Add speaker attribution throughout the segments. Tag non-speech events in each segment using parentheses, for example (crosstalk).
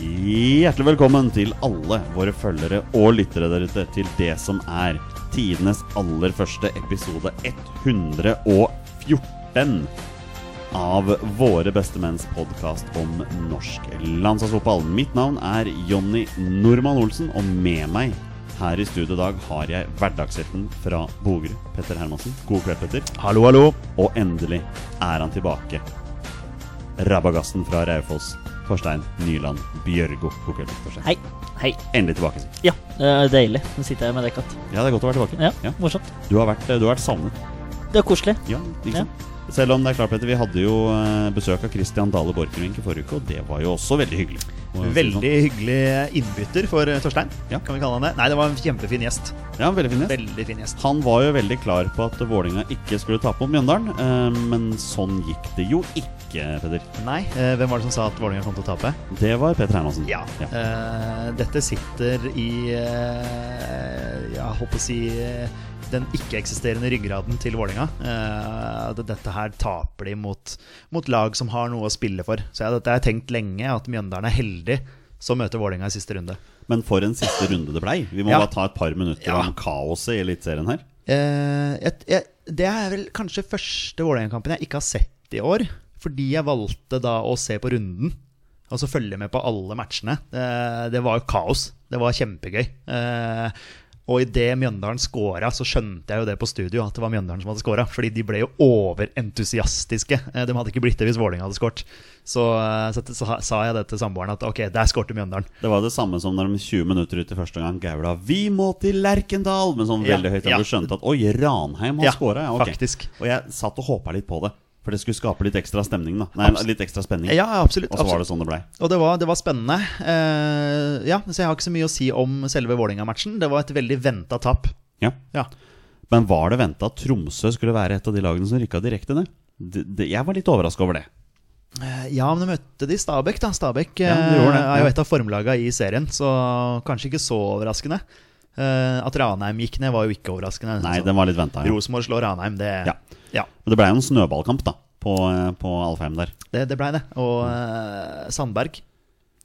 Speaker 1: Hjertelig velkommen til alle våre følgere og lyttere der ute til det som er tidenes aller første episode 114 av Våre beste menns podkast om norsk landslagsfotball. Mitt navn er Jonny Normann Olsen, og med meg her i studio i dag har jeg hverdagshelten fra Bogerud, Petter Hermansen. God kveld, Petter.
Speaker 2: Hallo, hallo.
Speaker 1: Og endelig er han tilbake. Rabagassen fra Raufoss, Torstein Nyland Bjørgo. God kveld, Torstein.
Speaker 3: Hei. Hei.
Speaker 1: Endelig tilbake. Siv.
Speaker 3: Ja, det er deilig. Nå sitter jeg med deg, katt.
Speaker 1: Ja, det er godt å være tilbake.
Speaker 3: Ja,
Speaker 1: Ja.
Speaker 3: Morsomt.
Speaker 1: Du, har vært, du har vært savnet.
Speaker 3: Det er koselig.
Speaker 1: Ja, ikke
Speaker 3: Ja.
Speaker 1: sant? Selv om det er klart, Petter, vi hadde jo eh, besøk av Christian Dale Borchgrevink i forrige uke, og det var jo også veldig hyggelig. må jeg si det
Speaker 2: Veldig hyggelig innbytter for eh, Torstein.
Speaker 1: Ja.
Speaker 2: Kan vi kalle han det? Nei, det var en kjempefin gjest.
Speaker 1: sånn. Ja, veldig fin gjest.
Speaker 2: Veldig fin gjest.
Speaker 1: Han var jo veldig klar på at Vålinga ikke skulle tape mot Mjøndalen, eh, men sånn gikk det jo ikke, Petter.
Speaker 2: Nei, eh, hvem var det som sa at Vålerenga kom til å tape?
Speaker 1: Det var Petter Hermansen.
Speaker 2: Ja. Eh, dette sitter i eh, Ja, holdt på å si eh, den ikke-eksisterende ryggraden til Vålerenga. Eh, at dette her taper de mot, mot lag som har noe å spille for. Så ja, dette har jeg tenkt lenge, at Mjøndalen er heldig som møter Vålerenga i siste runde.
Speaker 1: Men for en siste runde det blei. Vi må
Speaker 2: Ja.
Speaker 1: bare ta et par minutter
Speaker 2: Ja.
Speaker 1: om kaoset i Eliteserien her.
Speaker 2: Eh, jeg, jeg, det er vel kanskje første Vålerenga-kampen jeg ikke har sett i år. Fordi jeg valgte da å se på runden. Og så følge med på alle matchene. Eh, det var jo kaos. Det var kjempegøy. Eh, og idet Mjøndalen scora, så skjønte jeg jo det på studio at det var Mjøndalen som hadde scora. Fordi de ble jo overentusiastiske. Eh, de hadde ikke blitt det hvis Vålerenga hadde skåret. Så, eh, så, så sa jeg det til samboeren at ok, der skårte Mjøndalen.
Speaker 1: Det var det samme som når de 20 minutter ut i første gang gaula 'Vi må til Lerkendal!' Men sånn
Speaker 2: Ja,
Speaker 1: veldig høyt.
Speaker 2: ja.
Speaker 1: Og du skjønte at 'Oi, Ranheim har
Speaker 2: Ja,
Speaker 1: scora'. Ja, ok.
Speaker 2: faktisk.
Speaker 1: Og jeg satt og håpa litt på det. For det skulle skape litt ekstra stemning. da Nei,
Speaker 2: Abs-
Speaker 1: litt ekstra spenning.
Speaker 2: Ja, absolutt.
Speaker 1: og så var
Speaker 2: absolutt.
Speaker 1: det sånn det blei.
Speaker 2: Og det var, det var spennende. Eh, ja, Så jeg har ikke så mye å si om selve Vålerenga-matchen. Det var et veldig venta tap.
Speaker 1: Ja.
Speaker 2: Ja.
Speaker 1: Men var det venta at Tromsø skulle være et av de lagene som rykka direkte ned? Det, det, jeg var litt overraska over det.
Speaker 2: Eh, ja, men de møtte de Stabæk, da. Stabæk
Speaker 1: Ja, de
Speaker 2: eh,
Speaker 1: gjorde det,
Speaker 2: er
Speaker 1: ja.
Speaker 2: jo et av formlagene i serien, så kanskje ikke så overraskende. Eh, at Ranheim gikk ned, var jo ikke overraskende.
Speaker 1: Nei,
Speaker 2: Så
Speaker 1: den var litt venta. Ja.
Speaker 2: Rosenborg slår Ranheim, det,
Speaker 1: Ja.
Speaker 2: ja,
Speaker 1: Men det blei jo en snøballkamp da på, eh, på Alfheim der.
Speaker 2: det, det blei det. Og eh, Sandberg,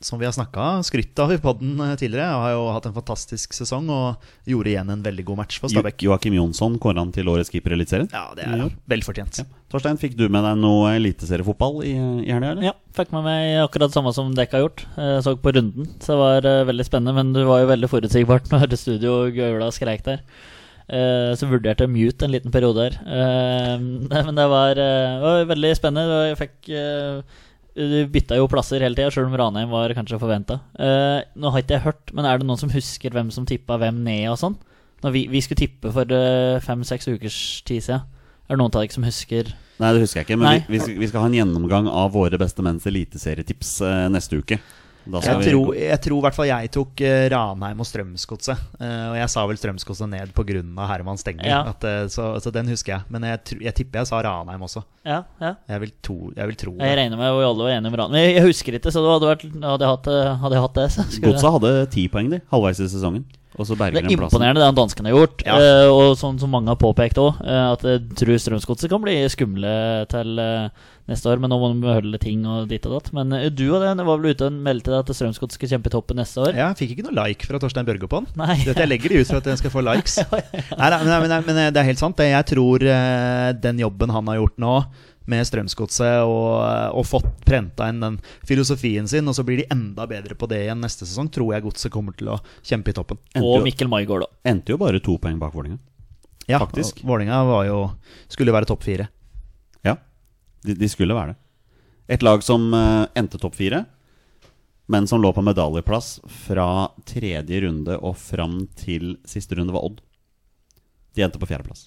Speaker 2: som vi har snakka skrytt av i podden eh, tidligere, har jo hatt en fantastisk sesong og gjorde igjen en veldig god match for
Speaker 1: Jo,
Speaker 2: Stabæk.
Speaker 1: Joakim Jonsson kåra han til årets keeper i Eliteserien.
Speaker 2: Ja, det
Speaker 1: I
Speaker 2: er
Speaker 1: år.
Speaker 2: velfortjent.
Speaker 1: Torstein, fikk du med deg noe eliteseriefotball i, i helga, eller?
Speaker 3: Ja, Fikk med meg akkurat samme som dere har gjort. Jeg så på runden, så det var eh, veldig spennende. Men det var jo veldig forutsigbart når studio og gaula skreik der. Eh, Så vurderte jeg mute en liten periode her. Eh, (laughs) Men det var, eh, det var veldig spennende. og Jeg fikk eh, Du bytta jo plasser hele tida, sjøl om Ranheim var kanskje forventa. Nå har ikke jeg hørt, men er det noen som husker hvem som tippa hvem ned og sånn? Når vi, vi skulle tippe for fem-seks ukers tid siden. Er det noen av dere som husker
Speaker 1: Nei, det husker jeg ikke, men
Speaker 3: Nei.
Speaker 1: vi, vi, skal, vi skal ha en gjennomgang av våre beste menns eliteserietips eh, neste uke. Da skal
Speaker 2: Jeg
Speaker 1: vi-
Speaker 2: tror, jeg tror i hvert fall jeg tok eh, Ranheim og Strømsgodset. Eh, Og jeg sa vel Strømsgodset ned pga. Herman Stengel,
Speaker 3: Ja.
Speaker 2: at, eh, så, så den husker jeg. Men jeg, tr- jeg tipper jeg sa Ranheim også.
Speaker 3: Ja, ja.
Speaker 2: Jeg vil, to, jeg vil tro
Speaker 3: Jeg
Speaker 2: det.
Speaker 3: regner med at vi alle var enige om hverandre. Men jeg- jeg husker ikke, så det hadde, vært, hadde, jeg, hatt, det- hadde jeg hatt det, så skulle jeg-
Speaker 1: Godsa hadde ti poeng, de, halvveis i sesongen. Og så berger
Speaker 3: det er
Speaker 1: de plassen.
Speaker 3: imponerende det han danskene har gjort,
Speaker 2: Ja.
Speaker 3: eh, og sånn som mange har påpekt òg, at jeg tror Strømsgodset kan bli skumle til eh, neste år, men nå må de beholde ting og ditt og datt. Men eh, du og den var vel ute og meldte deg at Strømsgodset skal kjempe i toppen neste år?
Speaker 2: Ja, jeg fikk ikke noe like fra Torstein Børge på den.
Speaker 3: Nei.
Speaker 2: Dette, jeg legger det ut for at jeg skal få
Speaker 3: (laughs)
Speaker 2: likes. Nei, nei, men, nei, men, nei, men det er helt sant. det. Jeg tror eh, den jobben han har gjort nå, med Strømsgodset, og, og fått prenta inn den filosofien sin, og så blir de enda bedre på det igjen neste sesong, tror jeg Godset kommer til å kjempe i toppen.
Speaker 3: Og
Speaker 1: Endte jo,
Speaker 3: Mikkel Maigård, da.
Speaker 1: endte jo bare to poeng bak Vålerenga.
Speaker 2: Ja,
Speaker 1: Faktisk.
Speaker 2: og Vålinga var jo, skulle være topp fire.
Speaker 1: Ja, de, de skulle være det. Et lag som eh, endte topp fire, men som lå på medaljeplass fra tredje runde og fram til siste runde, var Odd. De endte på fjerdeplass.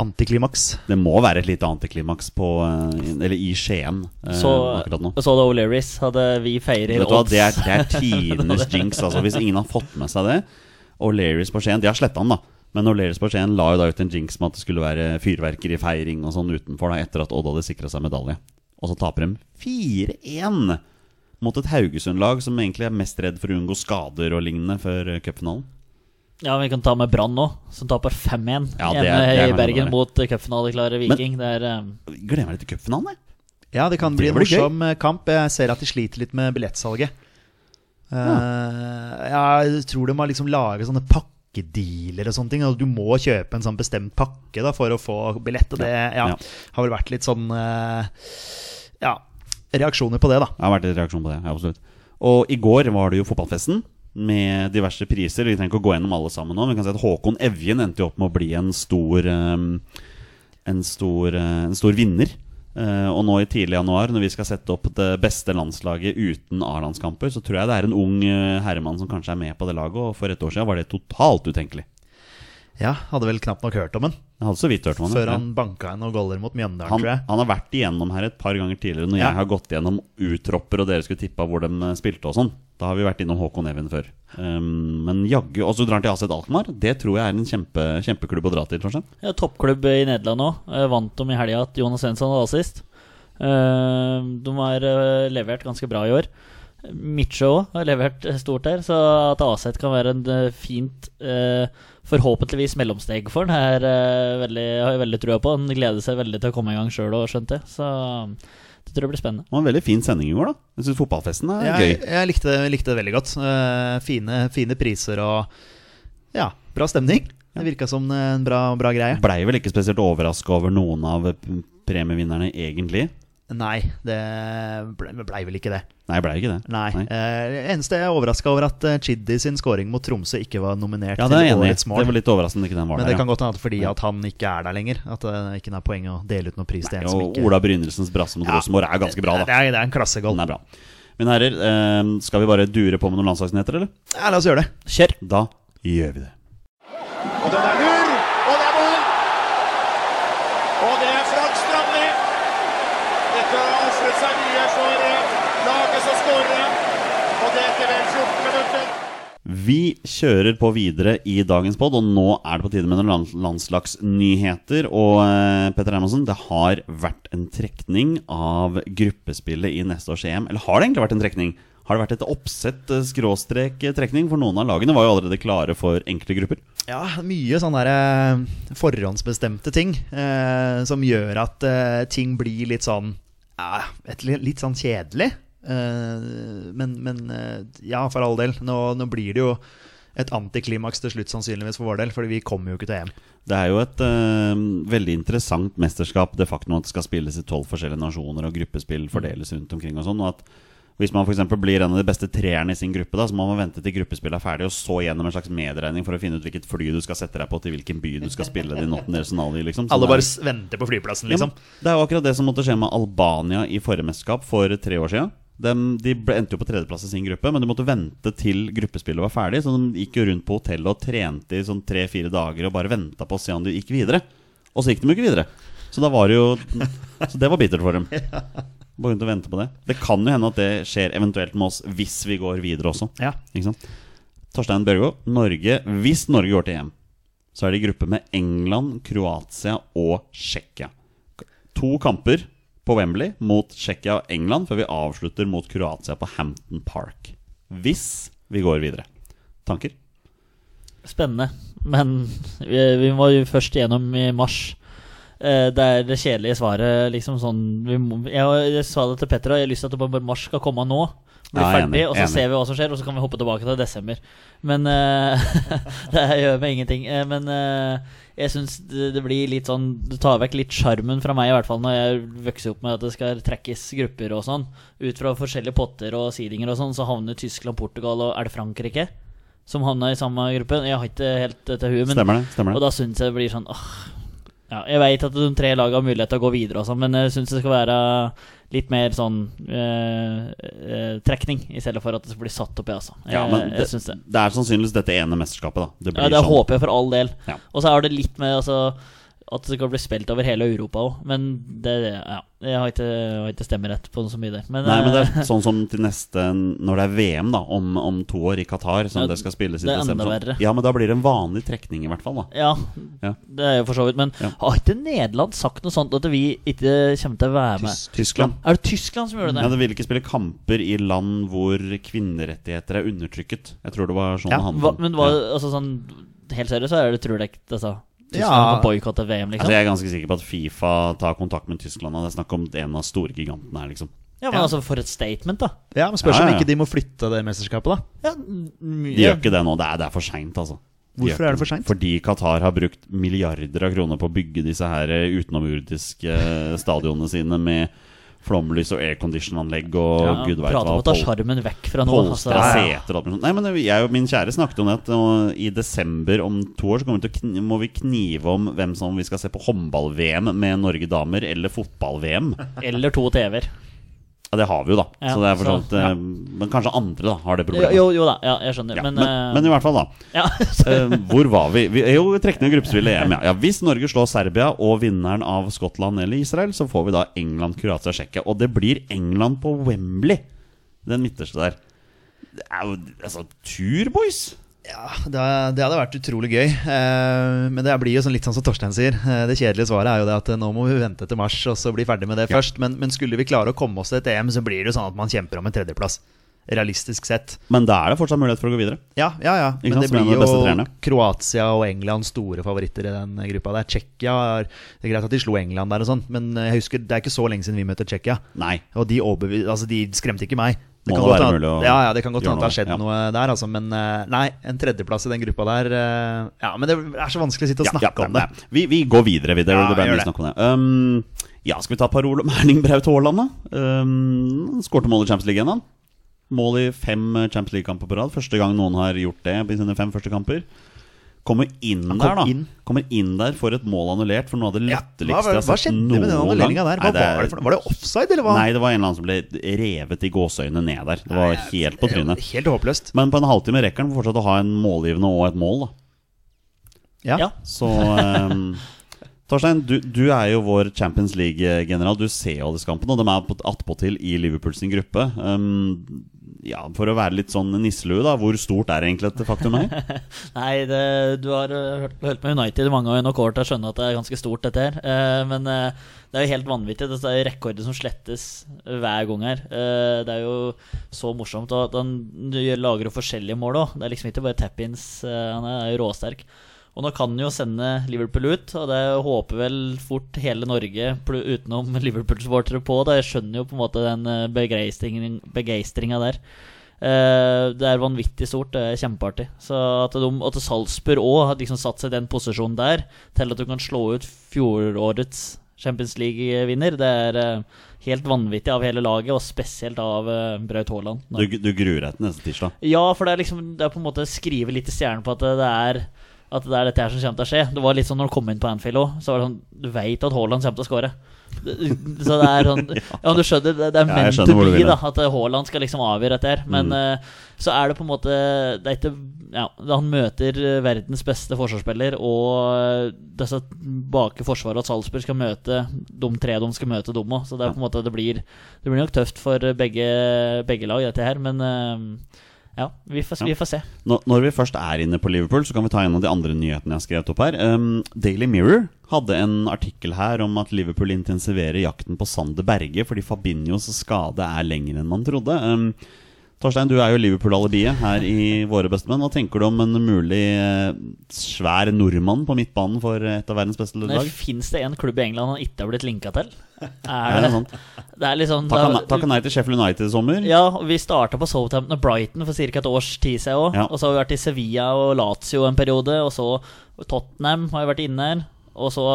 Speaker 2: Antiklimaks.
Speaker 1: Det må være et lite antiklimaks på eh, Eller i Skien eh,
Speaker 3: Så,
Speaker 1: akkurat nå.
Speaker 3: så da O'Learys hadde vi feiret
Speaker 1: Vet du hva,
Speaker 3: odds.
Speaker 1: det er, det er (laughs) tidenes jinx, altså, hvis ingen har fått med seg det. O'Learys på Skien De har sletta den, da. Men O'Learys på Skien la jo da ut en jinx med at det skulle være fyrverkerifeiring og sånn utenfor, da, etter at Odd hadde sikra seg medalje. Og så taper de 4-1 mot et Haugesund-lag som egentlig er mest redd for å unngå skader og lignende før eh, cupfinalen.
Speaker 3: Ja, men Vi kan ta med Brann nå, som taper 5-1
Speaker 1: Ja, det er-
Speaker 3: hjemme
Speaker 1: det er
Speaker 3: i
Speaker 1: veldig
Speaker 3: Bergen
Speaker 1: bra.
Speaker 3: mot eh, cupfinaleklare Viking. det er eh,
Speaker 1: Gleder meg litt til cupfinalen, jeg.
Speaker 2: Ja, det kan bli
Speaker 1: Det
Speaker 2: en
Speaker 1: blir gøy.
Speaker 2: morsom eh, kamp. Jeg ser at de sliter litt med billettsalget. Eh, jeg tror de har liksom laget sånne pakkedealer og sånne ting. Og du må kjøpe en sånn bestemt pakke da, for å få billett. Og det ja,
Speaker 1: Ja.
Speaker 2: har vel vært litt sånn eh, Ja, reaksjoner på det, da.
Speaker 1: Det har vært litt reaksjon på det, ja, absolutt. Og i går var det jo fotballfesten med diverse priser. Vi trenger ikke å gå gjennom alle sammen nå, men vi kan si at Håkon Evjen endte jo opp med å bli en stor ehm, En stor, eh, en stor vinner. Eh, og nå i tidlig januar, når vi skal sette opp det beste landslaget uten A-landskamper, så tror jeg det er en ung eh, herremann som kanskje er med på det laget, og for et år siden var det totalt utenkelig.
Speaker 2: Ja, Hadde vel knapt nok hørt om den
Speaker 1: Jeg hadde så vidt hørt om han. ja.
Speaker 2: før han banka inn noen goller mot Mjøndalen,
Speaker 1: Han,
Speaker 2: tror jeg.
Speaker 1: han har vært igjennom her et par ganger tidligere når
Speaker 2: Ja.
Speaker 1: jeg har gått gjennom uttropper og dere skulle tippa hvor de eh, spilte og sånn. Da har vi vært innom Håkon Even før. Um, men jaggu Og så drar han til Aset Alkmaar. Det tror jeg er en kjempe, kjempeklubb å dra til, Torstein.
Speaker 3: Ja, toppklubb i Nederland òg. Vant dem i helga at Jonas Svensson var assist. Eh, De har eh, levert ganske bra i år. Mitche òg har levert eh, stort her, så at Aset kan være en eh, fint eh, Forhåpentligvis mellomsteg for han er eh, veldig, har jeg veldig trua på. Han gleder seg veldig til å komme i gang sjøl òg, skjønte jeg. Så det tror jeg blir spennende.
Speaker 1: Det var en veldig fin sending i går, da. Jeg syns fotballfesten er
Speaker 2: Jeg,
Speaker 1: gøy.
Speaker 2: jeg likte, likte det veldig godt. Eh, fine, fine priser og ja, bra stemning. Det virka som en bra, bra greie.
Speaker 1: Blei vel ikke spesielt overraska over noen av p- premievinnerne, egentlig.
Speaker 2: Nei, det blei ble vel ikke det.
Speaker 1: Nei, blei ikke det.
Speaker 2: Nei. Eh, eneste jeg er overraska over, at eh, Chiddi sin scoring mot Tromsø ikke var nominert
Speaker 1: Ja, det er jeg
Speaker 2: til
Speaker 1: enig i.
Speaker 2: årets
Speaker 1: Det
Speaker 2: mål.
Speaker 1: var litt overraskende ikke den var
Speaker 2: Men det
Speaker 1: der.
Speaker 2: kan godt hende at fordi at han ikke er der lenger. At det ikke er poeng å dele ut noen pris til
Speaker 1: ja.
Speaker 2: en som
Speaker 1: Og
Speaker 2: ikke
Speaker 1: Ola Brynildsens brasse mot
Speaker 2: Ja.
Speaker 1: Rosenborg er ganske bra, da.
Speaker 2: Det er, det er en
Speaker 1: Den
Speaker 2: klassegold.
Speaker 1: er bra. Mine herrer, eh, skal vi bare dure på med noen landslagsnyheter, eller?
Speaker 2: Ja, la oss gjøre det.
Speaker 3: Kjør!
Speaker 1: Da gjør vi det.
Speaker 4: Og den er lur, og det er mål! Og det er Frank Strandli. Dette har ofret seg mye for eh, laget som skårer. Og det etter vel 14 minutter.
Speaker 1: Vi kjører på videre i dagens pod, og nå er det på tide med noen land- landslagsnyheter. Og eh, Petter Hermansen, det har vært en trekning av gruppespillet i neste års EM. Eller har det egentlig vært en trekning? Har det vært et oppsett eh, skråstrek eh, trekning? For noen av lagene var jo allerede klare for enkelte grupper.
Speaker 2: Ja, mye sånne der, eh, forhåndsbestemte ting eh, som gjør at eh, ting blir litt sånn ja, et, li- Litt sånn kjedelig. Eh, men men eh, ja, for all del. Nå, nå blir det jo et antiklimaks til slutt, sannsynligvis for vår del, fordi vi kommer jo ikke til EM.
Speaker 1: Det er jo et eh, veldig interessant mesterskap, det faktum at det skal spilles i tolv forskjellige nasjoner, og gruppespill fordeles rundt omkring og sånn. og at hvis man for eksempel blir en av de beste treerne i sin gruppe, da, så må man vente til gruppespillet er ferdig, og så gjennom en slags medregning for å finne ut hvilket fly du skal sette deg på, til hvilken by du skal spille din åttende i. Liksom. Sånn
Speaker 2: Alle
Speaker 1: er det.
Speaker 2: bare s- venter på flyplassen,
Speaker 1: Ja, men
Speaker 2: liksom.
Speaker 1: Det er jo akkurat det som måtte skje med Albania i forrige mesterskap for tre år siden. De, de ble, endte jo på tredjeplass i sin gruppe, men de måtte vente til gruppespillet var ferdig. Så de gikk jo rundt på hotellet og trente i sånn tre-fire dager og bare venta på å se om de gikk videre. Og så gikk de jo ikke videre. Så da var det jo Så det var bittert for dem. Bare rundt og vente på det. Det kan jo hende at det skjer eventuelt med oss hvis vi går videre også.
Speaker 2: Ja.
Speaker 1: Ikke sant? Torstein Børgo, Norge, hvis Norge går til EM, så er det i gruppe med England, Kroatia og Tsjekkia. To kamper på Wembley mot Tsjekkia og England før vi avslutter mot Kroatia på Hampton Park. Hvis vi går videre. Tanker?
Speaker 3: Spennende, men vi, vi må jo først gjennom i mars. Eh, Det er det kjedelige svaret. liksom sånn vi må, jeg, jeg sa det til Petter, og jeg har lyst til at bare mars skal komme nå. Bli
Speaker 1: Ja,
Speaker 3: ferdig,
Speaker 1: enig,
Speaker 3: og så
Speaker 1: enig.
Speaker 3: ser vi hva som skjer, og så kan vi hoppe tilbake til desember. Men eh, (laughs) Det gjør meg ingenting. Eh, men eh, jeg syns det, det blir litt sånn Det tar vekk litt sjarmen fra meg, i hvert fall når jeg vokser opp med at det skal trekkes grupper og sånn. Ut fra forskjellige potter og sidinger og sånn, så havner Tyskland, Portugal og er det Frankrike? Som havna i samme gruppe. Jeg har ikke helt det til huet, men
Speaker 1: Stemmer det? stemmer
Speaker 3: og
Speaker 1: det
Speaker 3: da syns jeg det blir sånn åh. Ja, jeg veit at de tre lagene har mulighet til å gå videre, og sånn, men jeg syns det skal være litt mer sånn eh, eh, trekning, i stedet for at det blir satt opp i, altså. Jeg,
Speaker 1: ja, men
Speaker 3: jeg
Speaker 1: det,
Speaker 3: synes det.
Speaker 1: det er sannsynligvis dette ene mesterskapet, da. Det blir
Speaker 3: Ja, det
Speaker 1: sånn.
Speaker 3: håper jeg for all del.
Speaker 1: Ja.
Speaker 3: Og så er det litt med altså, at det skal bli spilt over hele Europa òg, men det, ja, jeg har ikke, jeg har ikke stemmerett på så mye der. Men,
Speaker 1: Nei, men det
Speaker 3: eh, (laughs)
Speaker 1: er sånn som til neste Når det er VM, da, om, om to år i Qatar, som
Speaker 3: Ja,
Speaker 1: det skal spilles i
Speaker 3: det er
Speaker 1: desember.
Speaker 3: enda
Speaker 1: sånn.
Speaker 3: verre.
Speaker 1: Ja, men da blir det en vanlig trekning, i hvert fall. da
Speaker 3: Ja,
Speaker 1: Ja.
Speaker 3: det er jo for så vidt. Men
Speaker 1: Ja.
Speaker 3: har ikke Nederland sagt noe sånt at vi ikke kommer til å være med?
Speaker 1: Tyskland.
Speaker 3: Er det Tyskland som gjør det?
Speaker 1: Ja, det vil ikke spille kamper i land hvor kvinnerettigheter er undertrykket. Jeg tror det var sånn
Speaker 2: Ja,
Speaker 1: det handlet
Speaker 3: Hva,
Speaker 1: om.
Speaker 3: men hva,
Speaker 1: Ja.
Speaker 3: altså sånn Helt seriøst så er det tror jeg ikke altså, Tyskland
Speaker 2: Ja.
Speaker 3: kan boikotte VM,
Speaker 1: Altså,
Speaker 3: liksom.
Speaker 1: jeg er ganske sikker på at Fifa tar kontakt med Tyskland. og Det er snakk om en av store gigantene her, liksom.
Speaker 3: Ja, men
Speaker 2: Ja.
Speaker 3: altså, for et statement, da.
Speaker 2: Ja, men Spørs
Speaker 1: Ja,
Speaker 2: om
Speaker 1: ja.
Speaker 2: ikke de må flytte det mesterskapet, da.
Speaker 3: Ja, mye.
Speaker 1: De gjør ikke det nå. Det er, det er for seint, altså. De
Speaker 2: Hvorfor
Speaker 1: gjør
Speaker 2: er det
Speaker 1: ikke
Speaker 2: for sent?
Speaker 1: Fordi Qatar har brukt milliarder av kroner på å bygge disse her eh, utenomjordiske eh, stadionene sine med flomlys og aircondition-anlegg og
Speaker 3: ja,
Speaker 1: gud veit
Speaker 3: Prate
Speaker 1: hva.
Speaker 3: om å ta
Speaker 1: pol-
Speaker 3: sjarmen vekk fra nå. Altså,
Speaker 1: Polstra
Speaker 3: ja,
Speaker 1: seter og alt mulig sånt. Nei, men jeg og min kjære snakket om det at nå i desember om to år så kommer vi til å kni, må vi knive om hvem som vi skal se på håndball-VM med Norge damer eller fotball-VM.
Speaker 3: Eller to TV-er.
Speaker 1: Ja, det har vi jo, da.
Speaker 3: Ja,
Speaker 1: så det er for
Speaker 3: så-
Speaker 1: sånt, eh, Men kanskje andre da har det
Speaker 3: Jo,
Speaker 1: problemet.
Speaker 3: jo, jo da, ja, jeg skjønner.
Speaker 1: Ja,
Speaker 3: men,
Speaker 1: men,
Speaker 3: eh,
Speaker 1: men i hvert fall, da.
Speaker 3: ja,
Speaker 1: (laughs) Eh, hvor var vi? vi jo, vi trekk ned gruppespill i EM, ja. ja. Hvis Norge slår Serbia og vinneren av Skottland eller Israel, så får vi da England, Kroatia, Tsjekkia. Og det blir England på Wembley, den midterste der. Det er jo altså, tur, boys!
Speaker 2: Ja, det, det hadde vært utrolig gøy. Eh, men det blir jo sånn litt sånn som Torstein sier. Eh, det kjedelige svaret er jo det at eh, nå må vi vente til mars og så bli ferdig med det først. Men, men skulle vi klare å komme oss til et EM, så blir det jo sånn at man kjemper om en tredjeplass. Realistisk sett.
Speaker 1: Men da er det fortsatt mulighet for å gå videre.
Speaker 2: Ja, ja, ja.
Speaker 1: Ikke
Speaker 2: Men
Speaker 1: sant,
Speaker 2: det
Speaker 1: som en av
Speaker 2: blir
Speaker 1: de
Speaker 2: jo
Speaker 1: beste trenerne.
Speaker 2: Kroatia og England store favoritter i den gruppa der. Tsjekkia er Det er greit at de slo England der og sånn, men jeg husker det er ikke så lenge siden vi møtte Tsjekkia.
Speaker 1: Nei.
Speaker 2: Og de, overbevis, altså, de skremte ikke meg. Det
Speaker 1: Må det
Speaker 2: kan godt
Speaker 1: være
Speaker 2: hende
Speaker 1: mulig å
Speaker 2: ja, ja, det kan godt
Speaker 1: gjøre
Speaker 2: hende at det har
Speaker 1: noe,
Speaker 2: skjedd
Speaker 1: ja.
Speaker 2: noe der, altså. Men eh, nei, en tredjeplass i den gruppa der eh, Ja, men det er så vanskelig å sitte og snakke om det.
Speaker 1: nei. Vi, vi går videre. Vi, det,
Speaker 2: Ja,
Speaker 1: det ble
Speaker 2: gjør
Speaker 1: mye
Speaker 2: det.
Speaker 1: snakk om det. Um, ja, skal vi ta et par ord om (laughs) Erling Braut Haaland, da? Um, Skårte mål i Champions League igjen, han. Mål i fem eh, Champions League-kamper på rad. Første gang noen har gjort det i sine fem første kamper. Kommer inn
Speaker 2: Han kom
Speaker 1: der, da.
Speaker 2: inn.
Speaker 1: Kommer inn der, får et mål annullert for noe av det
Speaker 2: Ja,
Speaker 1: latterligste
Speaker 2: hva, var-
Speaker 1: jeg
Speaker 2: hva
Speaker 1: har sett
Speaker 2: skjedde
Speaker 1: altså, noen
Speaker 2: med den
Speaker 1: gang.
Speaker 2: annulleringa der? Hva
Speaker 1: Nei, det er-
Speaker 2: var, det for, noe? var det offside, eller hva?
Speaker 1: Nei, det var en eller annen som ble revet i gåseøynene ned der. Det var helt på trynet.
Speaker 2: Helt håpløst.
Speaker 1: Men på en halvtime rekker han fortsatt å ha en målgivende og et mål, da.
Speaker 2: Ja.
Speaker 3: ja.
Speaker 1: Så ehm, Torstein, du, du er jo vår Champions League-general. Du ser jo alle disse kampene, og de er på- attpåtil i Liverpool sin gruppe. Ehm, ja, For å være litt sånn nisselue, da. Hvor stort er egentlig dette faktumet her?
Speaker 3: Nei, det, du har eh, hørt, hørt med United i mange år nok år til å skjønne at det er ganske stort, dette her. Eh, men eh, det er jo helt vanvittig. Det er jo rekorder som slettes hver gang her. Eh, det er jo så morsomt. Og at han du gjør- lager jo forskjellige mål òg. Det er liksom ikke bare tap-ins. eh, han er, er jo råsterk. Og nå kan han jo sende Liverpool ut, og det håper vel fort hele Norge pl- utenom (laughs) Liverpool-supportere på. Da. Jeg skjønner jo på en måte den begeistringa der. Eh, det er vanvittig stort. Det er kjempeartig. Så at, de, at Salzburg òg har liksom satt seg i den posisjonen der, til at du kan slå ut fjorårets Champions League-vinner, det er eh, helt vanvittig av hele laget, og spesielt av eh, Braut Haaland.
Speaker 1: Du, du gruer deg til neste tirsdag.
Speaker 3: Ja, for det er liksom Det er på en måte å skrive litt i stjernen på at det er At det er dette her som kommer til å skje. Det var litt sånn når du kom inn på Anfield òg, så var det sånn Du veit at Haaland kommer til å skåre. Så det er sånn Ja, du skjønner, det, det
Speaker 1: (laughs) Ja,
Speaker 3: er
Speaker 1: jeg
Speaker 3: meant
Speaker 1: skjønner
Speaker 3: to
Speaker 1: hvor du
Speaker 3: be,
Speaker 1: vil
Speaker 3: da.
Speaker 1: hen.
Speaker 3: At eh, Haaland skal liksom avgjøre dette her. Men eh, så er det på en måte Det er ikke Ja, han møter eh, verdens beste forsvarsspiller, og eh, disse bake forsvaret og Salzburg skal møte de tre de skal møte, dem òg. Så det er på en måte Det blir, det blir nok tøft for begge, begge lag, dette her, men eh, ja, vi får, vi får se.
Speaker 1: Når, når vi først er inne på Liverpool, så kan vi ta en av de andre nyhetene jeg har skrevet opp her. Ehm, Daily Mirror hadde en artikkel her om at Liverpool intensiverer jakten på Sander Berge fordi Fabinhos skade er lengre enn man trodde. Ehm, Torstein, du er jo Liverpool-alibiet her i Våre bestemenn. Hva tenker du om en mulig eh, svær nordmann på midtbanen for eh, et av verdens beste
Speaker 3: Nei,
Speaker 1: lag?
Speaker 3: Fins det en klubb i England han ikke har blitt linka til?
Speaker 1: Er
Speaker 3: Er
Speaker 1: det
Speaker 3: det,
Speaker 1: sant?
Speaker 3: det er liksom
Speaker 1: Takk og nei-
Speaker 3: det er-
Speaker 1: takk og nei til Sheffield United i sommer.
Speaker 3: Ja, og vi starta på Southampton og Brighton for ca. et års tid siden òg.
Speaker 1: Ja.
Speaker 3: Og så har vi vært i Sevilla og Lazio en periode, og så Tottenham har jo vært inne her. Og så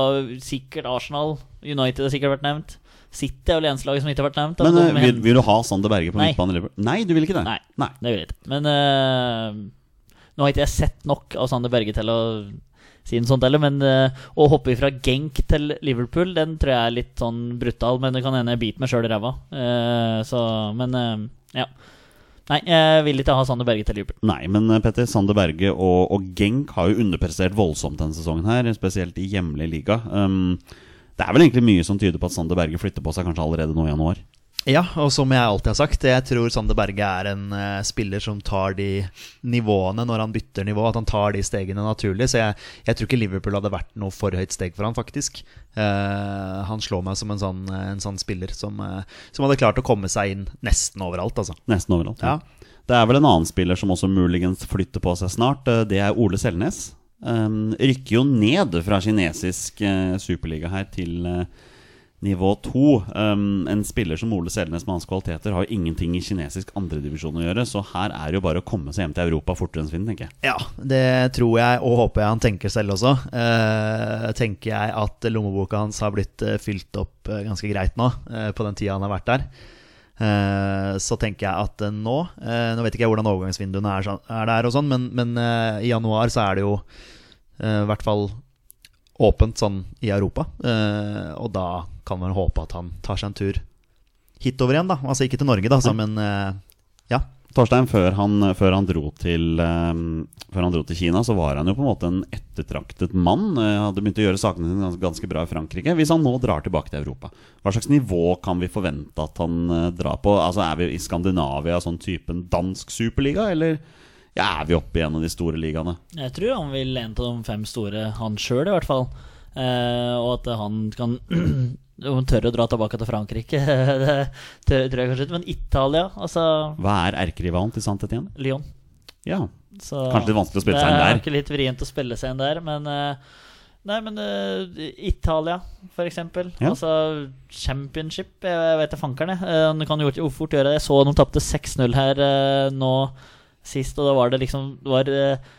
Speaker 3: sikkert Arsenal. United har sikkert vært nevnt. City er vel eneste laget som ikke har vært nevnt. da.
Speaker 1: Men
Speaker 3: De
Speaker 1: eh,
Speaker 3: kommer
Speaker 1: vil,
Speaker 3: hen-
Speaker 1: vil du ha Sander Berge på
Speaker 3: Nei.
Speaker 1: midtbanen i Liverpool? Nei, du vil ikke det?
Speaker 3: Nei.
Speaker 1: Nei.
Speaker 3: Det er greit. Men eh, nå har ikke jeg sett nok av Sander Berge til å si noe sånt heller. Men eh, å hoppe fra Genk til Liverpool, den tror jeg er litt sånn brutal. Men det kan hende jeg biter meg sjøl i ræva. Eh, så Men eh, ja. Nei, jeg vil ikke ha Sander Berge til Liverpool.
Speaker 1: Nei, men eh, Petter, Sander Berge og, og Genk har jo underprestert voldsomt denne sesongen her, spesielt i hjemlig liga. Um, det er vel egentlig mye som tyder på at Sander Berge flytter på seg kanskje allerede nå i januar.
Speaker 2: Ja, og som jeg alltid har sagt, jeg tror Sander Berge er en eh, spiller som tar de nivåene når han bytter nivå, at han tar de stegene naturlig. Så jeg, jeg tror ikke Liverpool hadde vært noe for høyt steg for han, faktisk. Eh, han slår meg som en sånn, en sånn spiller som, eh, som hadde klart å komme seg inn nesten overalt, altså.
Speaker 1: Nesten overalt.
Speaker 2: Ja.
Speaker 1: Det er vel en annen spiller som også muligens flytter på seg snart. eh, Det er Ole Selnes. Um, rykker jo ned fra kinesisk eh, superliga her til eh, nivå to. Um, en spiller som Ole Selnes med hans kvaliteter har jo ingenting i kinesisk andredivisjon å gjøre, så her er det jo bare å komme seg hjem til Europa fortere enn svinn, tenker jeg.
Speaker 2: Ja, det tror jeg og håper jeg han tenker selv også. Eh, tenker jeg at lommeboka hans har blitt eh, fylt opp eh, ganske greit nå, eh, på den tida han har vært der. Eh, så tenker jeg at eh, nå eh, Nå vet ikke jeg hvordan overgangsvinduene er, sånn- er der, og sånn, men, men eh, i januar så er det jo eh, i hvert fall åpent sånn i Europa. Eh, og da kan man håpe at han tar seg en tur hitover igjen, da. Altså ikke til Norge, da, så, men eh, ja.
Speaker 1: Torstein, før han, før, han dro til, um, før han dro til Kina, så var han jo på en måte en ettertraktet mann. eh, hadde begynt å gjøre sakene sine ganske, ganske bra i Frankrike. Hvis han nå drar tilbake til Europa, hva slags nivå kan vi forvente at han eh, drar på? Altså Er vi i Skandinavia, sånn typen dansk superliga, eller ja, er vi oppe i en av de store ligaene?
Speaker 3: Jeg tror han vil en av de fem store, han sjøl i hvert fall. Eh, og at han kan (clears throat) Om han tør å dra tilbake til Frankrike, (laughs) det tør, tror jeg kanskje ikke. Men Italia, altså
Speaker 1: Hva er erkerivalen til Santetien?
Speaker 3: Lyon.
Speaker 1: Ja,
Speaker 3: Så
Speaker 1: Kanskje litt vanskelig å spille seg inn
Speaker 3: Det er
Speaker 1: der.
Speaker 3: ikke litt vrient å spille seg inn der, men eh, Nei, men eh, Italia, for eksempel.
Speaker 1: Ja.
Speaker 3: Altså championship, jeg, jeg vet da fankeren, jeg. Eh, Han kan jo ikke- fort gjøre det. Jeg så de tapte 6-0 her eh, nå sist, og da var det liksom Det var eh,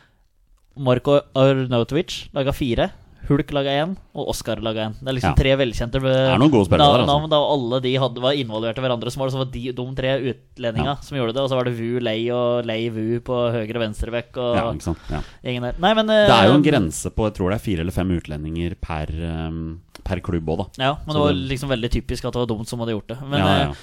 Speaker 3: Marko Arnautovic laga fire. Hulk laga én, og Oscar laga én. Det er liksom
Speaker 1: Ja.
Speaker 3: tre velkjente
Speaker 1: er noen gode spillere der, altså.
Speaker 3: navn, da alle de hadde, var involvert i hverandres mål. Så var de, de tre utlendinga
Speaker 1: Ja.
Speaker 3: som gjorde det. Og så var det Vu Lei og Lei Vu på høyre venstrebekk og
Speaker 1: ja, ikke sant? Ja.
Speaker 3: gjengen der. Nei, men eh,
Speaker 1: Det er jo en grense på jeg tror det er fire eller fem utlendinger per, um, per klubb òg, da.
Speaker 3: Ja, men
Speaker 1: Så
Speaker 3: det var
Speaker 1: det-
Speaker 3: liksom veldig typisk at det var dumt som hadde gjort det. Men
Speaker 1: Ja, ja, ja.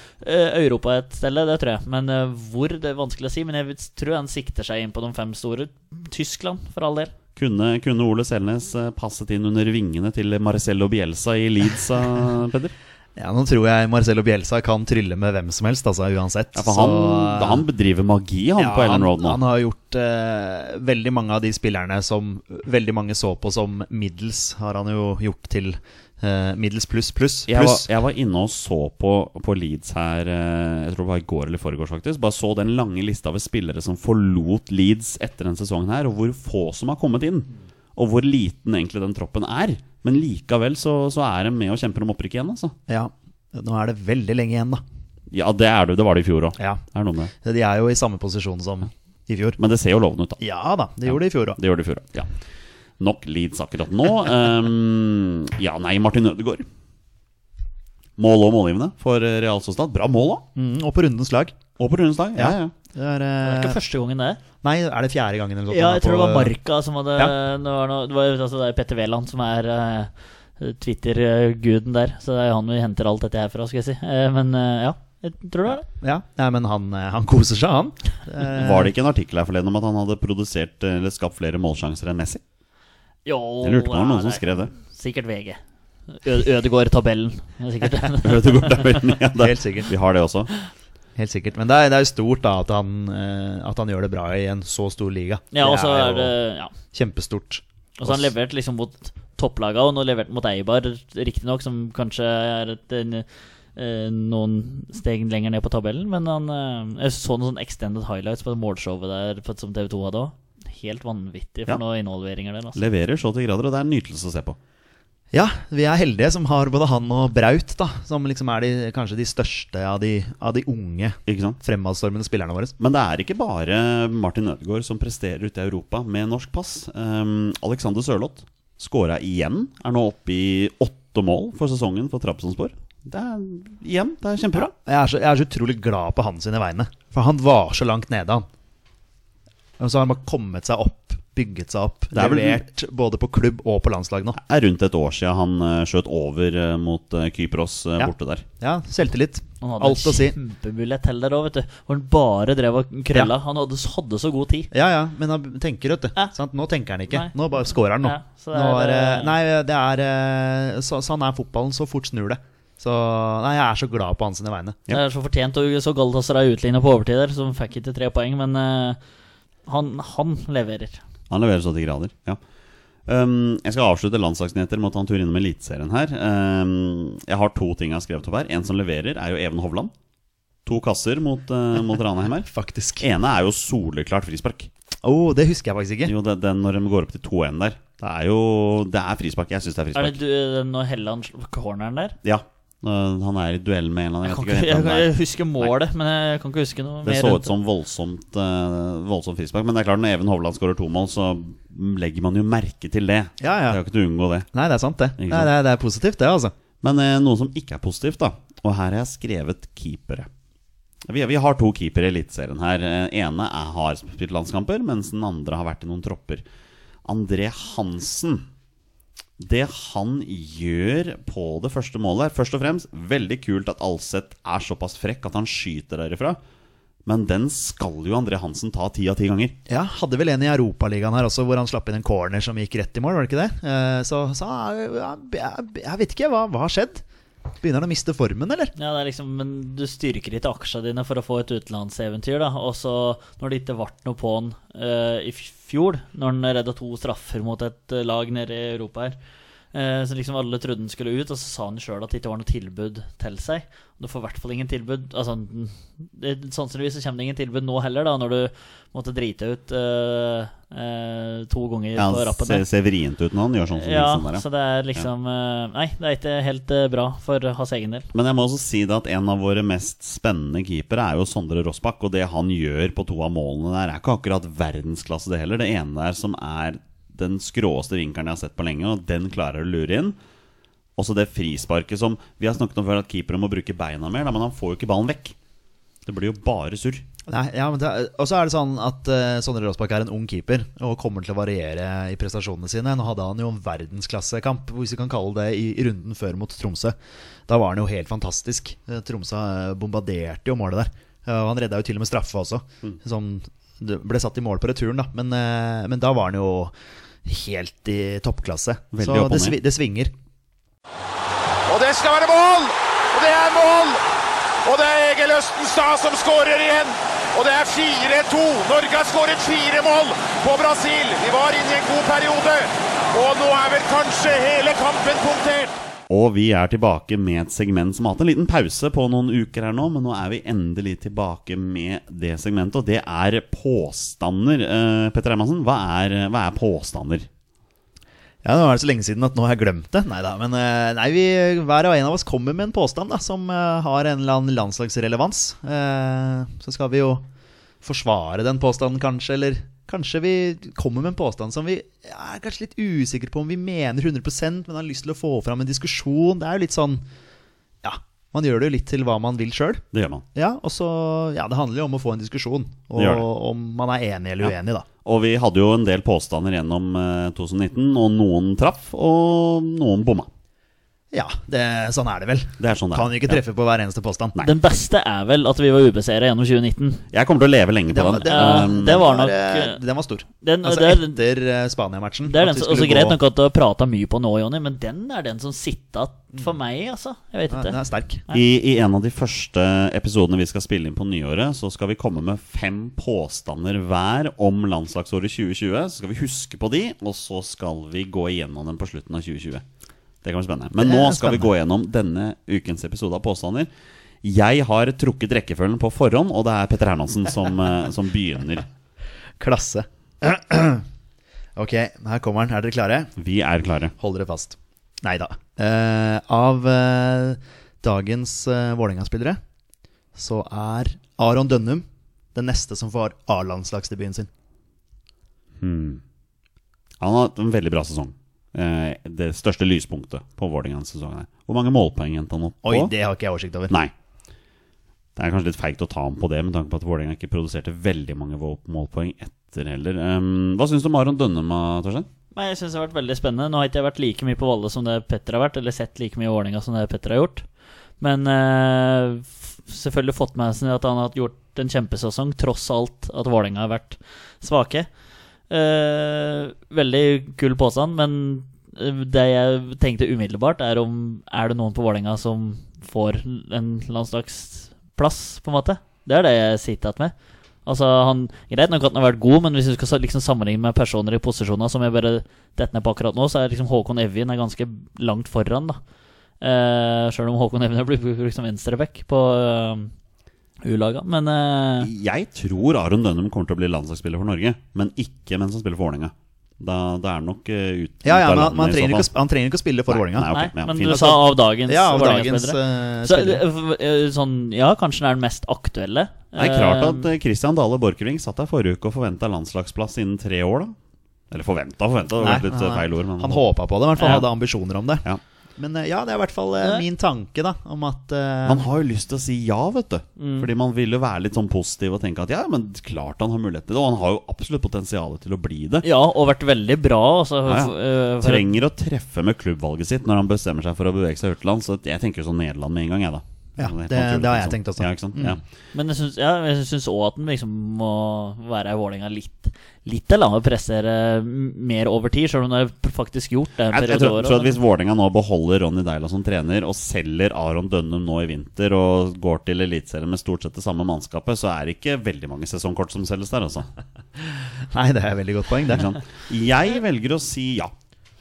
Speaker 3: eh, Europa et sted, det tror jeg. Men eh, hvor, det er vanskelig å si. Men jeg tror han sikter seg inn på de fem store. Tyskland, for all del.
Speaker 1: Kunne, kunne Ole Selnes eh, passet inn under vingene til Marcello Bielsa i Leeds, eh,
Speaker 2: (laughs)
Speaker 1: Peder?
Speaker 2: Ja, Nå tror jeg Marcelo Bielsa kan trylle med hvem som helst, altså uansett.
Speaker 1: Ja, for
Speaker 2: Så, eh,
Speaker 1: han, han bedriver magi, han,
Speaker 2: ja,
Speaker 1: på Ellen Road nå.
Speaker 2: Han, han har gjort eh, veldig mange av de spillerne som veldig mange så på som middels, har han jo gjort til eh, middels pluss pluss
Speaker 1: jeg, var,
Speaker 2: pluss.
Speaker 1: jeg var inne og så på, på Leeds her eh, Jeg tror det var i går eller foregårs faktisk Bare så den lange lista over spillere som forlot Leeds etter denne sesongen her Og hvor få som har kommet inn Og hvor liten egentlig den troppen er Men likevel så, så er de med og kjemper om opprykk igjen altså.
Speaker 2: Ja, nå er det veldig lenge igjen, da.
Speaker 1: Ja, det er det, det var det i fjor også
Speaker 2: Ja,
Speaker 1: Det er noe med det.
Speaker 2: De er jo i samme posisjon som i fjor.
Speaker 1: Men det ser jo lovende ut da
Speaker 2: Ja da, det gjorde de i fjor òg.
Speaker 1: Det gjør det i fjor også. ja. Nok Leeds akkurat nå Ehm, Ja, nei, Martin Ødegaard Mål og målgivende for eh, Real Sociedad Bra mål da
Speaker 2: Mm, og på rundens lag.
Speaker 1: Og på rundens dag ja, ja.
Speaker 2: Det er,
Speaker 3: Det
Speaker 2: eh,
Speaker 3: er ikke første gangen det er.
Speaker 2: nei, er det fjerde gangen eller noe sånt?
Speaker 3: Ja,
Speaker 2: han er
Speaker 3: jeg tror det
Speaker 2: på-
Speaker 3: var Marka som hadde
Speaker 2: Ja.
Speaker 3: det, var noe, det, var, altså, det er Petter Wæland som er eh, Twitter-guden der, så det er jo han vi henter alt dette her fra, skal jeg si. Eh, men eh, ja, jeg tror det er det.
Speaker 2: Ja, nei, men han, eh, han koser seg, han. Eh,
Speaker 1: Var det ikke en artikkel her forleden om at han hadde produsert eh, eller skapt flere målsjanser enn Messi?
Speaker 3: Jo,
Speaker 1: Jeg lurte på om det var noen
Speaker 3: ja,
Speaker 1: som skrev det. (laughs)
Speaker 3: Sikkert VG. Ø Ødegård-tabellen. Det
Speaker 1: (laughs)
Speaker 3: er Sikkert.
Speaker 1: Ødegaard-tabellen, ja, det-
Speaker 2: Helt sikkert.
Speaker 1: Vi har det også.
Speaker 2: Helt sikkert. Men det er, det er jo stort da at han, eh, at han gjør det bra i en så stor liga.
Speaker 3: Ja, og så er
Speaker 2: jo
Speaker 3: det ja.
Speaker 2: kjempestort.
Speaker 3: Og så har han levert liksom mot topplaga, og nå leverte han mot Eibar, riktignok, som kanskje er et, en, eh, noen steg lenger ned på tabellen. Men han, eh, jeg så noen sånn extended highlights på det målshowet der på- som TV 2 hadde òg. Helt vanvittig for
Speaker 1: Ja.
Speaker 3: noen innholdveringer der. Altså.
Speaker 1: Leverer så til grader, og det er en nytelse å se på.
Speaker 2: Ja, vi er heldige som har både han og Braut, da. Som liksom er de, kanskje de største av de, av de unge
Speaker 1: Ikke sant?
Speaker 2: fremadstormende spillerne våre.
Speaker 1: Men det er ikke bare Martin Ødegaard som presterer ute i Europa med norsk pass. Um, Alexander Sørloth skåra igjen. Er nå oppe i åtte mål for sesongen for Trabzonspor. Det er igjen, det er kjempebra.
Speaker 2: Jeg er, så, jeg er så utrolig glad på han sine vegne. For han var så langt nede, han. Og så har han bare kommet seg opp, bygget seg opp.
Speaker 1: Det er vel-
Speaker 2: levert både på klubb og på landslag nå.
Speaker 1: Det er rundt et år siden han eh, skjøt over eh, mot eh, Kypros eh,
Speaker 2: Ja.
Speaker 1: borte der.
Speaker 2: Ja, selvtillit.
Speaker 3: Han hadde
Speaker 2: Alt å si.
Speaker 3: en kjempemulighet til der òg, vet du. Hvor han bare drev og krølla. Han hadde, hadde så god tid.
Speaker 2: Ja, ja, men han tenker, vet du.
Speaker 3: Ja.
Speaker 2: Sant? Nå tenker han ikke.
Speaker 3: Nei.
Speaker 2: Nå bare scorer han nå.
Speaker 3: Ja, så det
Speaker 2: nå
Speaker 3: er,
Speaker 2: er, eh,
Speaker 3: eh,
Speaker 2: nei, det er eh, så, Sånn er fotballen. Så fort snur det. Så Nei, jeg er så glad på hans sine vegne.
Speaker 1: Ja.
Speaker 3: Det er så fortjent, og så Galatasaray utligna på overtid der, så de fikk ikke tre poeng, men eh, han, han leverer.
Speaker 1: Han leverer så til grader, ja. Um, jeg skal avslutte landslagsnyheter med å ta en tur innom Eliteserien her. Um, jeg har to ting jeg har skrevet opp her. En som leverer, er jo Even Hovland. To kasser mot, uh, mot Ranheim her.
Speaker 2: Faktisk.
Speaker 1: Ene er jo soleklart frispark.
Speaker 2: Oh, det husker jeg faktisk ikke.
Speaker 1: Jo, det, den når de går opp til 2-1 der. Det er jo Det er frispark. Jeg syns det er
Speaker 3: Er det
Speaker 1: frispark.
Speaker 3: du, når Helland slår corneren der?
Speaker 1: Ja. Når han er i duell med en eller annen.
Speaker 3: Jeg, kan
Speaker 1: Jeg vet
Speaker 3: ikke,
Speaker 1: ikke
Speaker 3: jeg,
Speaker 1: hvem
Speaker 3: kan-
Speaker 1: det
Speaker 3: jeg
Speaker 1: er.
Speaker 3: husker målet, men jeg kan ikke huske noe
Speaker 1: Det
Speaker 3: mer
Speaker 1: så
Speaker 3: rundt
Speaker 1: ut som voldsomt eh, Voldsomt frispark. Men det er klart når Even Hovland skårer to mål, så legger man jo merke til det.
Speaker 2: Ja, ja.
Speaker 1: Det er jo ikke til å unngå det.
Speaker 2: Nei, det er sant, det.
Speaker 1: Ikke
Speaker 2: Nei,
Speaker 1: sant?
Speaker 2: det, er, det er positivt, det, altså.
Speaker 1: Men eh, noe som ikke er positivt, da. Og her har jeg skrevet keepere. Vi, vi har to keepere i Eliteserien her. Eh, ene er, har spilt landskamper, mens den andre har vært i noen tropper. André Hansen. Det han gjør på det første målet her Først og fremst, veldig kult at Alseth er såpass frekk at han skyter derifra. Men den skal jo André Hansen ta ti av ti ganger.
Speaker 2: Ja, Hadde vel en i Europaligaen her også, hvor han slapp inn en corner som gikk rett i mål, var det ikke det? Eh, Så, så ja, jeg, jeg vet ikke, hva, hva har skjedd? Begynner han å miste formen, eller?
Speaker 3: Ja, det er liksom, men du styrker ikke aksjene dine for å få et utenlandseventyr, da. Og så, når det ikke ble noe på han eh, i fjor, når han redda to straffer mot et eh, lag nede i Europa her, eh, så liksom alle trodde han skulle ut, og så sa han sjøl at det ikke var noe tilbud til seg. Du får i hvert fall ingen tilbud Altså, mm, det- sannsynligvis så kommer det ingen tilbud nå heller, da, når du måtte drite ut eh, eh, to ganger
Speaker 1: Ja,
Speaker 3: på
Speaker 1: han
Speaker 3: rappen.
Speaker 1: ser,
Speaker 3: der.
Speaker 1: ser vrient ut når han gjør sånn som
Speaker 3: Ja,
Speaker 1: Nilsen der.
Speaker 3: så det er liksom eh, Nei, det er ikke helt eh, bra for hans egen del.
Speaker 1: Men jeg må også si det at en av våre mest spennende keepere er jo Sondre Rossbakk. Og det han gjør på to av målene der, er ikke akkurat verdensklasse, det heller. Det ene der som er den skråeste vinkelen jeg har sett på lenge, og den klarer å lure inn. Også det frisparket som Vi har snakket om før at keepere må bruke beina mer, da, men han får jo ikke ballen vekk. Det blir jo bare surr.
Speaker 2: Nei, ja, men det, er- Og så er det sånn at eh, Sondre Råsbakk er en ung keeper og kommer til å variere i prestasjonene sine. Nå hadde han jo en verdensklassekamp, hvis vi kan kalle det, i, i runden før mot Tromsø. Da var han jo helt fantastisk. Eh, Tromsø eh, bombarderte jo målet der. Eh, Og han redda jo til og med straffe også,
Speaker 1: Mm.
Speaker 2: som det ble satt i mål på returen, da. Men, eh, men da var han jo helt i toppklasse.
Speaker 1: Veldig
Speaker 2: så
Speaker 1: opp og
Speaker 2: det,
Speaker 1: ned.
Speaker 2: svi, det svinger.
Speaker 4: Og det skal være mål! Og det er mål! Og det er Egil Østenstad som skårer igjen. Og det er 4-2. Norge har skåret fire mål på Brasil. Vi var inne i en god periode. Og nå er vel kanskje hele kampen punktert.
Speaker 1: Og vi er tilbake med et segment som har hatt en liten pause på noen uker her nå, men nå er vi endelig tilbake med det segmentet, og det er påstander. Eh, Petter Hermansen, hva er, hva er påstander?
Speaker 2: Ja, Nå er det så lenge siden at nå har jeg glemt det. Neida, men eh, nei, vi, hver og en av oss kommer med en påstand da, som eh, har en eller annen landslagsrelevans. Eh, Så skal vi jo forsvare den påstanden, kanskje. Eller kanskje vi kommer med en påstand som vi er kanskje litt usikre på om vi mener 100 men har lyst til å få fram en diskusjon. Det er jo litt sånn Ja, man gjør det jo litt til hva man vil sjøl.
Speaker 1: Det gjør man.
Speaker 2: Ja, og så, ja, det handler jo om å få en diskusjon, og
Speaker 1: Det gjør det.
Speaker 2: om man er enig eller
Speaker 1: Ja.
Speaker 2: uenig, da.
Speaker 1: Og vi hadde jo en del påstander gjennom eh, 2019, og noen traff, og noen bomma.
Speaker 2: Ja, det, sånn er det vel.
Speaker 1: Det er sånn det er.
Speaker 2: Kan jo ikke treffe på hver eneste påstand.
Speaker 1: Nei.
Speaker 3: Den beste er vel at vi var ubeseira gjennom 2019.
Speaker 1: Jeg kommer til å leve lenge på
Speaker 2: Den-
Speaker 1: den.
Speaker 2: den-
Speaker 1: Eh,
Speaker 3: Ja, det var nok
Speaker 2: eh, Den var stor.
Speaker 3: den-
Speaker 2: altså
Speaker 3: det er-
Speaker 2: etter eh, Spania-matchen.
Speaker 3: Det er
Speaker 2: at
Speaker 3: den
Speaker 2: vi
Speaker 3: som,
Speaker 2: skulle
Speaker 3: også Greit
Speaker 2: gå-
Speaker 3: nok at du har prata mye på nå, Jonny, men den er den som sitter igjen for meg, altså. Jeg vet
Speaker 2: Ja, Den
Speaker 3: ikke.
Speaker 2: er sterk.
Speaker 1: I, I en av de første episodene vi skal spille inn på nyåret, så skal vi komme med fem påstander hver om landslagsåret 2020. Så skal vi huske på de, og så skal vi gå igjennom dem på slutten av 2020. Det kan bli spennende. Men
Speaker 2: Det
Speaker 1: nå
Speaker 2: er
Speaker 1: skal vi
Speaker 2: spennende.
Speaker 1: gå gjennom denne ukens episode av Påstander. Jeg har trukket rekkefølgen på forhånd, og det er Petter Hernansen
Speaker 2: (laughs)
Speaker 1: som, eh, som begynner.
Speaker 2: Klasse. (clears throat) ok, her kommer den. Er dere klare?
Speaker 1: Vi er klare.
Speaker 2: Hold dere fast. Nei da. Eh, av eh, dagens eh, Vålerenga-spillere så er Aron Dønnum den neste som får A-landslagsdebuten sin.
Speaker 1: Hmm. Han har hatt en veldig bra sesong. Eh, det største lyspunktet på Vålerengas sesong. her. Hvor mange målpoeng endte han opp på?
Speaker 2: Oi, det har ikke jeg oversikt over.
Speaker 1: Nei. Det er kanskje litt feigt å ta ham på det, med tanke på at Vålerenga ikke produserte veldig mange vå- målpoeng etter heller. Ehm, hva syns du om Aron Dønnema, Torstein?
Speaker 3: Nei, jeg synes det har vært veldig spennende. Nå har ikke jeg vært like mye på Valle som det Petter har vært, eller sett like mye i Vålerenga som det Petter har gjort. Men eh, f- selvfølgelig fått med seg at han har gjort en kjempesesong, tross alt at Vålerenga har vært svake. Eh, veldig kul påstand, men eh, det jeg tenkte umiddelbart, er om Er det noen på Vålerenga som får en landslagsplass, på en måte? Det er det jeg sitter igjen med. Altså, han, Greit nok at han har vært god, men hvis du skal sa- liksom sammenligne med personer i posisjoner som jeg bare detter ned på akkurat nå, så er liksom Håkon Evjen er ganske langt foran, da. Eh, Sjøl om Håkon Evjen har blitt brukt som venstreback på eh, U-laga, men eh,
Speaker 1: Jeg tror Aron Dønnem kommer til å bli landslagsspiller for Norge, men ikke mens han spiller for Vålerenga. Da, da er han nok eh, ut
Speaker 2: Ja,
Speaker 1: ut av
Speaker 2: ja, men han,
Speaker 1: landet
Speaker 2: man
Speaker 1: i så
Speaker 2: trenger ikke,
Speaker 1: fall.
Speaker 2: å sp- han trenger ikke å spille for
Speaker 1: Nei,
Speaker 2: Vålerenga.
Speaker 1: nei, ok,
Speaker 3: Nei,
Speaker 1: ja,
Speaker 3: men
Speaker 1: fint.
Speaker 3: du sa av dagens
Speaker 2: Ja, av dagens
Speaker 3: Vålerenga-spillere.
Speaker 2: eh,
Speaker 3: Så,
Speaker 2: spillere.
Speaker 3: eh, eh, sånn, ja, kanskje den er den mest aktuelle.
Speaker 1: Det er klart at
Speaker 3: Eh,
Speaker 1: eh, Christian Dale Borchgrevink satt der forrige uke og forventa landslagsplass innen tre år, da. Eller forventa, forventa. Det
Speaker 2: Nei,
Speaker 1: var litt
Speaker 2: nei,
Speaker 1: eh,
Speaker 2: nei.
Speaker 1: feil ord. Men
Speaker 2: Han håpa på det, i hvert fall.
Speaker 3: Ja.
Speaker 2: Han hadde ambisjoner om det.
Speaker 1: Ja.
Speaker 2: Men eh, ja, det er i hvert fall eh,
Speaker 3: Ja.
Speaker 2: min tanke, da, om at eh,
Speaker 1: Man har jo lyst til å si ja, vet du. Fordi man vil jo være litt sånn positiv og tenke at ja, men klart han har mulighet til det. Og han har jo absolutt potensial til å bli det.
Speaker 3: Eh, Ja, og vært veldig bra. Altså,
Speaker 1: Ja, ja.
Speaker 3: f- eh, for-
Speaker 1: Trenger å treffe med klubbvalget sitt når han bestemmer seg for å bevege seg utenlands. Så jeg tenker jo sånn Nederland med en gang, jeg, da.
Speaker 2: Ja,
Speaker 1: er helt
Speaker 2: det-
Speaker 1: naturlig,
Speaker 2: det har jeg
Speaker 1: liksom.
Speaker 2: tenkt også.
Speaker 1: Ja, ikke sant? Ja.
Speaker 3: Men jeg syns ja, jeg syns også at den liksom må være i Vålerenga litt Litt eller annet pressere m- mm, mer over tid, selv om det er faktisk gjort. Det er en
Speaker 1: Jeg, jeg
Speaker 3: periode
Speaker 1: tror,
Speaker 3: over,
Speaker 1: tror at Hvis Vålerenga nå beholder Ronny Deila som trener, og selger Aron Dønnum nå i vinter, og går til Eliteserien med stort sett det samme mannskapet, så er det ikke veldig mange sesongkort som selges der, (laughs) altså.
Speaker 2: Nei, det er et veldig godt poeng, det.
Speaker 1: Ikke sant? Jeg velger å si ja.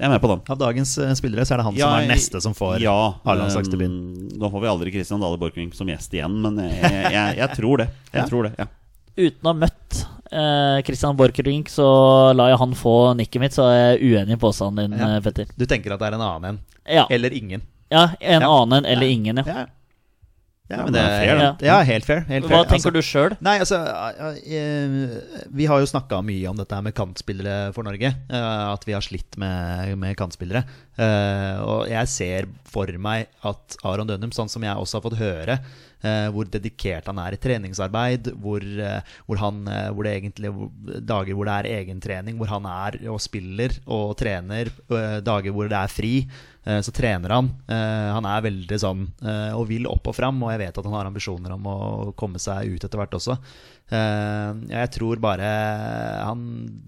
Speaker 1: Jeg er med på den.
Speaker 2: Av dagens eh, spillere så er det han som
Speaker 1: Jeg-
Speaker 2: er neste som får
Speaker 1: ja,
Speaker 2: A-landslagsdebuten.
Speaker 1: eh, Nå får vi aldri Christian Dale Borchgrevink som gjest igjen, men jeg, jeg, jeg, jeg tror det. Jeg
Speaker 2: Ja.
Speaker 1: tror det, ja.
Speaker 3: Uten å ha møtt eh, Christian Borchgrevink, så la jeg han få nikket mitt, så er jeg uenig i påstanden din,
Speaker 2: Ja.
Speaker 3: eh, Petter.
Speaker 2: Du tenker at det er en annen en?
Speaker 3: Ja.
Speaker 2: Eller ingen?
Speaker 3: ja en
Speaker 2: Ja.
Speaker 3: annen enn eller ingen, ja.
Speaker 2: Ja, ja
Speaker 1: Ja,
Speaker 2: men det er fair,
Speaker 3: det.
Speaker 2: Ja, helt fair. Helt fair.
Speaker 3: Hva tenker du sjøl?
Speaker 2: Nei, altså eh, eh, Vi har jo snakka mye om dette her med kantspillere for Norge. eh, At vi har slitt med, med kantspillere. Eh, Og jeg ser for meg at Aron Dønum, sånn som jeg også har fått høre, eh, hvor dedikert han er i treningsarbeid, hvor, eh, hvor, han, eh, hvor det egentlig hvor- Dager hvor det er egentrening, hvor han er og spiller og trener. eh, Dager hvor det er fri, eh, så trener han. Eh, Han er veldig sånn eh, og vil opp og fram, og jeg vet at han har ambisjoner om å komme seg ut etter hvert også. Eh, Jeg tror bare han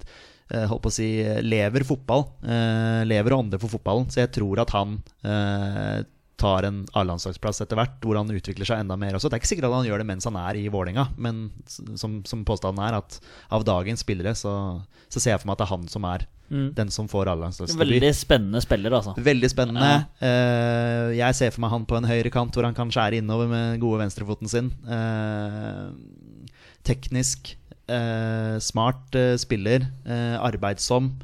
Speaker 2: eh, holdt på å si, lever fotball. eh, lever og ånder for fotballen. Så jeg tror at han eh, tar en A-landslagsplass etter hvert, hvor han utvikler seg enda mer også. Det er ikke sikkert at han gjør det mens han er i Vålerenga, men s- som, som påstanden er, at av dagens spillere så, så ser jeg for meg at det er han som er
Speaker 3: Mm.
Speaker 2: den som får A-landslagsdebut.
Speaker 3: Veldig spennende spiller, altså.
Speaker 2: Veldig spennende. Eh, jeg ser for meg han på en høyre kant, hvor han kan skjære innover med den gode venstrefoten sin. Eh, teknisk, eh, smart eh, spiller, eh, arbeidsom.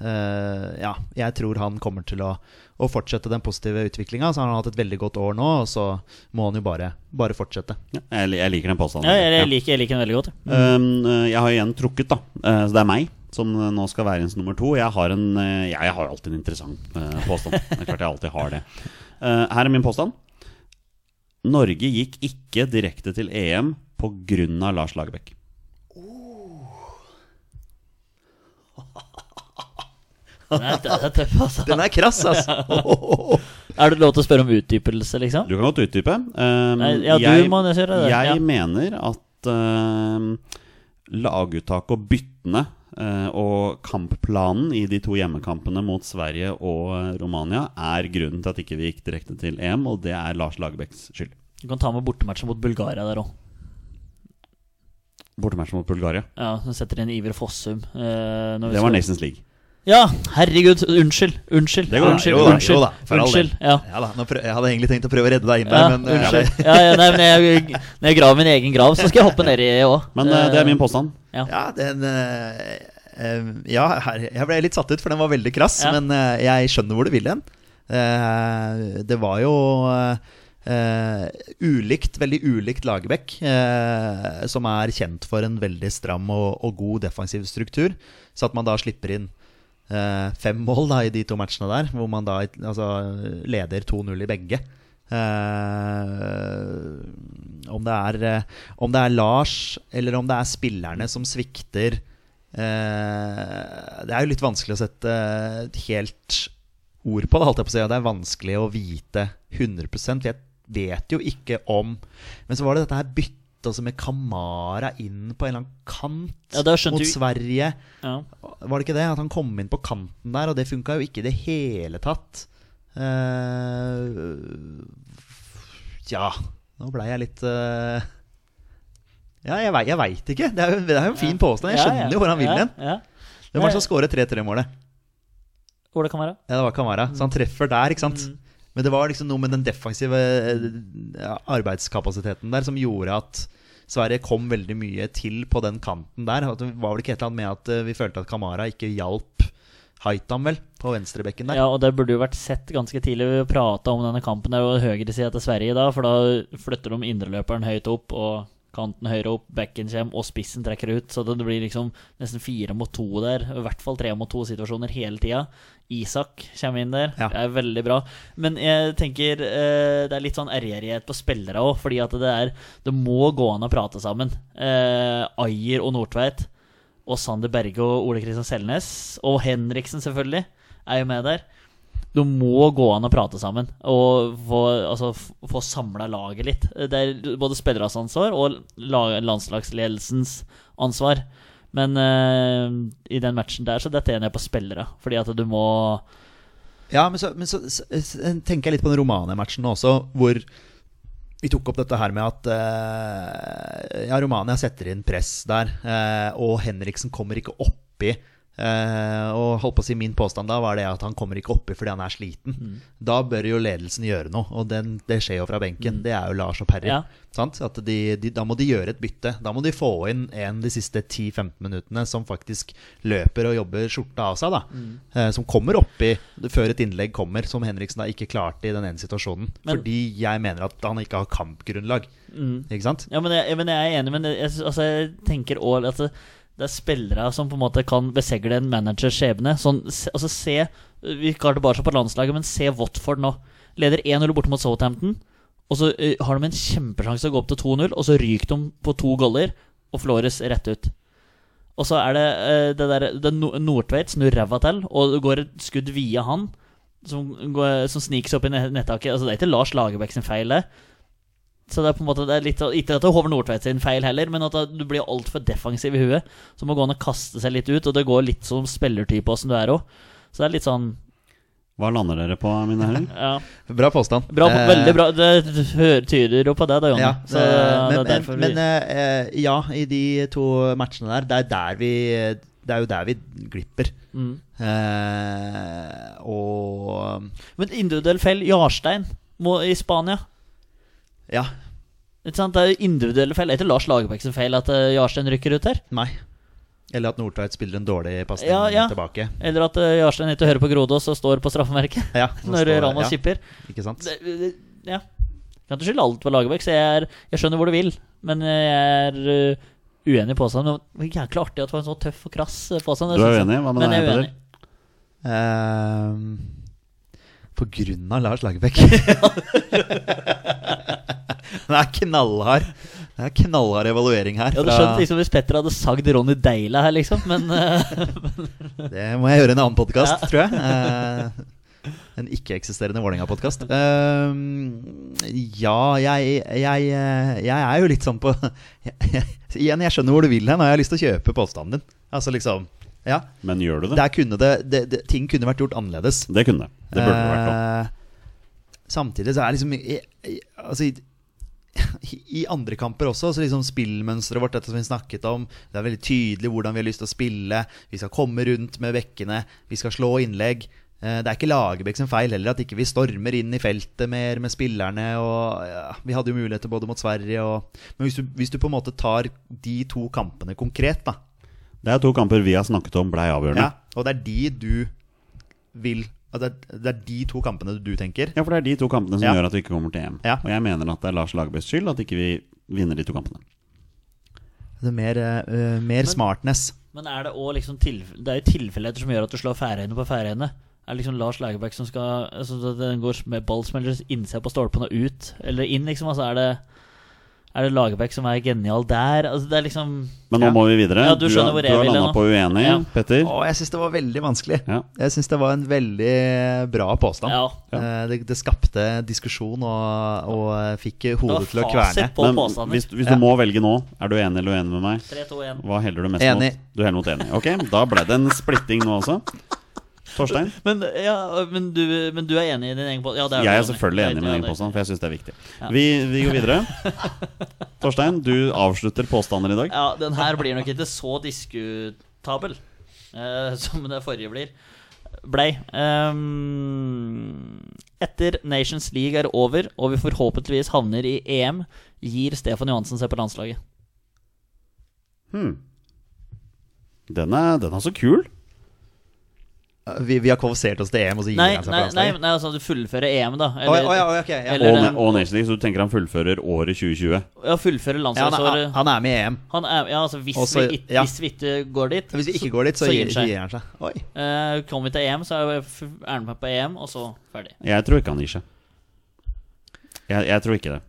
Speaker 2: Eh, ja, jeg tror han kommer til å, å fortsette den positive utviklinga. Så han har hatt et veldig godt år nå, og så må han jo bare, bare fortsette.
Speaker 1: ja. Jeg, jeg liker den påstanden.
Speaker 3: Ja, jeg,
Speaker 1: Ja.
Speaker 3: jeg, liker, jeg liker den veldig (laughs) godt. ja.
Speaker 1: Um, eh, jeg har igjen trukket, da. Eh, Så det er meg som eh, nå skal være ens nummer to. Jeg har, en, eh, jeg, jeg har jo alltid en interessant eh, påstand. Det er klart jeg alltid har det. Eh, Her er min påstand. Norge gikk ikke direkte til E EM pga. Lars Lagerbäck.
Speaker 3: Den er, den er tøff, altså.
Speaker 2: Den er krass,
Speaker 3: (laughs)
Speaker 2: altså!
Speaker 3: Er det lov til å spørre om utdypelse, liksom?
Speaker 1: Du kan godt utdype. Um,
Speaker 3: Nei, ja, du må nesten gjøre det,
Speaker 1: Jeg
Speaker 3: ja.
Speaker 1: mener at um, laguttak og byttene eh, og kampplanen i de to hjemmekampene mot Sverige og eh, Romania er grunnen til at ikke vi gikk direkte til EM, og det er Lars Lagerbäcks skyld.
Speaker 3: Du kan ta med bortematchen mot Bulgaria der òg.
Speaker 1: Bortematch mot Bulgaria.
Speaker 3: Ja, som setter inn Iver Fossum. eh, når vi
Speaker 1: Det var
Speaker 3: skal-
Speaker 1: Nations League.
Speaker 3: Ja, herregud. Unnskyld. Unnskyld.
Speaker 1: Det går an.
Speaker 3: unnskyld,
Speaker 1: Jo da,
Speaker 3: unnskyld,
Speaker 2: jo da, for all del.
Speaker 3: unnskyld. Ja.
Speaker 2: Ja, da, nå prøv, jeg hadde egentlig tenkt å prøve å redde deg
Speaker 3: Ja,
Speaker 2: inn der, men eh,
Speaker 3: unnskyld. Ja, ja, nei, men jeg, når jeg graver min egen grav, så skal jeg hoppe nedi òg.
Speaker 1: Men eh, det er min påstand.
Speaker 2: Ja, den eh, eh, Ja, her, jeg ble litt satt ut, for den var veldig krass.
Speaker 3: Ja.
Speaker 2: Men eh, jeg skjønner hvor du vil hen. Eh, det var jo eh, ulikt, veldig ulikt Lagerbäck, eh, som er kjent for en veldig stram og, og god defensiv struktur. Så at man da slipper inn eh, fem mål da, i de to matchene der, hvor man da altså, leder 2-0 i begge. Eh, om, det er, eh, om det er Lars, eller om det er spillerne som svikter eh, Det er jo litt vanskelig å sette et helt ord på det, holdt jeg på å si. og Det er vanskelig å vite 100 for jeg vet jo ikke om Men så var det dette her byttet også med Kamara inn på en eller annen kant
Speaker 3: Ja, da skjønte
Speaker 2: mot
Speaker 3: vi-
Speaker 2: Sverige.
Speaker 3: Ja.
Speaker 2: Var det ikke det? At han kom inn på kanten der, og det funka jo ikke i det hele tatt. Eh, ja Nå blei jeg litt eh, Ja, jeg, vei- jeg veit ikke. Det er, jo, det er jo en fin påstand. Jeg
Speaker 3: Ja,
Speaker 2: skjønner jo hvor han vil
Speaker 3: ja,
Speaker 2: hen.
Speaker 3: Ja.
Speaker 2: Hvem var det som skåret 3-3-målet?
Speaker 3: Hvor det kan være.
Speaker 2: Ja, det var Kamara. Så han treffer der, ikke
Speaker 3: Mm.
Speaker 2: sant? Men det var liksom noe med den defensive eh, arbeidskapasiteten der som gjorde at Sverige kom veldig mye til på den kanten der. At Det var vel ikke et eller annet med at eh, vi følte at Kamara ikke hjalp Haitam, vel, på venstrebekken der.
Speaker 3: Ja, og det burde jo vært sett ganske tidlig. Vi prata om denne kampen der og høyresida til Sverige da, for da flytter de indreløperen høyt opp, og kanten høyere opp, bekken kommer, og spissen trekker ut. Så det blir liksom nesten fire mot to der, i hvert fall tre mot to-situasjoner hele tida. Isak kommer inn der.
Speaker 2: Ja.
Speaker 3: Det er veldig bra. Men jeg tenker eh, det er litt sånn ærgjerrighet på spillere òg, fordi at det er Det må gå an å prate sammen. Eh, Ajer og Nordtveit, og Sander Berge og Ole Kristian Selnes, og Henriksen selvfølgelig, er jo med der. Det må gå an å prate sammen og få, altså, f- få samla laget litt. Det er både spillernes ansvar og la- landslagsledelsens ansvar. Men eh, i den matchen der så detter jeg ned på spillere, fordi at du må
Speaker 2: Ja, men så, men så, så, så tenker jeg litt på den Romania-matchen nå også, hvor vi tok opp dette her med at eh, ja, Romania setter inn press der, eh, og Henriksen kommer ikke oppi. eh, og holdt på å si min påstand da var det at han kommer ikke oppi fordi han er sliten. Da bør jo ledelsen gjøre noe, og den, det skjer jo fra benken. Det er jo Lars og Perry.
Speaker 3: Ja.
Speaker 2: Sant? At de, de, da må de gjøre et bytte. Da må de få inn en de siste 10-15 minuttene som faktisk løper og jobber skjorta av seg. Da.
Speaker 3: Mm.
Speaker 2: Eh, som kommer oppi før et innlegg kommer, som Henriksen da ikke klarte i den ene situasjonen.
Speaker 3: Men- Mm.
Speaker 2: Fordi jeg mener at han ikke har kampgrunnlag. Ikke sant?
Speaker 3: Ja, men jeg, men jeg er enig, men jeg, sy- altså, jeg tenker òg at det, det er spillere som på en måte kan besegle en managers skjebne. Sånn, se, altså se Vi går tilbake på landslaget, men se Watford nå. Leder 1-0 borte mot Southampton. Og så eh, har de en kjempesjanse til å gå opp til 2-0, og så ryker de på to goller, og Flores rett ut. Og så er det eh, det der det No- Nordtveit snur ræva til, og det går et skudd via han, som, går, som sniker seg opp i ne- nettaket. Altså, det er ikke Lars Lagerbäck sin feil, det. Så det er på en måte det er litt, Ikke at det er Håvard Nordtveit sin feil heller, men at du blir altfor defensiv i huet. Så må gå an å kaste seg litt ut, og det går litt som spillertype åssen du er òg. Så det er litt sånn
Speaker 1: Hva lander dere på, mine
Speaker 3: (laughs)
Speaker 1: herrer?
Speaker 3: ja,
Speaker 2: Bra påstand.
Speaker 3: bra,
Speaker 2: Eh,
Speaker 3: Veldig bra. Det hø- tyder jo på det, da, Jonny.
Speaker 2: Ja,
Speaker 3: så
Speaker 2: eh,
Speaker 3: det
Speaker 2: men,
Speaker 3: er derfor
Speaker 2: men,
Speaker 3: vi
Speaker 2: eh, eh, ja, i de to matchene der, det er, der vi, det er jo der vi glipper.
Speaker 3: mm.
Speaker 2: Eh, og
Speaker 3: Men individuell feil. Jarstein må, i Spania.
Speaker 2: ja,
Speaker 3: Ikke sant? Det er jo individuelle feil. Det er ikke Lars Lagerbäck sin feil at eh, Jarstein rykker ut her.
Speaker 2: nei. Eller at Nordtveit spiller en dårlig pasning
Speaker 3: Ja, ja.
Speaker 2: tilbake.
Speaker 3: Eller at eh, Jarstein ikke hører på Grodås og står på straffemerket
Speaker 2: Ja,
Speaker 3: (laughs) når
Speaker 2: står-
Speaker 3: Rana
Speaker 2: ja,
Speaker 3: skipper.
Speaker 2: Ikke sant?
Speaker 3: det, det, Ja. Jeg kan ikke skylde alt på Lagerbäck, så jeg, er, jeg skjønner hvor du vil. Men eh, jeg er uh, uenig i påstanden. Men Det var jæklig artig at det var en så tøff og krass uh, påstand.
Speaker 1: Du er uenig? Hva med
Speaker 3: Men jeg
Speaker 1: deg,
Speaker 3: er
Speaker 1: Peder?
Speaker 3: uenig.
Speaker 2: Ehm, på grunn av Lars
Speaker 3: (laughs)
Speaker 2: Lagerbäck. Den er knallhard. Det er knallhard evaluering her.
Speaker 3: Jeg hadde
Speaker 2: fra-
Speaker 3: skjønt liksom, hvis Petter hadde sagd Ronny Deila her, liksom. Men uh,
Speaker 2: Det må jeg gjøre i en annen podkast, tror jeg. Eh, en ikke-eksisterende Vålerenga-podkast. ja, jeg, jeg, eh, jeg er jo litt sånn på (laughs) Igjen, jeg skjønner hvor du vil hen, og jeg har lyst til å kjøpe påstanden din. Altså liksom Ja.
Speaker 1: Men gjør du det?
Speaker 2: Der kunne det, det, det Ting kunne vært gjort annerledes.
Speaker 1: Det kunne det. Det burde det vært. da.
Speaker 2: Eh, Samtidig så er liksom i- i- Altså i, (laughs) i andre kamper også, så liksom spillmønsteret vårt, dette som vi snakket om, det er veldig tydelig hvordan vi har lyst til å spille. Vi skal komme rundt med bekkene, vi skal slå innlegg. Eh, Det er ikke Lagerbäck sin feil heller at ikke vi stormer inn i feltet mer med spillerne. Og, ja, vi hadde jo muligheter både mot Sverige og Men hvis du, hvis du på en måte tar de to kampene konkret, da.
Speaker 1: Det er to kamper vi har snakket om blei avgjørende.
Speaker 2: Ja, og det er de du vil at det, er, det er de to kampene du tenker.
Speaker 1: Ja, for det er de to kampene som
Speaker 2: Ja.
Speaker 1: gjør at vi ikke kommer til EM.
Speaker 2: Ja.
Speaker 1: Og jeg mener at det er Lars Lagerbäcks skyld at ikke vi vinner de to kampene.
Speaker 2: Det er mer, eh, mer smartness.
Speaker 3: (laughs) men er det òg liksom tilf Det er jo tilfeldigheter som gjør at du slår Færøyene på Færøyene. Er det liksom Lars Lagerbäck som skal altså, at Den går med ballsmeller innsida på stolpen og ut, eller inn, liksom? Altså, er det, er det Lagerbäck som er genial der? Altså, det er liksom
Speaker 1: Men nå
Speaker 2: Ja.
Speaker 1: må vi videre.
Speaker 3: Ja, du skjønner
Speaker 1: har-
Speaker 3: hvor
Speaker 1: du
Speaker 3: jeg
Speaker 1: har
Speaker 3: vil hen
Speaker 1: landa
Speaker 3: nå.
Speaker 1: på uenig,
Speaker 3: Ja.
Speaker 1: Petter.
Speaker 2: Å, jeg syns det var veldig vanskelig.
Speaker 1: Ja.
Speaker 2: Jeg syns det var en veldig bra påstand.
Speaker 3: Ja.
Speaker 2: Eh, Det, det skapte diskusjon og, og fikk hodet til å kverne.
Speaker 3: fasit på
Speaker 1: Men
Speaker 3: påstander.
Speaker 1: hvis, hvis
Speaker 2: Ja.
Speaker 1: du må velge nå, er du enig eller uenig med meg?
Speaker 3: 3, 2, 1.
Speaker 1: Hva heller du mest
Speaker 2: Enig.
Speaker 1: mot? Du heller mot enig. Ok, da ble det en splitting nå også. Torstein?
Speaker 3: Men, ja, men, du, men du er enig i din egen påstand? Ja, det er
Speaker 1: Jeg er
Speaker 3: du, Jonny.
Speaker 1: selvfølgelig enig
Speaker 3: Det
Speaker 1: med min
Speaker 3: er du
Speaker 1: egen
Speaker 3: enig i.
Speaker 1: påstand, for jeg syns det er viktig.
Speaker 3: Ja.
Speaker 1: Vi, vi går
Speaker 3: (laughs)
Speaker 1: videre. Torstein, du avslutter påstander i dag.
Speaker 3: Ja, den her blir nok ikke så diskutabel eh, (laughs) som det forrige blir. Blei. Ehm, etter Nations League er over, og vi forhåpentligvis havner i EM, gir Stefan Johansen seg på landslaget.
Speaker 1: Den er, den er så kul.
Speaker 2: Eh, Vi, vi har kvalifisert oss til EM, og så gir
Speaker 3: Nei,
Speaker 2: han seg
Speaker 3: nei,
Speaker 2: på
Speaker 3: nei,
Speaker 2: landslaget?
Speaker 3: nei altså, du fullfører EM, da.
Speaker 2: Å,
Speaker 3: Eller,
Speaker 2: ja, å, ja, ok, ja.
Speaker 3: eller-
Speaker 1: Og, na- og Nation League, så du tenker han fullfører året 2020?
Speaker 3: ja, fullfører
Speaker 2: ja, han, er,
Speaker 3: landslagsåret.
Speaker 2: han er med i EM.
Speaker 3: Han er, ja, altså, hvis,
Speaker 2: Og så-
Speaker 3: vi, ikke-
Speaker 2: ja.
Speaker 3: hvis vi ikke går dit,
Speaker 2: Hvis vi ikke går dit, så, gir, så gir han seg. Oi.
Speaker 3: Eh, Kommer vi til EM, så er vi- er han med på EM, og så ferdig.
Speaker 1: Jeg tror ikke han gir seg. Jeg, jeg tror ikke det.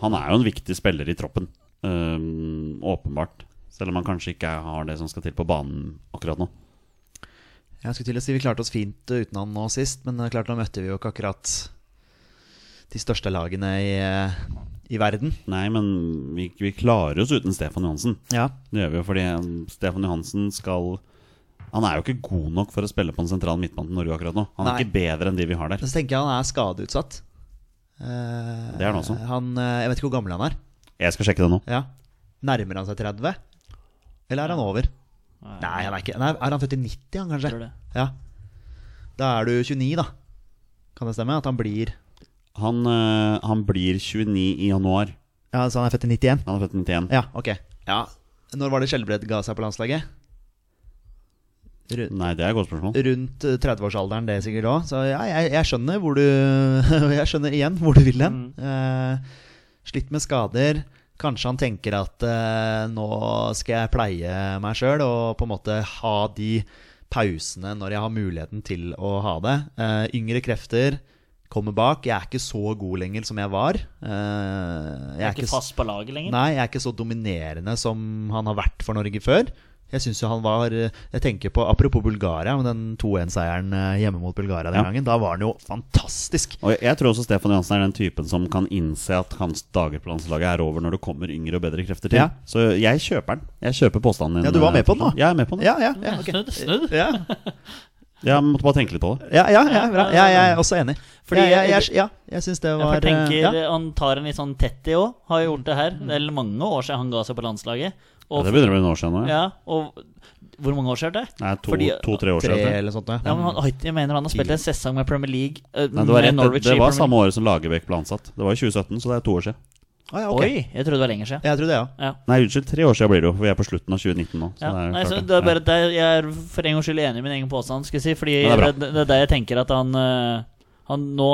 Speaker 1: Han er jo en viktig spiller i troppen, øhm, åpenbart. Selv om han kanskje ikke har det som skal til på banen akkurat nå.
Speaker 2: Jeg skulle til å si Vi klarte oss fint uh, uten han nå sist, men uh, klart nå møtte vi jo ikke akkurat de største lagene i, uh, i verden.
Speaker 1: Nei, men vi, vi klarer oss uten Stefan Johansen.
Speaker 2: Ja,
Speaker 1: Det gjør vi jo fordi um, Stefan Johansen skal Han er jo ikke god nok for å spille på en sentral midtbane i Norge akkurat nå. Han er
Speaker 2: Nei.
Speaker 1: ikke bedre enn de vi har der.
Speaker 2: Men så tenker jeg han er skadeutsatt. Eh,
Speaker 1: Det er han også.
Speaker 2: eh, jeg vet ikke hvor gammel han er.
Speaker 1: Jeg skal sjekke det nå.
Speaker 2: Ja. Nærmer han seg 30? Eller er han over? Nei, han er ikke Nei, Er han født i 90, han
Speaker 3: Jeg tror
Speaker 2: kanskje?
Speaker 3: det.
Speaker 2: Ja. Da er du 29, da. Kan det stemme? At han blir
Speaker 1: Han, øh, han blir 29 i januar.
Speaker 2: Ja, Så han er født i 91?
Speaker 1: Han er født i 91.
Speaker 2: Ja, ok. Ja. Når var det Skjelbred ga seg på landslaget? Ru-
Speaker 1: Nei, det er et godt spørsmål.
Speaker 2: Rundt eh, 30-årsalderen, det sikkert òg. Så ja, jeg, jeg skjønner hvor du (laughs) Jeg skjønner igjen hvor du vil hen.
Speaker 3: Mm.
Speaker 2: Eh, slitt med skader. Kanskje han tenker at eh, nå skal jeg pleie meg sjøl og på en måte ha de pausene når jeg har muligheten til å ha det. Eh, yngre krefter kommer bak. Jeg er ikke så god lenger som jeg var. Eh, jeg
Speaker 3: Jeg er ikke
Speaker 2: s-
Speaker 3: fast på laget lenger.
Speaker 2: Nei, jeg er ikke så dominerende som han har vært for Norge før. Jeg synes jo han var eh, Jeg tenker på, Apropos Bulgaria, men den 2-1-seieren eh, hjemme mot Bulgaria den
Speaker 1: Ja.
Speaker 2: gangen. Da var han jo fantastisk.
Speaker 1: Og jeg- jeg tror også Stefan Johansen er den typen som kan innse at hans dager på landslaget er over når det kommer yngre og bedre krefter til.
Speaker 2: Ja.
Speaker 1: Så jeg kjøper den. Jeg kjøper påstanden din.
Speaker 2: Ja, du var med på den, da?
Speaker 1: Jeg er med på den.
Speaker 2: Ja, ja, ja, ok.
Speaker 3: Snudd, snudd.
Speaker 2: ja,
Speaker 1: Jeg måtte bare tenke litt på det.
Speaker 2: ja, ja, ja, bra. ja jeg er også enig.
Speaker 3: Fordi-
Speaker 2: jeg, jeg, jeg, ja, jeg syns det
Speaker 3: Ja, for
Speaker 2: var eh,
Speaker 3: Jeg tenker
Speaker 2: ja.
Speaker 3: Han tar en litt sånn tett i òg. Har gjort det her. Det er mange år siden han ga seg på landslaget.
Speaker 1: Mm. Ja,
Speaker 3: Og,
Speaker 1: det begynner å bli noen år siden nå. Ja.
Speaker 3: ja, og hvor mange år siden er det?
Speaker 1: Nei, to-
Speaker 3: Fordi-
Speaker 1: To-tre år
Speaker 2: Tre
Speaker 1: siden. tror jeg.
Speaker 2: eller sånt noe.
Speaker 3: Ja, men han, jeg mener han har spilt en sesong med Premier League. eh,
Speaker 1: Nei, det var,
Speaker 3: med
Speaker 1: rett, det,
Speaker 3: Norwich
Speaker 1: det
Speaker 3: i
Speaker 1: var
Speaker 3: Premier
Speaker 1: samme året som Lagerbäck ble ansatt. Det var i 2017, så det er to år siden.
Speaker 2: Ah, ja,
Speaker 3: League.
Speaker 2: ok.
Speaker 3: Oi, jeg trodde det var lenger siden.
Speaker 2: Jeg tror det, ja.
Speaker 3: Ja.
Speaker 1: Nei, unnskyld, tre år siden blir det jo. for Vi er på slutten av 2019 nå. Så det
Speaker 3: Ja.
Speaker 1: Sånn er
Speaker 3: Nei,
Speaker 1: klart
Speaker 3: så
Speaker 1: det.
Speaker 3: det er
Speaker 1: Ja.
Speaker 3: bare at jeg jeg er for en gangs skyld enig i min egen påstand, skal jeg si. Fordi
Speaker 1: Ja, det
Speaker 3: det
Speaker 1: er
Speaker 3: er, det, er der jeg tenker at han, eh, han Nå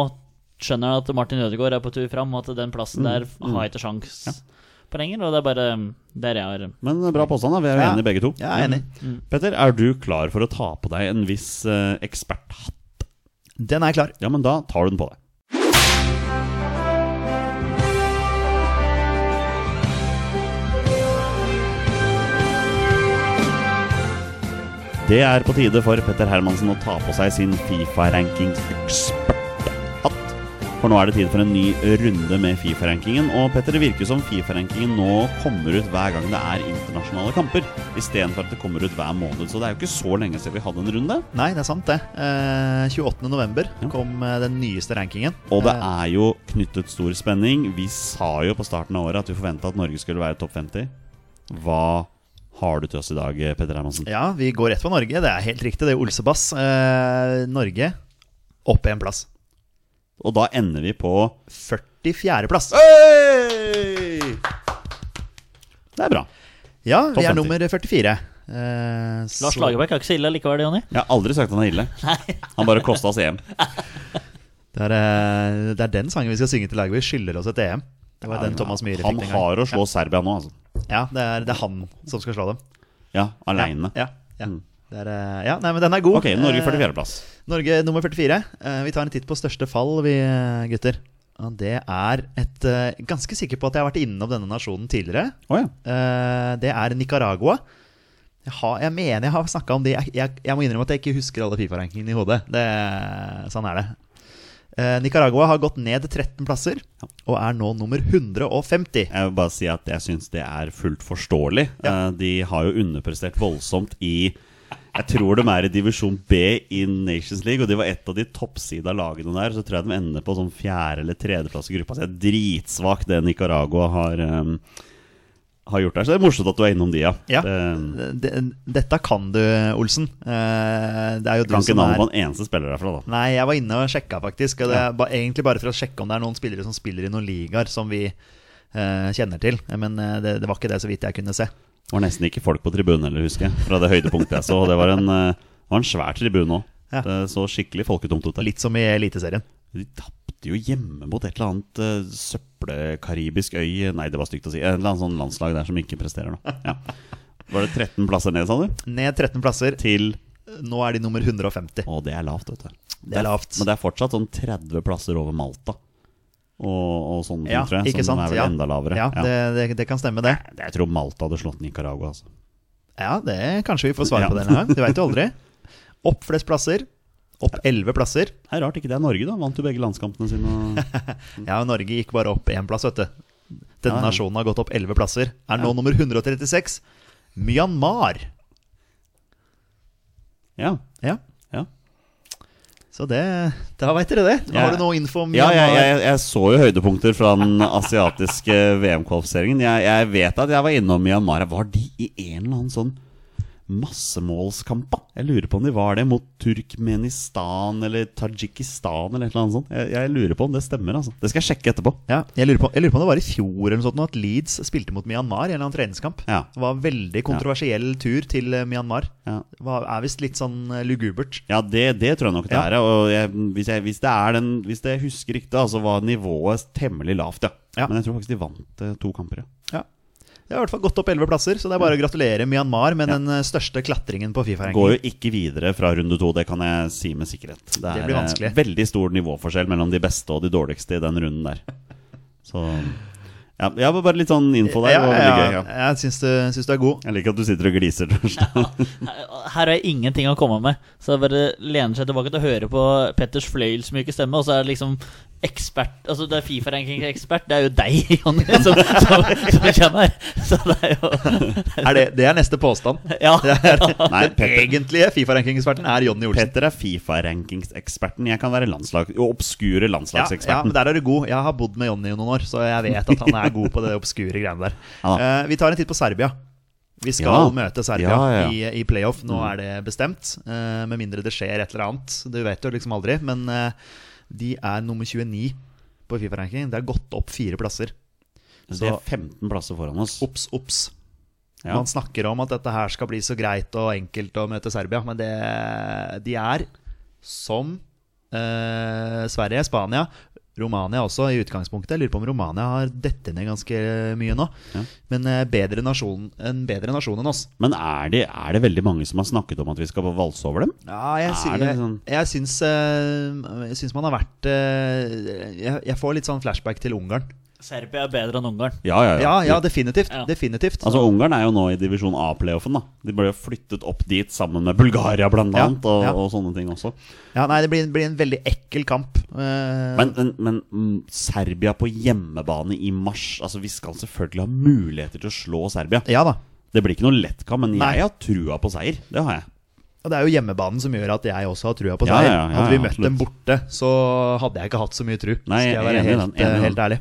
Speaker 3: skjønner han at Martin Ødegaard er på tur fram, og at
Speaker 1: Mm.
Speaker 3: den plassen der har jeg ikke sjans på lenger. Og det er bare um, der jeg har um,
Speaker 1: Men eh, bra påstand, da. Vi er jo
Speaker 2: Ja.
Speaker 1: enige begge to. Mm.
Speaker 2: Jeg er enig.
Speaker 1: Petter, er du klar for å ta på deg en viss eh, eksperthatt?
Speaker 2: Den er klar.
Speaker 1: Ja, men da tar du den på deg. Det er på tide for Petter Hermansen å ta på seg sin Fifa-rankings-eksperthatt. For nå er det tid for en ny runde med Fifa-rankingen. Og Petter, det virker som Fifa-rankingen nå kommer ut hver gang det er internasjonale kamper. Istedenfor at det kommer ut hver måned. Så det er jo ikke så lenge siden vi hadde en runde.
Speaker 2: Nei, det er sant, det. Eh, 28.11
Speaker 1: Ja.
Speaker 2: kom eh, den nyeste rankingen.
Speaker 1: Og det
Speaker 2: Eh,
Speaker 1: er jo knyttet stor spenning. Vi sa jo på starten av året at vi forventa at Norge skulle være topp 50. Hva har du til oss i dag, Petter Hermansen?
Speaker 2: Ja, vi går rett på Norge. Det er helt riktig, det er Olsebass. Eh, Norge opp en plass.
Speaker 1: Og da ender vi på
Speaker 2: 44. plass.
Speaker 1: Det er bra.
Speaker 2: Ja,
Speaker 1: Topp 50.
Speaker 2: vi er nummer 44. Eh,
Speaker 3: Lars
Speaker 2: så-
Speaker 3: Lagerbäck er ikke så ille likevel, Jonny.
Speaker 1: Jeg har aldri sagt han er ille. Han bare kosta oss EM.
Speaker 2: Det er, eh, det er den sangen vi skal synge til laget. Vi skylder oss et EM. Det var den Thomas Myhre fikk
Speaker 1: Han
Speaker 2: den gangen.
Speaker 1: har å slå Serbia nå, altså.
Speaker 2: Ja, det er, det er han som skal slå dem.
Speaker 1: Ja, aleine.
Speaker 2: Ja, ja.
Speaker 1: Mm.
Speaker 2: Det er, eh, ja, nei, men den er god.
Speaker 1: Ok, Norge
Speaker 2: Eh,
Speaker 1: 44.-plass.
Speaker 2: Norge nummer 44. Eh, Vi tar en titt på største fall, vi eh, gutter. Og det er et eh, Ganske sikker på at jeg har vært innom denne nasjonen tidligere.
Speaker 1: Å ja.
Speaker 2: Eh, Det er Nicaragua. Jeg, har, jeg mener jeg har snakka om de jeg, jeg, jeg må innrømme at jeg ikke husker alle Fifa-rankingene i hodet. Det, sånn er det. Eh, Nicaragua har gått ned 13 plasser og er nå nummer
Speaker 1: Jeg
Speaker 2: 150.
Speaker 1: vil bare si at jeg syns det er fullt forståelig. Eh, De har jo underprestert voldsomt i Jeg tror de er i divisjon B i Nations League, og de var et av de toppsida lagene der. Så tror jeg de ender på sånn fjerde- eller tredjeplass i gruppa. Så det er dritsvakt det Nicaragua har, eh, har gjort der. Så det er morsomt at du er innom de, ja. Ehm,
Speaker 2: Ja.
Speaker 1: Det,
Speaker 2: Det- Dette kan du, Olsen. Eh, Det er jo du
Speaker 1: kan ikke
Speaker 2: som
Speaker 1: navnet
Speaker 2: er
Speaker 1: på en eneste spiller derfra, da.
Speaker 2: Nei, jeg var inne og sjekka, faktisk. Og det er ba, egentlig bare for å sjekke om det er noen spillere som spiller i noen ligaer som vi eh, kjenner til. Men eh, det, det var ikke det, så vidt jeg kunne se.
Speaker 1: Det var nesten ikke folk på tribunen heller, husker jeg, fra det høydepunktet jeg så. Og det var en eh, Det var en svær tribune òg.
Speaker 2: Ja.
Speaker 1: Det så skikkelig folketomt ut der.
Speaker 2: Litt som i Eliteserien.
Speaker 1: De tapte jo hjemme mot et eller annet uh, søppelkaribisk øy Nei, det var stygt å si. Et eller annet sånn landslag der som ikke presterer nå. Ja. Var det 13 plasser ned, sa du?
Speaker 2: Ned 13 plasser.
Speaker 1: Til
Speaker 2: Nå er de nummer 150.
Speaker 1: Å, det er lavt, vet du.
Speaker 2: Det er lavt.
Speaker 1: Men det er fortsatt sånn 30 plasser over Malta. Og, og sånne ting,
Speaker 2: Ja,
Speaker 1: tror jeg.
Speaker 2: ikke
Speaker 1: Som
Speaker 2: sant?
Speaker 1: er vel
Speaker 2: Ja.
Speaker 1: enda lavere.
Speaker 2: Ja, det, det, det kan stemme, det.
Speaker 1: Det- Jeg tror Malta hadde slått Nicaragua. Altså.
Speaker 2: Ja, det kanskje vi får
Speaker 1: Ja.
Speaker 2: svare på det en gang. Du veit jo aldri. Opp flest plasser. Opp 11 plasser.
Speaker 1: Det er rart ikke det er Norge, da. Vant jo begge landskampene sine.
Speaker 2: (laughs)
Speaker 1: og-
Speaker 2: Ja, Norge gikk bare opp én plass, vet du. Denne
Speaker 1: Ja, ja.
Speaker 2: nasjonen har gått opp 11 plasser. Er nå
Speaker 1: Ja.
Speaker 2: nummer 136. Myanmar.
Speaker 1: Ja.
Speaker 2: Ja,
Speaker 1: ja.
Speaker 2: så det Da veit dere det.
Speaker 1: Ja.
Speaker 2: Har du noe info om
Speaker 1: Ja,
Speaker 2: Myanmar?
Speaker 1: jeg, jeg, jeg så jo høydepunkter fra den asiatiske (laughs) VM-kvalifiseringen. Jeg, jeg vet at jeg var innom Myanmar. Var de i en eller annen sånn massemålskamp? da? Jeg lurer på om de var det mot Turkmenistan eller Tadsjikistan eller et eller annet sånt. Jeg, jeg lurer på om det stemmer, altså. Det skal jeg sjekke etterpå.
Speaker 2: Ja, jeg, lurer på, jeg lurer på om det var i fjor eller noe sånt nå at Leeds spilte mot Myanmar i en eller annen treningskamp.
Speaker 1: Ja.
Speaker 2: Det var en veldig kontroversiell tur til eh, Myanmar.
Speaker 1: Ja.
Speaker 2: Det var- er visst litt sånn eh, lugubert.
Speaker 1: Ja, det, det tror jeg nok det
Speaker 2: Ja.
Speaker 1: er. Og jeg, hvis, jeg, hvis det er den Hvis jeg husker riktig, da, så var nivået temmelig lavt, ja.
Speaker 2: Ja.
Speaker 1: Men jeg tror faktisk de vant eh, to kamper, ja.
Speaker 2: Ja. Det har i hvert fall gått opp 11 plasser, så det er bare å gratulere Myanmar med den eh, største klatringen på
Speaker 1: Går
Speaker 2: Fifa-ranking.
Speaker 1: jo ikke videre fra runde to, det kan jeg si med sikkerhet. Det er
Speaker 2: blir
Speaker 1: eh,
Speaker 2: vanskelig.
Speaker 1: veldig stor nivåforskjell mellom de beste og de dårligste i den runden der. Så ja, ja, men bare litt sånn info der. det var veldig gøy. Ja.
Speaker 2: Jeg syns du, syns du er
Speaker 1: (laughs)
Speaker 2: god.
Speaker 1: Jeg liker at du sitter og gliser. Torstein.
Speaker 3: Her har jeg ingenting å komme med, så jeg bare lener seg tilbake til å høre på Petters fløyelsmyke stemme, og så er det liksom ekspert Altså, det er Fifa-ranking-ekspert, det er jo deg, Jonny, (laughs) som, som, som kommer her. Så det er jo
Speaker 1: (laughs)
Speaker 2: Er det, det er neste påstand. (laughs)
Speaker 3: Ja.
Speaker 1: Nei,
Speaker 2: Den
Speaker 1: Petter,
Speaker 2: egentlige Fifa-rankingseksperten er Jonny Olsen.
Speaker 1: Petter er Fifa-rankingseksperten. Jeg kan være landslag, jo, obskure
Speaker 2: Ja, ja, men
Speaker 1: landslagseksperten.
Speaker 2: der er du god. Jeg har bodd med Jonny i noen år, så jeg vet at han er god på det obskure greiene der.
Speaker 1: (laughs) Ja da.
Speaker 2: Eh, vi tar en titt på Serbia. Vi skal
Speaker 1: Ja.
Speaker 2: møte
Speaker 1: Ja,
Speaker 2: Serbia
Speaker 1: ja, Mm. ja.
Speaker 2: I, i playoff. Nå er det bestemt. eh, med mindre det skjer et eller annet. Du vet jo liksom aldri. Men eh, de er nummer 29 på Fifa-ranking. Det er gått opp fire plasser.
Speaker 1: det er 15 plasser foran oss.
Speaker 2: Ops, ops.
Speaker 1: Ja.
Speaker 2: Man snakker om at dette her skal bli så greit og enkelt å møte Serbia, men det, de er som eh, Sverige, Spania, Romania også i utgangspunktet. Jeg lurer på om Romania har dette ned ganske mye nå.
Speaker 1: Ja.
Speaker 2: Men eh, bedre nasjon, en bedre nasjon enn oss.
Speaker 1: Men er det, er det veldig mange som har snakket om at vi skal valse over dem?
Speaker 2: Ja, jeg, sy
Speaker 1: Er det
Speaker 2: jeg,
Speaker 1: sånn-
Speaker 2: jeg, syns, eh, jeg syns man har vært eh, jeg, jeg får litt sånn flashback til Ungarn.
Speaker 3: Serbia er bedre enn Ungarn.
Speaker 1: Ja, ja, ja.
Speaker 2: Ja, ja, definitivt.
Speaker 3: Ja.
Speaker 2: definitivt.
Speaker 1: Altså Ungarn er jo nå i divisjon A-playoffen. da De ble jo flyttet opp dit sammen med Bulgaria blant
Speaker 2: Ja,
Speaker 1: annet, og,
Speaker 2: ja.
Speaker 1: og sånne ting også.
Speaker 2: Ja, nei, det blir, blir en veldig ekkel kamp. Eh,
Speaker 1: Men, men, men mm, Serbia på hjemmebane i mars Altså Vi skal selvfølgelig ha muligheter til å slå Serbia.
Speaker 2: ja da.
Speaker 1: Det blir ikke noe lettkamp, men
Speaker 2: Nei.
Speaker 1: jeg har trua på seier. Det har jeg.
Speaker 2: Og Det er jo hjemmebanen som gjør at jeg også har trua på
Speaker 1: Ja,
Speaker 2: seier.
Speaker 1: ja, ja, ja,
Speaker 2: hadde vi møtt
Speaker 1: absolutt.
Speaker 2: dem borte, så hadde jeg ikke hatt så mye tru.
Speaker 1: Nei,
Speaker 2: skal jeg være
Speaker 1: enig i
Speaker 2: helt,
Speaker 1: den, enig i
Speaker 2: eh,
Speaker 1: den.
Speaker 2: helt ærlig.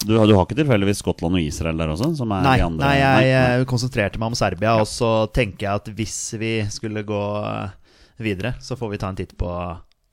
Speaker 1: Du, du har ikke tilfeldigvis Skottland og Israel der også? Som er
Speaker 2: Nei,
Speaker 1: de andre
Speaker 2: nei, jeg
Speaker 1: Nei,
Speaker 2: eh, konsentrerte meg om Serbia, og så tenker jeg at hvis vi skulle gå eh, videre, så får vi ta en titt på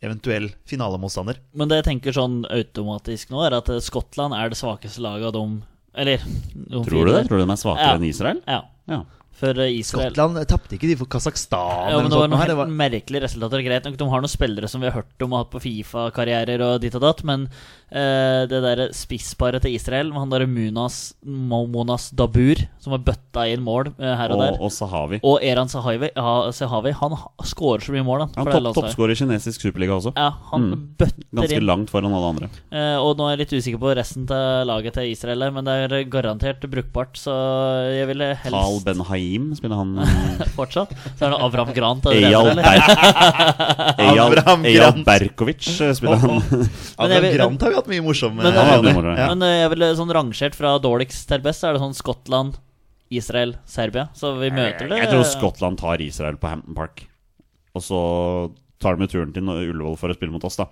Speaker 2: eventuell finalemotstander.
Speaker 3: Men det jeg tenker sånn automatisk nå, er at eh, Skottland er det svakeste laget av dem Eller de
Speaker 1: nei. Tror du
Speaker 3: fire
Speaker 1: det?
Speaker 3: der.
Speaker 1: Tror du de er svakere
Speaker 3: Ja.
Speaker 1: enn Israel?
Speaker 3: Ja.
Speaker 1: Ja.
Speaker 3: For eh, Israel
Speaker 2: Skottland tapte ikke de for Kasakhstan
Speaker 3: Ja, men
Speaker 2: eller noe
Speaker 3: det var noen
Speaker 2: sånt? nå her,
Speaker 3: helt
Speaker 2: Det var,
Speaker 1: (laughs)
Speaker 3: merkelige resultater. Greit nok, de har noen spillere som vi har hørt om og hatt på Fifa-karrierer og ditt og datt, men eh, det derre spissparet til Israel, med han derre Munas Momonas Dabur, som har bøtta inn mål eh, her og,
Speaker 1: Og,
Speaker 3: der,
Speaker 1: og Sahavi.
Speaker 3: og Eran Sahavi, ja, Sahavi han ha- skårer så mye mål, han.
Speaker 1: Han er
Speaker 3: for det
Speaker 1: topp,
Speaker 3: landslaget.
Speaker 1: toppskårer i kinesisk superliga også.
Speaker 3: Ja, han bøtter
Speaker 1: Ganske
Speaker 3: inn.
Speaker 1: langt foran alle andre.
Speaker 3: Eh, og nå er jeg litt usikker på resten av laget til Israel, her, men det er garantert brukbart, så jeg ville
Speaker 1: Carl
Speaker 3: (laughs) helst
Speaker 1: Ben Haim spiller han eh,
Speaker 3: fortsatt. Så er det Avram Grant. er det det
Speaker 1: Eyal,
Speaker 3: heter, eller?
Speaker 1: Ber
Speaker 2: (laughs)
Speaker 1: Eyal,
Speaker 2: Abraham
Speaker 1: Eyal
Speaker 2: Grant.
Speaker 1: Berkovic eh, spiller han.
Speaker 2: Ja,
Speaker 3: Men jeg
Speaker 2: men
Speaker 3: vil-
Speaker 2: Grant har vi hatt mye morsomme
Speaker 3: Men-
Speaker 1: Han var
Speaker 2: Ja.
Speaker 1: veldig moro, ja.
Speaker 3: Men eh, jeg ville sånn rangert fra dårligst til best, så er det sånn Skottland, Israel, Serbia. Så vi møter det
Speaker 1: Jeg tror Skottland tar Israel på Hampton Park. Og så tar de turen til Nor- Ullevål for å spille mot oss, da.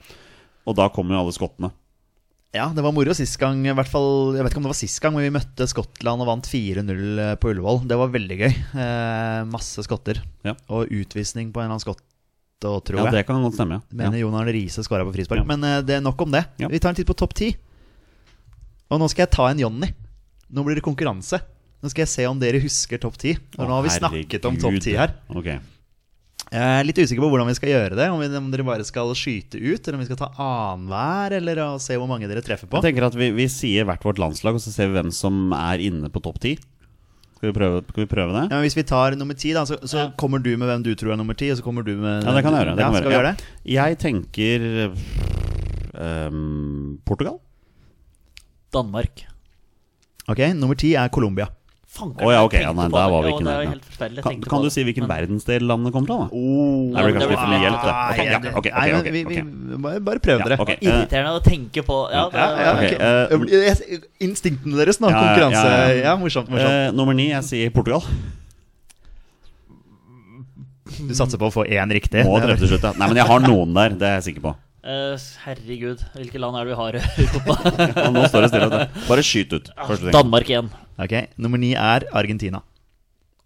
Speaker 1: Og da kommer jo alle skottene.
Speaker 2: Ja, det var moro sist gang. I hvert fall, jeg vet ikke om det var sist gang, men vi møtte Skottland og vant 4-0 på Ullevål. Det var veldig gøy. Eh, masse skotter.
Speaker 1: Ja.
Speaker 2: Og utvisning på en eller annen skott, og tror
Speaker 1: Ja,
Speaker 2: jeg.
Speaker 1: det kan godt stemme. Ja.
Speaker 2: Mener Jon Arne Riise skåra på frispark.
Speaker 1: Ja.
Speaker 2: Men eh, det er nok om det.
Speaker 1: Ja.
Speaker 2: Vi tar en titt på topp ti. Og nå skal jeg ta en Jonny. Nå blir det konkurranse. Nå skal jeg se om dere husker topp ti. Og
Speaker 1: Å,
Speaker 2: nå har vi
Speaker 1: herregud.
Speaker 2: snakket om topp ti her.
Speaker 1: Ok.
Speaker 2: Jeg er litt usikker på hvordan vi skal gjøre det. Om, vi, om dere bare skal skyte ut, eller om vi skal ta annenhver, eller å se hvor mange dere treffer på.
Speaker 1: Jeg tenker at vi, vi sier hvert vårt landslag, og så ser vi hvem som er inne på topp ti. Skal, vi prøve- skal vi prøve det?
Speaker 2: Ja, men hvis vi tar nummer ti, da, så, så kommer du med hvem du tror er nummer ti, og så kommer du med
Speaker 1: Ja, det kan jeg gjøre. Det
Speaker 2: Ja,
Speaker 1: kan jeg
Speaker 2: skal vi
Speaker 1: gjøre.
Speaker 2: gjøre
Speaker 1: Ja.
Speaker 2: det?
Speaker 1: Jeg tenker ehm, Portugal?
Speaker 3: Danmark.
Speaker 2: Ok, nummer ti er Colombia.
Speaker 1: Å
Speaker 3: Fanker,
Speaker 1: ja, ok.
Speaker 3: jeg
Speaker 1: Ja, nei,
Speaker 3: tenkte på
Speaker 1: der
Speaker 3: det.
Speaker 1: var vi
Speaker 3: Ja,
Speaker 1: ikke
Speaker 3: det er
Speaker 1: nærme.
Speaker 3: helt forferdelig, jeg
Speaker 1: Kan,
Speaker 3: tenkte på
Speaker 1: kan du
Speaker 3: det.
Speaker 1: si hvilken
Speaker 3: Men-
Speaker 1: verdensdel landet kom fra, da?
Speaker 2: Oh,
Speaker 1: Nei, det blir
Speaker 3: men det
Speaker 1: kanskje litt for mye
Speaker 3: var-
Speaker 1: hjelp, det. Ok, ja, ok, ok, ok,
Speaker 2: vi, vi
Speaker 1: ok.
Speaker 2: bare- bare prøv
Speaker 1: Ja,
Speaker 2: dere.
Speaker 1: ok. Eh,
Speaker 3: Irriterende å tenke på. Ja, det,
Speaker 2: Ja,
Speaker 1: ok,
Speaker 2: ok.
Speaker 1: eh,
Speaker 2: Det blir- jeg- Instinktene deres, nå.
Speaker 1: Ja, ja,
Speaker 2: Konkurranse.
Speaker 1: ja, ja.
Speaker 2: Ja, morsomt. morsomt
Speaker 1: eh, nummer ni, jeg sier
Speaker 2: (laughs)
Speaker 1: Portugal.
Speaker 2: Du satser på å få én riktig.
Speaker 1: Må
Speaker 2: Det er-
Speaker 1: treffe til slutt, ja. Nei, men jeg har noen der, det er jeg
Speaker 2: (laughs)
Speaker 1: sikker på.
Speaker 3: Eh, herregud, hvilke land er det vi har i
Speaker 1: (laughs)
Speaker 3: Europa?
Speaker 1: Og nå står det stille. vet du. Bare skyt ut. Første ting.
Speaker 3: Danmark igjen.
Speaker 2: Ok, Nummer ni er Argentina.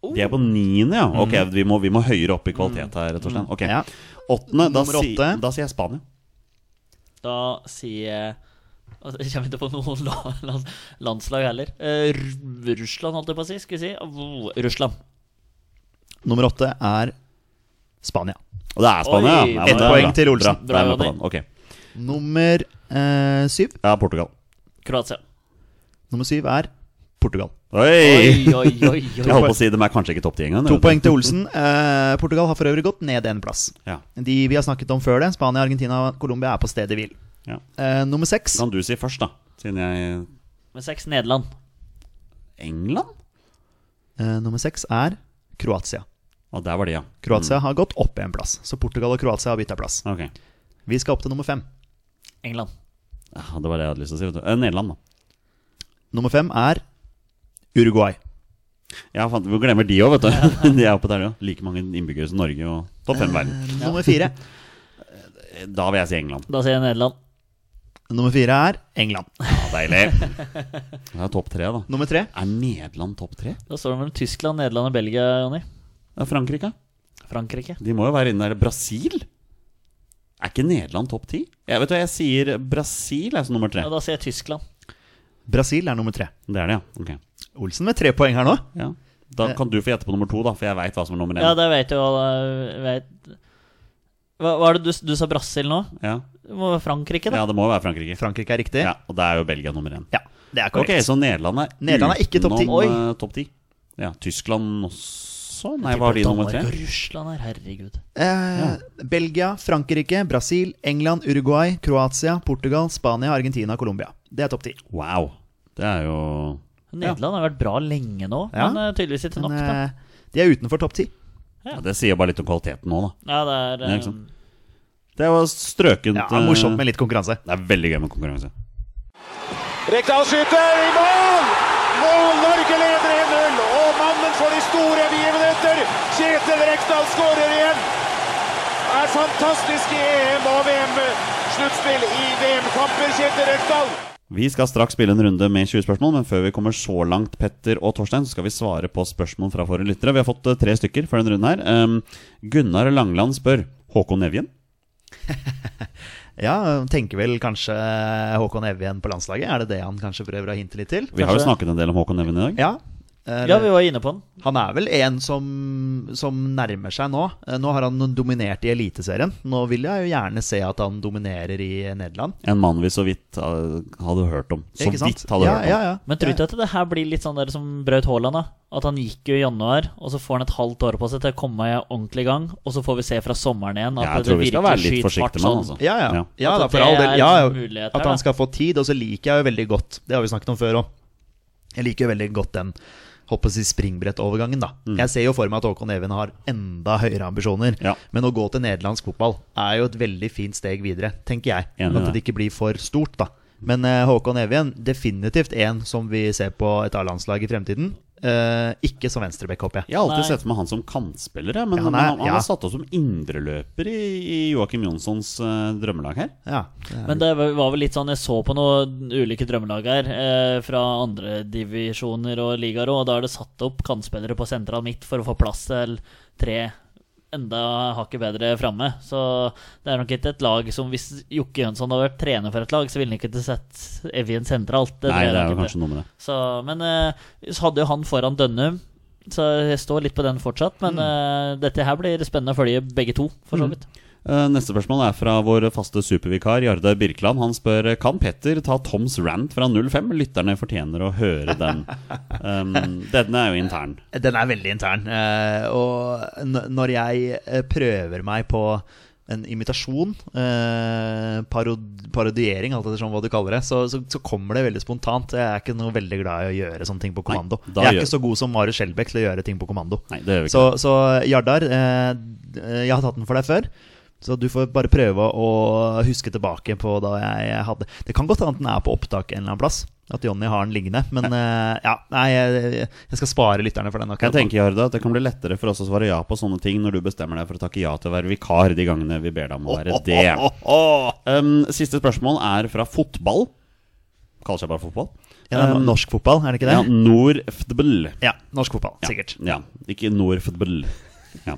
Speaker 1: De er på niende, ja. Ok, vi må, vi må høyere opp i kvalitet her, rett og slett. Ok,
Speaker 2: Mm. Ja.
Speaker 1: Åttende, da,
Speaker 2: Nummer
Speaker 1: si,
Speaker 2: åtte.
Speaker 1: da sier jeg Spania.
Speaker 3: Da sier jeg altså, Jeg kommer ikke på noen la- land- landslag heller. Eh, Ru- Russland, holdt jeg på å si. Skulle vi si. Oh, Russland.
Speaker 2: Nummer åtte er Spania.
Speaker 1: Og det er Spania,
Speaker 3: Oi,
Speaker 1: ja. men
Speaker 3: ett
Speaker 1: det er
Speaker 2: poeng
Speaker 1: bra.
Speaker 2: til Olsen.
Speaker 1: Bra,
Speaker 3: Bra,
Speaker 1: bra,
Speaker 3: Jonny.
Speaker 1: Ok,
Speaker 2: Nummer eh, syv
Speaker 1: ja, Portugal.
Speaker 3: Kroatia.
Speaker 2: Nummer syv er Portugal.
Speaker 1: Oi!
Speaker 3: Oi,
Speaker 1: (laughs)
Speaker 3: oi, oi.
Speaker 1: Jeg
Speaker 3: oi.
Speaker 1: holdt på å si dem er kanskje ikke topp ti engang.
Speaker 2: To
Speaker 1: vet du.
Speaker 2: poeng til Olsen. Eh, Portugal har for øvrig gått ned en plass.
Speaker 1: Ja.
Speaker 2: De vi har snakket om før det, Spania, Argentina og Colombia, er på stedet hvil.
Speaker 1: Ja.
Speaker 2: Eh, nummer seks
Speaker 1: Kan du si først, da? Siden jeg
Speaker 3: Med seks Nederland.
Speaker 1: England?
Speaker 2: eh, Nummer seks er Kroatia.
Speaker 1: Å, der var de, ja.
Speaker 2: Kroatia
Speaker 1: Mm.
Speaker 2: har gått opp en plass, så Portugal og Kroatia har bytta plass.
Speaker 1: Ok.
Speaker 2: Vi skal opp til nummer fem.
Speaker 3: England.
Speaker 1: Ja, det var det jeg hadde lyst til å si. Vet du. Eh, Nederland, da.
Speaker 2: Nummer fem er Uruguay.
Speaker 1: Ja, faen, vi glemmer de òg, vet du. (laughs) De er oppe der, ja. Like mange innbyggere som Norge og topp fem i verden.
Speaker 2: Eh, Nummer fire
Speaker 1: Da vil jeg si England.
Speaker 3: Da sier jeg Nederland.
Speaker 2: Nummer fire er England.
Speaker 1: Ja, deilig. Det er topp tre, da.
Speaker 2: Nummer tre
Speaker 1: Er Nederland topp tre?
Speaker 3: Da står det mellom Tyskland, Nederland og Belgia, Jonny.
Speaker 1: Ja, Frankrike?
Speaker 3: Frankrike.
Speaker 1: De må jo være inne der. Brasil? Er ikke Nederland topp ti? Jeg vet du, hva, jeg sier Brasil er som nummer tre.
Speaker 3: Ja, da sier jeg Tyskland.
Speaker 2: Brasil er nummer tre.
Speaker 1: Det er det, ja. Ok.
Speaker 2: Olsen med tre poeng her nå.
Speaker 1: Ja. Da kan du få gjette på nummer to, da, for jeg veit hva som er nummer én.
Speaker 3: Ja, det vet jo vet. Hva, hva er det du, du sa Brasil nå?
Speaker 1: Ja.
Speaker 3: Det må være Frankrike, da.
Speaker 1: ja, det må jo være Frankrike.
Speaker 2: Frankrike er riktig.
Speaker 1: Ja, og da er jo Belgia nummer én.
Speaker 2: Ja, det er
Speaker 1: Ok,
Speaker 2: korrekt.
Speaker 1: så Nederland er,
Speaker 2: Nederland er ikke topp ti.
Speaker 1: utenom, eh,
Speaker 3: Oi.
Speaker 1: topp ti. Ja, Tyskland også? Nei, var de nummer tre?
Speaker 3: Danmark og Russland her, herregud.
Speaker 2: Eh, Belgia, Frankrike, Brasil, England, Uruguay, Kroatia, Portugal, Spania, Argentina, Colombia. Det er topp ti.
Speaker 1: Wow. Det er jo
Speaker 3: Nederland har vært bra lenge nå,
Speaker 2: Ja.
Speaker 3: men eh, tydeligvis ikke nok.
Speaker 2: Men
Speaker 3: Da.
Speaker 2: eh, de er utenfor topp ti.
Speaker 1: ja, Det sier bare litt om kvaliteten nå, da.
Speaker 3: Ja, det er
Speaker 1: Ja,
Speaker 3: eh,
Speaker 1: ikke sant. Det var strøkent.
Speaker 2: Ja,
Speaker 1: eh,
Speaker 2: morsomt med litt konkurranse.
Speaker 1: Det er veldig gøy med konkurranse.
Speaker 4: Rekdal skyter i mål! Mål! Norge leder 1-0. Og mannen for de store begivenheter, Kjetil Rekdal, skårer igjen. Det er fantastisk i EM- og VM-sluttspill i VM-kamper, Kjetil Rekdal.
Speaker 1: Vi skal straks spille en runde med 20 spørsmål, men før vi kommer så langt, Petter og Torstein, så skal vi svare på spørsmål fra våre lyttere. Vi har fått eh, tre stykker for denne runden her. Ehm, Gunnar Langland spør Håkon Evjen.
Speaker 2: Ja, tenker vel kanskje eh, Håkon Evjen på landslaget? Er det det han kanskje prøver å hinte litt til?
Speaker 1: Vi har jo
Speaker 3: Kanskje.
Speaker 1: snakket en del om Håkon Evjen i dag.
Speaker 2: Ja. eh,
Speaker 3: ja, vi var inne på den.
Speaker 2: Han er vel en som, som nærmer seg nå. Eh, Nå har han dominert i Eliteserien. Nå vil jeg jo gjerne se at han dominerer i Nederland.
Speaker 1: En mann vi så vidt eh, hadde hørt om. Så
Speaker 2: Ikke sant?
Speaker 1: vidt hadde
Speaker 2: ja,
Speaker 1: hørt om.
Speaker 2: ja, ja.
Speaker 3: Men tror du ikke at det her blir litt sånn der som Braut Haaland? da? At han gikk jo i januar, og så får han et halvt år på seg til å komme i ordentlig gang, og så får vi se fra sommeren igjen at
Speaker 1: Ja, jeg tror
Speaker 3: det sånn.
Speaker 1: vi skal være litt forsiktige med han, altså.
Speaker 2: sånn. Ja, ja.
Speaker 1: Ja.
Speaker 2: ja.
Speaker 3: At
Speaker 2: da,
Speaker 3: det
Speaker 2: for all
Speaker 3: er
Speaker 2: del. Ja,
Speaker 3: en mulighet
Speaker 2: ja.
Speaker 3: her,
Speaker 2: At
Speaker 3: da.
Speaker 2: han skal få tid. Og så liker jeg jo veldig godt Det har vi snakket om før òg. Jeg liker jo veldig godt den holdt på å si springbrettovergangen, da. Jeg ser jo for meg at Håkon Even har enda høyere ambisjoner.
Speaker 1: Mm. Ja.
Speaker 2: Men å gå til nederlandsk fotball er jo et veldig fint steg videre, tenker jeg.
Speaker 1: Enig med
Speaker 2: at det ikke blir for stort, da. Men eh, Håkon Evjen, definitivt en som vi ser på et A-landslag i fremtiden. Eh, ikke som venstrebekk, håper jeg.
Speaker 1: Jeg har alltid
Speaker 3: Nei.
Speaker 1: sett for meg han som kantspiller, jeg, men
Speaker 2: Ja,
Speaker 1: han,
Speaker 2: han er-
Speaker 1: han, han
Speaker 2: ja.
Speaker 1: er satt opp som indreløper i, i Joakim Jonssons eh, drømmelag her.
Speaker 2: Ja, det er-
Speaker 3: Men det var vel litt sånn Jeg så på noen ulike drømmelag her eh, fra andre divisjoner og ligaer, og da er det satt opp kantspillere på sentral midt for å få plass til tre enda hakket bedre framme. Så det er nok ikke et lag som Hvis Jokke Jønsson hadde vært trener for et lag, så ville han ikke sett Evjen sentralt.
Speaker 1: Nei,
Speaker 3: tror jeg
Speaker 1: det
Speaker 3: nok
Speaker 1: er jo
Speaker 3: ikke.
Speaker 1: kanskje noe med det.
Speaker 3: Så, men eh, så hadde jo han foran Dønnum. Så jeg står litt på den fortsatt, men
Speaker 1: Mm.
Speaker 3: eh, dette her blir spennende å følge begge to, for så vidt.
Speaker 1: Eh, Neste spørsmål er fra vår faste supervikar Jarde Birkeland. Han spør eh, Kan Petter ta Toms rant fra 05. Lytterne fortjener å høre (laughs) den. Um, denne er jo intern.
Speaker 2: Den er veldig intern. eh, Og n- når jeg eh, prøver meg på en imitasjon, eh, parod parodiering, alt ettersom hva du kaller det, så, så, så kommer det veldig spontant. Jeg er ikke noe veldig glad i å gjøre sånne ting på kommando.
Speaker 1: da
Speaker 2: jeg er
Speaker 1: gjør-
Speaker 2: ikke så god som Marius Skjelbæk til å gjøre ting på kommando.
Speaker 1: Nei, det gjør vi ikke.
Speaker 2: Så, så Jardar, eh, d- eh, jeg har tatt den for deg før. Så du får bare prøve å huske tilbake på da jeg hadde Det kan godt hende at den er på opptak en eller annen plass. At Jonny har den liggende. Men eh, ja, nei, jeg, jeg skal spare lytterne for den.
Speaker 1: Jeg
Speaker 2: akkurat nå.
Speaker 1: tenker, Jarde, at det kan bli lettere for oss å svare ja på sånne ting når du bestemmer deg for å takke ja til å være vikar de gangene vi ber deg om å være (laughs) det. Um, siste spørsmål er fra fotball. Kaller seg bare fotball.
Speaker 2: Ja, det er
Speaker 1: Um,
Speaker 2: norsk fotball, er det ikke det?
Speaker 1: Ja, Nordfdbl.
Speaker 2: Ja, norsk fotball, sikkert.
Speaker 1: Ja, ikke Nordfdbl. Ja.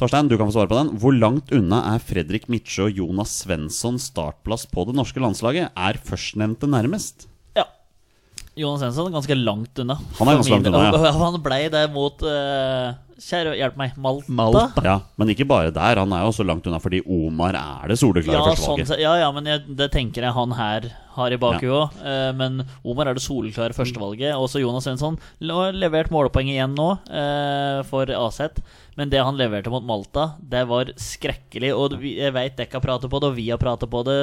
Speaker 1: Torstein, du kan få svare på den. Hvor langt unna er Fredrik Mitsjø og Jonas Svensson startplass på det norske landslaget? Er førstnevnte nærmest?
Speaker 3: Ja. Jonas Svensson er ganske langt unna.
Speaker 1: Han er ganske langt unna, ja.
Speaker 3: (laughs) Han blei der mot eh, Kjære, hjelp meg, Malta.
Speaker 2: Malta.
Speaker 1: Ja, Men ikke bare der. Han er jo også langt unna fordi Omar er det soleklare
Speaker 3: Ja, sånn,
Speaker 1: førstevalget.
Speaker 3: sett. ja, ja, men jeg, det tenker jeg han her har i bakhuet òg. men Omar er det soleklare førstevalget. Også Jonas Svensson l- har levert målepoeng igjen nå eh, for Aset. Men det han leverte mot Malta, det var skrekkelig. Og vi- jeg veit dere har pratet på det, og vi har pratet på det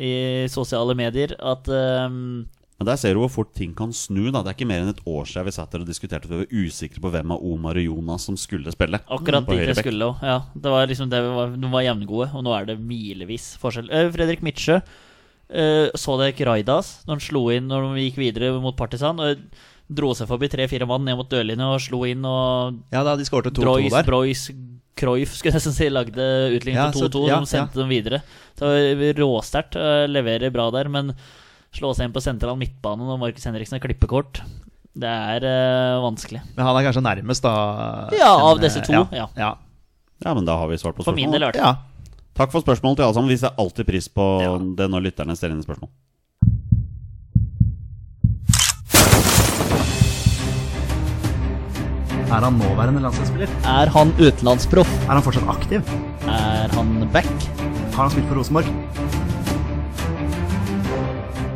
Speaker 3: i sosiale medier, at eh,
Speaker 1: Men Der ser du hvor fort ting kan snu. da Det er ikke mer enn et år siden vi satt der og diskuterte at vi var usikre på hvem av Omar og Jonas som skulle spille.
Speaker 2: Mm.
Speaker 3: Akkurat
Speaker 1: på
Speaker 3: dit jeg
Speaker 1: høyre bekk.
Speaker 3: skulle også, Ja, det var liksom det vi var, de var jevngode, og nå er det milevis forskjell. Eh, Fredrik Mitsjø eh, så det ikke Raidas når han slo inn når vi gikk videre mot Partisan. Og dro seg forbi tre-fire mann ned mot dørlinja og slo inn, og
Speaker 2: Ja, da de skårte 2-2
Speaker 3: Droys,
Speaker 2: der.
Speaker 3: Broys, Cruyff skulle jeg nesten si lagde utligning
Speaker 2: Ja,
Speaker 3: til
Speaker 2: så-
Speaker 3: 2-2.
Speaker 2: ja,
Speaker 3: de sendte dem videre. Så råsterkt. eh, Leverer bra der, men slå seg inn på sentral midtbane når Markus Henriksen har klippekort, det er eh, vanskelig.
Speaker 2: Men han er kanskje nærmest, da.
Speaker 3: Ja,
Speaker 2: enn,
Speaker 3: av disse
Speaker 2: eh,
Speaker 3: to, ja.
Speaker 2: ja.
Speaker 1: Ja, men da har vi svart på
Speaker 3: For min del, i
Speaker 1: spørsmålet.
Speaker 3: hvert fall.
Speaker 2: ja.
Speaker 1: Takk for spørsmål til alle sammen. Vi setter alltid pris på det når lytterne stiller inn spørsmål.
Speaker 2: Er han nåværende landslagsspiller?
Speaker 3: Er han utenlandsproff?
Speaker 2: Er han fortsatt aktiv?
Speaker 3: Er han back?
Speaker 2: Har han spilt for Rosenborg?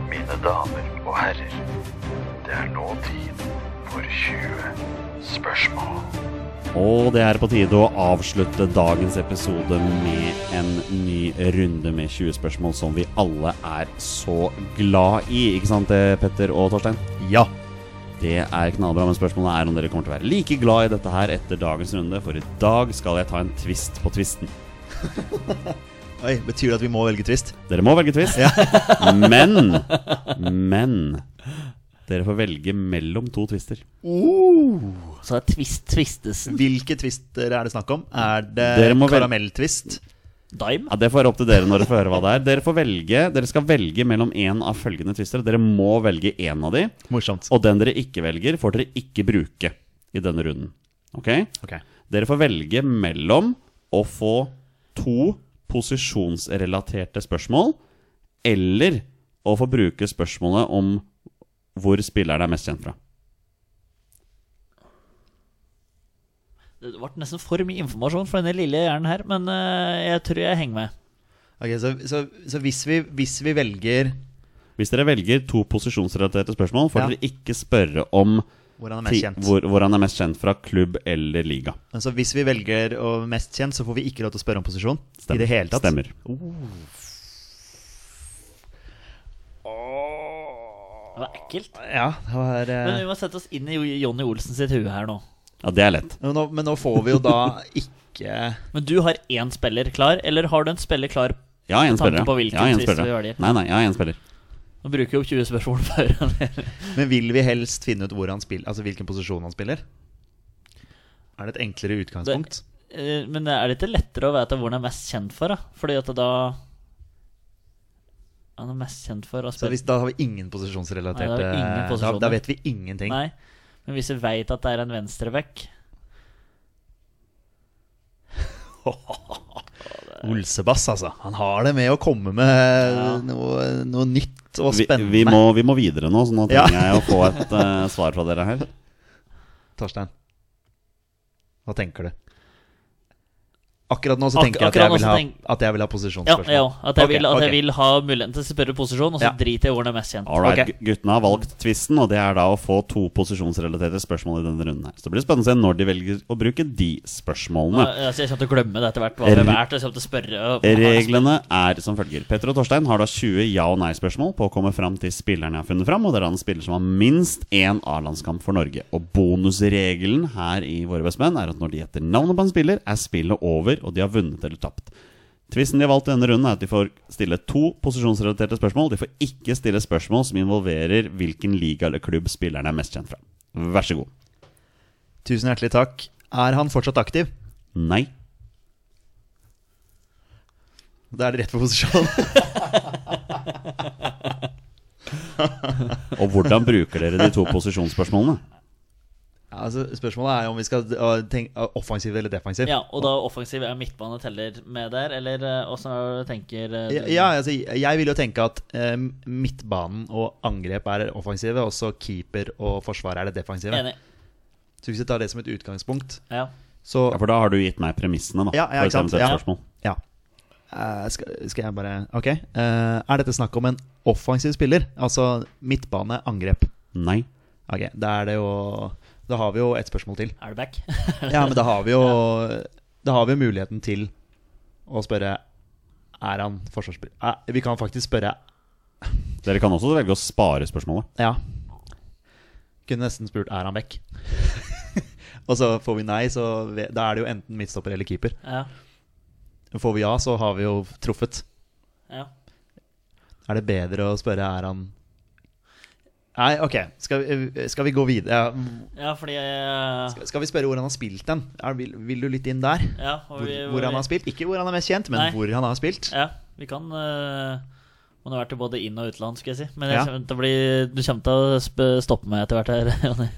Speaker 5: Mine damer og herrer, det er nå tid for 20 spørsmål.
Speaker 1: Og det er på tide å avslutte dagens episode med en ny runde med 20 spørsmål som vi alle er så glad i. Ikke sant det, Petter og Torstein?
Speaker 2: Ja.
Speaker 1: Det er knallbra, men spørsmålet er om dere kommer til å være like glad i dette her etter dagens runde, for i dag skal jeg ta en twist på twisten.
Speaker 2: Oi, Betyr det at vi må velge twist?
Speaker 1: Dere må velge twist. (laughs) Men Men dere får velge mellom to twister.
Speaker 3: Så det er Twist Twistesen
Speaker 2: Hvilke twister er det snakk om? Er det
Speaker 1: Dere må vel-
Speaker 2: karamelltvist?
Speaker 3: Dime.
Speaker 1: Ja, Det får være opp til dere når dere får høre hva det er. Dere får velge Dere skal velge mellom én av følgende twister. og Dere må velge én av de.
Speaker 2: Morsomt.
Speaker 1: Og den dere ikke velger, får dere ikke bruke i denne runden. Ok?
Speaker 2: Ok.
Speaker 1: Dere får velge mellom å få to posisjonsrelaterte spørsmål, eller å få bruke spørsmålet om hvor spilleren er mest kjent fra.
Speaker 3: Det ble nesten for mye informasjon for denne lille hjernen her, men eh, jeg tror jeg henger med.
Speaker 2: Ok, så, så, så hvis, vi, hvis vi velger
Speaker 1: Hvis dere velger to posisjonsrelaterte spørsmål, får
Speaker 2: Ja.
Speaker 1: dere ikke spørre om
Speaker 2: hvor han er
Speaker 1: ti-
Speaker 2: mest kjent
Speaker 1: hvor, hvor han er mest kjent fra, klubb eller liga.
Speaker 2: Altså Hvis vi velger å være mest kjent, så får vi ikke lov til å spørre om posisjon.
Speaker 1: Stemmer.
Speaker 2: I det hele tatt.
Speaker 1: Stemmer.
Speaker 3: Det var ekkelt.
Speaker 2: Ja, det var, eh,
Speaker 3: Men vi må sette oss inn i Jonny Olsen sitt hue her nå.
Speaker 1: Ja, det er lett.
Speaker 2: men, nå, men nå får vi jo da ikke
Speaker 3: Men du har én spiller klar, eller har du en spiller klar?
Speaker 1: Jeg har én
Speaker 3: Tanken
Speaker 1: spiller. ja.
Speaker 3: på hvilken
Speaker 1: Jeg har en
Speaker 3: twist
Speaker 1: spiller.
Speaker 3: vi velger.
Speaker 1: Nei, nei, jeg har én spiller.
Speaker 3: Nå bruker jeg opp 20 spørsmål (laughs) før. eller?
Speaker 2: Men vil vi helst finne ut hvor han spiller, altså hvilken posisjon han spiller? Er det et enklere utgangspunkt?
Speaker 3: Eh, Men er det ikke lettere å vite hvor han er mest kjent for, da? Fordi at da Han er mest kjent for å
Speaker 2: Så
Speaker 3: spille
Speaker 2: hvis, Da har vi ingen
Speaker 3: Nei, da
Speaker 2: posisjonsrelaterte
Speaker 3: har vi ingen
Speaker 2: da,
Speaker 3: posisjoner.
Speaker 2: da vet vi ingenting.
Speaker 3: Nei, men hvis du veit at det er en venstreback
Speaker 2: Olsebass, altså. Han har det med å komme med noe, noe nytt og
Speaker 1: Vi,
Speaker 2: spennende.
Speaker 1: vi, må, vi må videre nå, så nå
Speaker 2: Ja.
Speaker 1: trenger jeg å få et eh, svar fra dere her.
Speaker 2: Torstein. Hva tenker du? Akkurat nå så
Speaker 3: Ak-
Speaker 2: tenker jeg at
Speaker 3: akkurat
Speaker 2: jeg
Speaker 3: nå
Speaker 2: vil
Speaker 3: så
Speaker 2: ha,
Speaker 3: tenk-
Speaker 2: at jeg vil ha
Speaker 3: Ja,
Speaker 2: posisjonsspørsmål.
Speaker 3: jeg òg. At, jeg
Speaker 2: Ok,
Speaker 3: vil- at jeg
Speaker 2: ok.
Speaker 3: vil ha muligheten til å spørre posisjon, og så
Speaker 2: Ja.
Speaker 3: driter jeg i hvor den er mest kjent.
Speaker 1: All right,
Speaker 2: Ok.
Speaker 1: gu- Guttene har valgt tvisten, og det er da å få to posisjonsrelaterte spørsmål i denne runden. her Så det blir spennende å se når de velger å bruke de spørsmålene.
Speaker 3: Ja, altså, jeg kommer til å glemme det etter hvert. Hva
Speaker 1: Er-
Speaker 3: det er verdt, jeg kommer til å spørre og-
Speaker 1: Reglene er som følger. Petter og Torstein har da 20 ja- og nei-spørsmål på å komme fram til spilleren jeg har funnet fram, og det er da en spiller som har minst én A-landskamp for Norge. Og bonusregelen her i Våre bestemenn er at når de gjetter navnet på en spiller, er spillet over, og de har vunnet eller tapt. Tvisten de har valgt i denne runden, er at de får stille to posisjonsrelaterte spørsmål. De får ikke stille spørsmål som involverer hvilken liga eller klubb spilleren er mest kjent fra. Vær så god.
Speaker 2: Tusen hjertelig takk. Er han fortsatt aktiv?
Speaker 1: Nei.
Speaker 2: Da er det rett på posisjon.
Speaker 3: (laughs)
Speaker 1: Og hvordan bruker dere de
Speaker 2: (laughs)
Speaker 1: to posisjonsspørsmålene?
Speaker 2: Ja, altså, spørsmålet er om vi skal uh, tenke uh, offensiv eller defensiv.
Speaker 3: Ja, og da offensiv er midtbane teller med der, eller eh, åssen er det du tenker eh,
Speaker 2: Ja,
Speaker 3: du-
Speaker 2: ja, altså, jeg vil jo tenke at eh, midtbanen og angrep er offensive, og så keeper og forsvar er det defensive.
Speaker 3: Enig.
Speaker 2: Så hvis vi tar det som et utgangspunkt,
Speaker 3: Ja.
Speaker 2: så
Speaker 1: Ja, for da har du gitt meg premissene, da.
Speaker 2: Ja, ja,
Speaker 1: for et
Speaker 2: ikke sant?
Speaker 1: eventuelt
Speaker 2: Ja.
Speaker 1: spørsmål.
Speaker 2: Ja. Eh, skal, skal jeg bare Ok. Eh, er dette snakk om en offensiv spiller? Altså midtbane, angrep.
Speaker 1: Nei.
Speaker 2: Ok, da er det jo Da har vi jo et spørsmål til.
Speaker 3: Er du back? (laughs)
Speaker 2: Ja, men da har vi jo Da har vi jo muligheten til å spørre Er han forsvarsspiller? Eh, vi kan faktisk spørre
Speaker 1: Dere kan også velge å spare spørsmålet.
Speaker 2: Ja. Kunne nesten spurt er han vekk. (laughs) Og så får vi nei, så ve- da er det jo enten midtstopper eller keeper.
Speaker 3: ja.
Speaker 2: Får vi ja, så har vi jo truffet.
Speaker 3: ja.
Speaker 2: Er det bedre å spørre er han Nei, ok. Skal vi, eh, skal vi gå videre? Ja,
Speaker 3: Ja, fordi eh,
Speaker 2: skal- Skal vi spørre hvor han har spilt den? Er, vil, vil du litt inn der?
Speaker 3: ja, og
Speaker 2: Hvor,
Speaker 3: vi,
Speaker 2: hvor han har spilt? Ikke hvor han er mest kjent, men
Speaker 3: Nei.
Speaker 2: hvor han har spilt.
Speaker 3: Ja, vi kan eh, Han har vært i både inn- og utland, skal jeg si. Men jeg
Speaker 2: Ja.
Speaker 3: kommer til å bli, du kommer til å sp stoppe meg etter hvert her, (laughs) Jonny.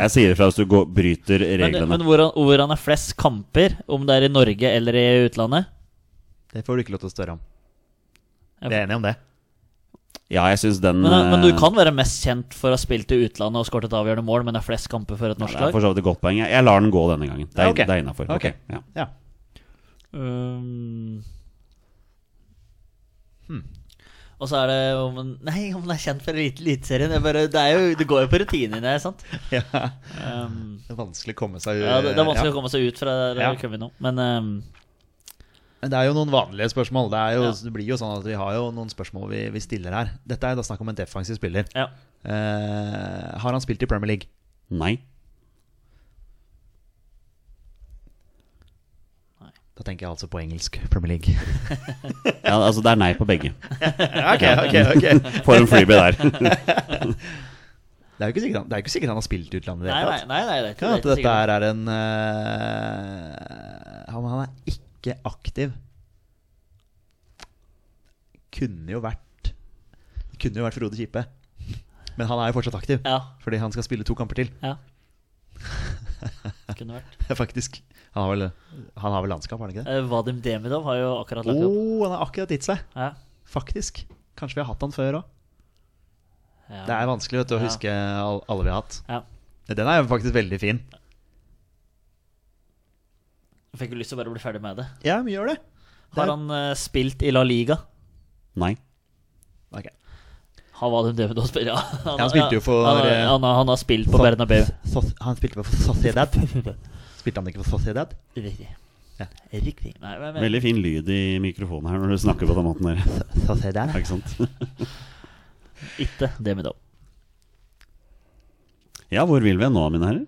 Speaker 1: Jeg sier ifra hvis du går, bryter
Speaker 3: Men, eh,
Speaker 1: reglene.
Speaker 3: men hvor, han, hvor han er flest kamper, om det er i Norge eller i utlandet
Speaker 2: Det får du ikke lov til å spørre om.
Speaker 3: Ja.
Speaker 2: Vi er enige om det.
Speaker 1: ja, jeg syns den
Speaker 3: men, men du
Speaker 1: eh,
Speaker 3: kan være mest kjent for å ha spilt i utlandet og skåret et avgjørende mål, men er flest kamper for et
Speaker 1: ja,
Speaker 3: norsk
Speaker 1: Det er
Speaker 3: lag?
Speaker 1: for så vidt et godt poeng. Jeg, jeg lar den gå denne gangen. Det er,
Speaker 2: Ja, ok.
Speaker 1: det er innafor.
Speaker 2: Ok.
Speaker 1: Ja.
Speaker 2: Ja.
Speaker 3: Um, hmm. Og så er det om han (laughs) Nei, om han er kjent for Elite- Eliteserien. Det, er bare- det, er jo- det går jo på rutinene, ikke sant?
Speaker 2: ja. (laughs)
Speaker 3: Um,
Speaker 2: Det er vanskelig å komme seg
Speaker 3: ja, det, det er vanskelig
Speaker 2: ja.
Speaker 3: å komme seg ut fra der
Speaker 2: Ja.
Speaker 3: vi kommer nå, men um,
Speaker 2: Men det er jo noen vanlige spørsmål. Det, er jo,
Speaker 3: Ja.
Speaker 2: det blir jo sånn at vi har jo noen spørsmål vi, vi stiller her. Dette er jo da snakk om en defensiv spiller.
Speaker 3: ja.
Speaker 2: Eh, har han spilt i Premier League?
Speaker 1: Nei.
Speaker 2: Da tenker jeg altså på engelsk Premier
Speaker 3: (laughs)
Speaker 2: League.
Speaker 1: Ja, altså, det er nei på begge.
Speaker 2: ok, ok, ok
Speaker 1: (laughs) For en freebie der. (laughs)
Speaker 2: Det er jo ikke sikkert han, det er jo ikke sikkert han har spilt i utlandet. i det
Speaker 3: Nei,
Speaker 2: hele
Speaker 3: nei,
Speaker 2: tatt.
Speaker 3: nei, nei, det er
Speaker 2: Det
Speaker 3: ikke
Speaker 2: Kan
Speaker 3: det. er
Speaker 2: hende dette
Speaker 3: ikke
Speaker 2: her er en eh, han, han er ikke aktiv. Kunne jo vært Kunne jo vært Frode Kippe. Men han er jo fortsatt aktiv,
Speaker 3: sikkert. Ja,
Speaker 2: fordi han skal spille to kamper til. (laughs)
Speaker 3: ja. Kunne vært.
Speaker 2: Faktisk. Han har vel, han har vel landskap, har han ikke det?
Speaker 3: Eh, Vadim Demidov har jo akkurat
Speaker 2: Å,
Speaker 3: lagt opp.
Speaker 2: han har akkurat gitt seg.
Speaker 3: Ja.
Speaker 2: Faktisk. Kanskje vi har hatt han før òg.
Speaker 3: Ja.
Speaker 2: Det er vanskelig vet du, å
Speaker 3: Ja.
Speaker 2: huske all- alle vi har hatt.
Speaker 3: ja.
Speaker 2: Den er jo faktisk veldig fin.
Speaker 3: Jeg fikk jo lyst til å bare bli ferdig med det.
Speaker 2: Ja, vi gjør det.
Speaker 3: Har han eh, spilt i La Liga?
Speaker 1: Nei.
Speaker 2: Ok.
Speaker 3: Har Vadim Demidov spilt? Ja. Han,
Speaker 2: han spilte jo for,
Speaker 3: Han,
Speaker 2: eh,
Speaker 3: han, han, har- han har spilt på
Speaker 2: for-
Speaker 3: Bernabeu.
Speaker 2: Soc- Han spilte for
Speaker 3: (laughs)
Speaker 2: Sociedad. Spilte han ikke for Sociedad?
Speaker 3: Riktig.
Speaker 2: Ja.
Speaker 3: Riktig. Nei, men, men,
Speaker 1: Veldig fin lyd i mikrofonen her når du snakker på den måten der. (laughs)
Speaker 2: Sociedad.
Speaker 1: Ja, Ikke sant? (laughs)
Speaker 3: ikke Demidov.
Speaker 1: Ja, hvor vil vi nå, mine herrer?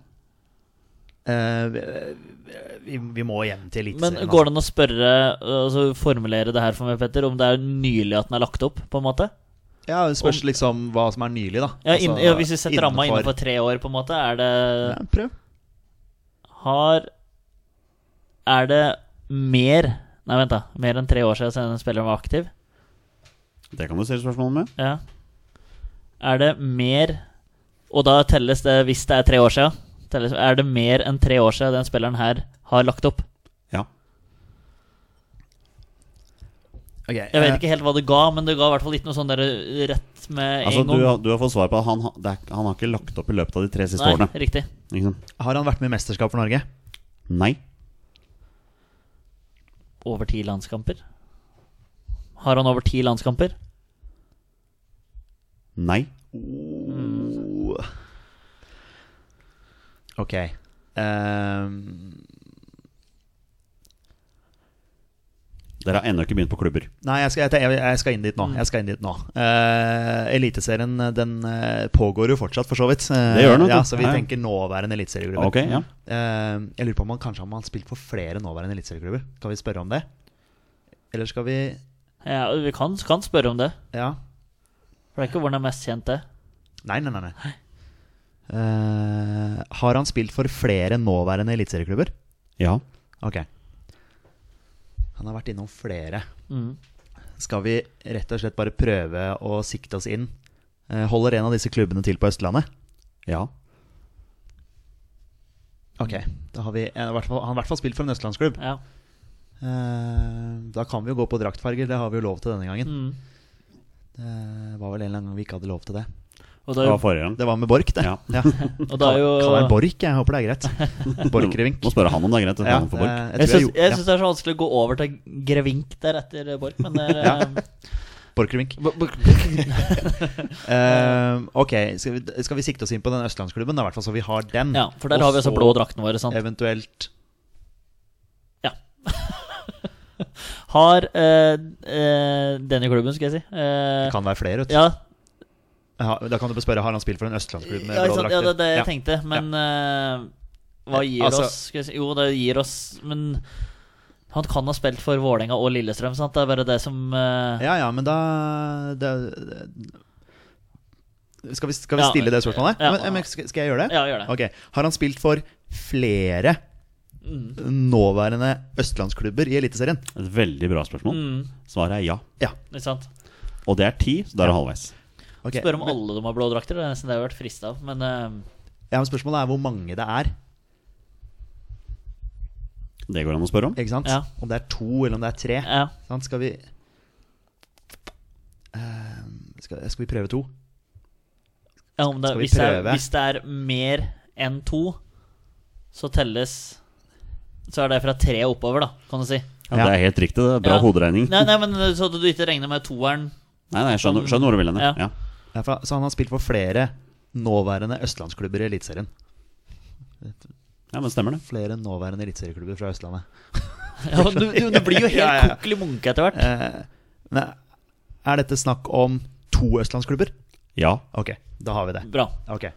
Speaker 2: Eh, vi- vi, vi må hjem til
Speaker 3: Men
Speaker 2: Eliteserien.
Speaker 3: går det an å spørre, altså formulere det her for meg, Petter, om det er nylig at den er lagt opp, på en måte?
Speaker 2: altså. Ja, det spørs liksom hva som er nylig, da.
Speaker 3: Ja, inn,
Speaker 2: Altså,
Speaker 3: ja, hvis vi setter ramma innenfor
Speaker 2: innenfor-
Speaker 3: tre år, på en måte, er det
Speaker 2: ja, Prøv.
Speaker 3: Har Er det mer Nei, vent, da. Mer enn tre år siden en spiller var aktiv?
Speaker 1: Det kan du stille spørsmål med.
Speaker 3: Ja. Er det mer Og da telles det, hvis det er tre år siden, telles, er det mer enn tre år siden den spilleren her har lagt opp?
Speaker 1: Ja.
Speaker 2: Okay,
Speaker 3: Jeg
Speaker 2: eh,
Speaker 3: vet ikke helt hva det ga, men det ga i hvert fall ikke noe sånn der rett med
Speaker 1: Altså,
Speaker 3: en
Speaker 1: du,
Speaker 3: gang.
Speaker 1: har- du har fått svar på at han, ha- det er, han har ikke lagt opp i løpet av de tre siste
Speaker 3: Nei,
Speaker 1: årene.
Speaker 3: riktig.
Speaker 1: Ikke sant?
Speaker 2: Har han vært med i mesterskap for Norge?
Speaker 1: Nei.
Speaker 3: Over ti landskamper? Har han over ti landskamper?
Speaker 1: Nei.
Speaker 2: Ok. Ehm,
Speaker 1: Dere har ennå ikke begynt på klubber.
Speaker 2: nei, jeg skal, jeg, jeg skal inn dit
Speaker 1: Mm.
Speaker 2: nå. Jeg skal inn dit nå. Eh, eliteserien den eh, pågår jo fortsatt, for så vidt. Eh,
Speaker 1: Det gjør den, vet du.
Speaker 2: ja, så vi
Speaker 1: Ja, ja.
Speaker 2: tenker nåværende eliteserieklubber.
Speaker 1: Ok, ja.
Speaker 2: Eh, jeg lurer på om han kanskje om han har spilt for flere nåværende eliteserieklubber. Kan vi spørre om det? Eller skal vi
Speaker 3: Ja, vi kan, kan spørre om det.
Speaker 2: Ja.
Speaker 3: For det er ikke hvor han er mest kjent, det.
Speaker 2: Nei, nei, nei. nei. Eh, har han spilt for flere nåværende eliteserieklubber?
Speaker 1: Ja.
Speaker 2: Ok. Han har vært innom flere.
Speaker 3: Mm.
Speaker 2: Skal vi rett og slett bare prøve å sikte oss inn? Eh, Holder en av disse klubbene til på Østlandet?
Speaker 1: Ja.
Speaker 2: Ok, da har vi eh, i hvert fall, Han har i hvert fall spilt for en østlandsklubb.
Speaker 3: Ja.
Speaker 2: Eh, da kan vi jo gå på draktfarger, det har vi jo lov til denne gangen. Eh,
Speaker 3: Mm.
Speaker 2: Det var vel en eller annen gang vi ikke hadde lov til det.
Speaker 3: Og det
Speaker 1: Det var
Speaker 3: er jo,
Speaker 1: forrige gang.
Speaker 2: Det var med Borch, det.
Speaker 1: Ja.
Speaker 3: (laughs) og det er jo
Speaker 2: Kan være Borch, jeg håper det er
Speaker 3: (laughs)
Speaker 2: greit. Borch-Revink.
Speaker 1: Må spørre han om det er greit.
Speaker 2: Ja,
Speaker 1: han får
Speaker 2: eh,
Speaker 1: borg.
Speaker 3: Jeg
Speaker 2: jeg tror jeg
Speaker 3: syns
Speaker 2: gjorde-
Speaker 3: jeg
Speaker 2: ja,
Speaker 3: syns det er så vanskelig å gå over til Grevink der etter Borch, men det er, eh, (laughs)
Speaker 2: Borch-Revink.
Speaker 3: Bo- Bo-
Speaker 2: Eh, ok, skal vi, skal vi sikte oss inn på den østlandsklubben, da, i hvert fall så vi har den?
Speaker 3: Ja, for der har vi
Speaker 2: Mm. Og
Speaker 3: altså
Speaker 2: så
Speaker 3: blå draktene våre, sant.
Speaker 2: Eventuelt
Speaker 3: Ja. Har eh, eh, denne klubben, skal jeg si eh,
Speaker 2: Kan være flere, vet du.
Speaker 3: Ja,
Speaker 2: Ja, Da kan du bare spørre har han spilt for en østlandsklubb med
Speaker 3: ja,
Speaker 2: blå
Speaker 3: ikke sant?
Speaker 2: drakter.
Speaker 3: ja, det er det jeg
Speaker 2: Ja.
Speaker 3: tenkte, men eh, hva gir
Speaker 2: Altså-
Speaker 3: oss skal jeg si? Jo, det gir oss Men han kan ha spilt for Vålerenga og Lillestrøm, sant? Det er bare det som eh,
Speaker 2: Ja, ja, men da det, det- Skal vi, skal vi
Speaker 3: Ja.
Speaker 2: stille det spørsmålet?
Speaker 3: Ja.
Speaker 2: Men, men skal, skal jeg gjøre det?
Speaker 3: Ja, gjør det.
Speaker 2: Ok. Har han spilt for flere
Speaker 3: Mm.
Speaker 2: nåværende østlandsklubber i Eliteserien?
Speaker 1: Et veldig bra spørsmål.
Speaker 2: Mm.
Speaker 1: Svaret er ja.
Speaker 2: Ja.
Speaker 3: Ikke sant?
Speaker 1: Og det er ti, så da er det halvveis.
Speaker 2: ok.
Speaker 3: Spør om
Speaker 2: Men-
Speaker 3: alle de har blå drakter. Det er nesten det jeg har vært frista av. Men eh,
Speaker 2: Ja, men Spørsmålet er hvor mange det er.
Speaker 1: Det går an å spørre om.
Speaker 2: Ikke sant?
Speaker 3: Ja.
Speaker 2: Om det er to, eller om det er tre.
Speaker 3: ja.
Speaker 2: Sant? Skal vi Eh, skal, skal vi prøve to?
Speaker 3: ja, om det,
Speaker 2: Skal vi
Speaker 3: hvis, det er,
Speaker 2: prøve?
Speaker 3: hvis det er mer enn to, så telles Så er det fra tre og oppover, da, kan du si.
Speaker 1: Ja, Det er helt riktig. det er Bra
Speaker 3: Ja.
Speaker 1: hoderegning.
Speaker 3: Nei, nei, men Så at du ikke regner med toeren (laughs)
Speaker 1: Nei, nei, jeg skjønner, skjønner hvor du vil hen.
Speaker 3: Ja.
Speaker 1: Ja.
Speaker 2: Ja, for- Så han har spilt for flere nåværende østlandsklubber i Eliteserien.
Speaker 1: ja, men stemmer det.
Speaker 2: Flere nåværende eliteserieklubber fra Østlandet.
Speaker 3: ja, men du, du, du blir
Speaker 2: (laughs)
Speaker 3: jo helt
Speaker 2: Ja, ja, ja.
Speaker 3: kokkelig munke etter hvert.
Speaker 2: Eh, men er dette snakk om to østlandsklubber?
Speaker 1: Ja.
Speaker 2: Ok, da har vi det.
Speaker 3: Bra.
Speaker 2: Ok.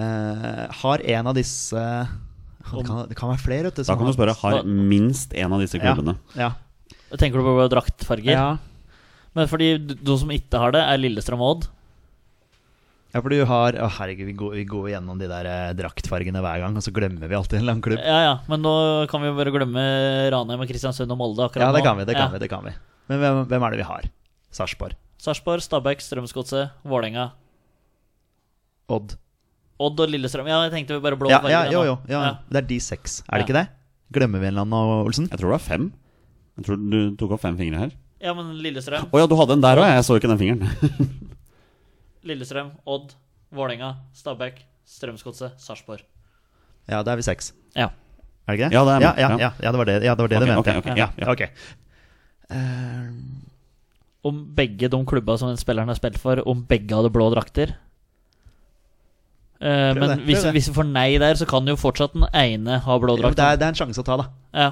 Speaker 2: Eh, har en av disse det kan, det kan være flere, vet du.
Speaker 1: Da
Speaker 2: som
Speaker 1: kan du
Speaker 2: har-
Speaker 1: spørre har minst en av disse klubbene.
Speaker 2: Ja.
Speaker 3: Tenker du på draktfarger?
Speaker 2: Ja.
Speaker 3: Men fordi d- de som ikke har det, er Lillestrøm og Odd.
Speaker 2: ja, for du har Å, herregud, vi går, vi går gjennom de der eh, draktfargene hver gang, og så glemmer vi alltid en lang klubb.
Speaker 3: Ja, ja, Men nå kan vi jo bare glemme Ranheim og Kristiansund og Molde akkurat
Speaker 2: Ja,
Speaker 3: nå.
Speaker 2: det kan vi. det
Speaker 3: Ja.
Speaker 2: kan vi, det kan vi Men hvem, hvem er det vi har? Sarpsborg.
Speaker 3: Sarpsborg, Stabæk, Strømsgodset, Vålerenga.
Speaker 2: Odd.
Speaker 3: Odd og Lillestrøm. Ja, jeg tenkte vi bare blå
Speaker 2: Ja,
Speaker 3: farger
Speaker 2: ja,
Speaker 3: nå.
Speaker 2: jo, jo. Ja.
Speaker 3: Ja.
Speaker 2: Det er de seks, er
Speaker 3: Ja.
Speaker 2: det ikke det? Glemmer vi en eller annen, Olsen?
Speaker 1: Jeg tror det er fem. Jeg tror du tok opp fem fingre her.
Speaker 3: Ja, men Lillestrøm,
Speaker 1: Å ja, du hadde en der òg. Jeg så ikke den fingeren.
Speaker 3: Lillestrøm, Odd, Vålerenga, Stabæk, Strømsgodset, Sarpsborg.
Speaker 2: Ja, da er vi seks.
Speaker 3: Ja.
Speaker 2: Er det ikke det?
Speaker 1: Ja, det er
Speaker 2: ja,
Speaker 1: meg,
Speaker 2: ja,
Speaker 1: ja.
Speaker 2: ja, ja, det var det, ja, det, var det
Speaker 1: Ok,
Speaker 2: du
Speaker 1: (laughs)
Speaker 2: mente.
Speaker 1: ok, ok,
Speaker 2: ja,
Speaker 1: ja, ja.
Speaker 2: ok. Eh,
Speaker 3: Om begge de klubba som den spilleren har spilt for, om begge hadde blå drakter Eh,
Speaker 2: Prøv
Speaker 3: men
Speaker 2: det, prøv
Speaker 3: hvis,
Speaker 2: det.
Speaker 3: hvis vi får nei der, så kan jo fortsatt den ene ha blå
Speaker 2: ja, men
Speaker 3: drakt.
Speaker 2: det, er, det er en sjanse å ta, da.
Speaker 3: Ja.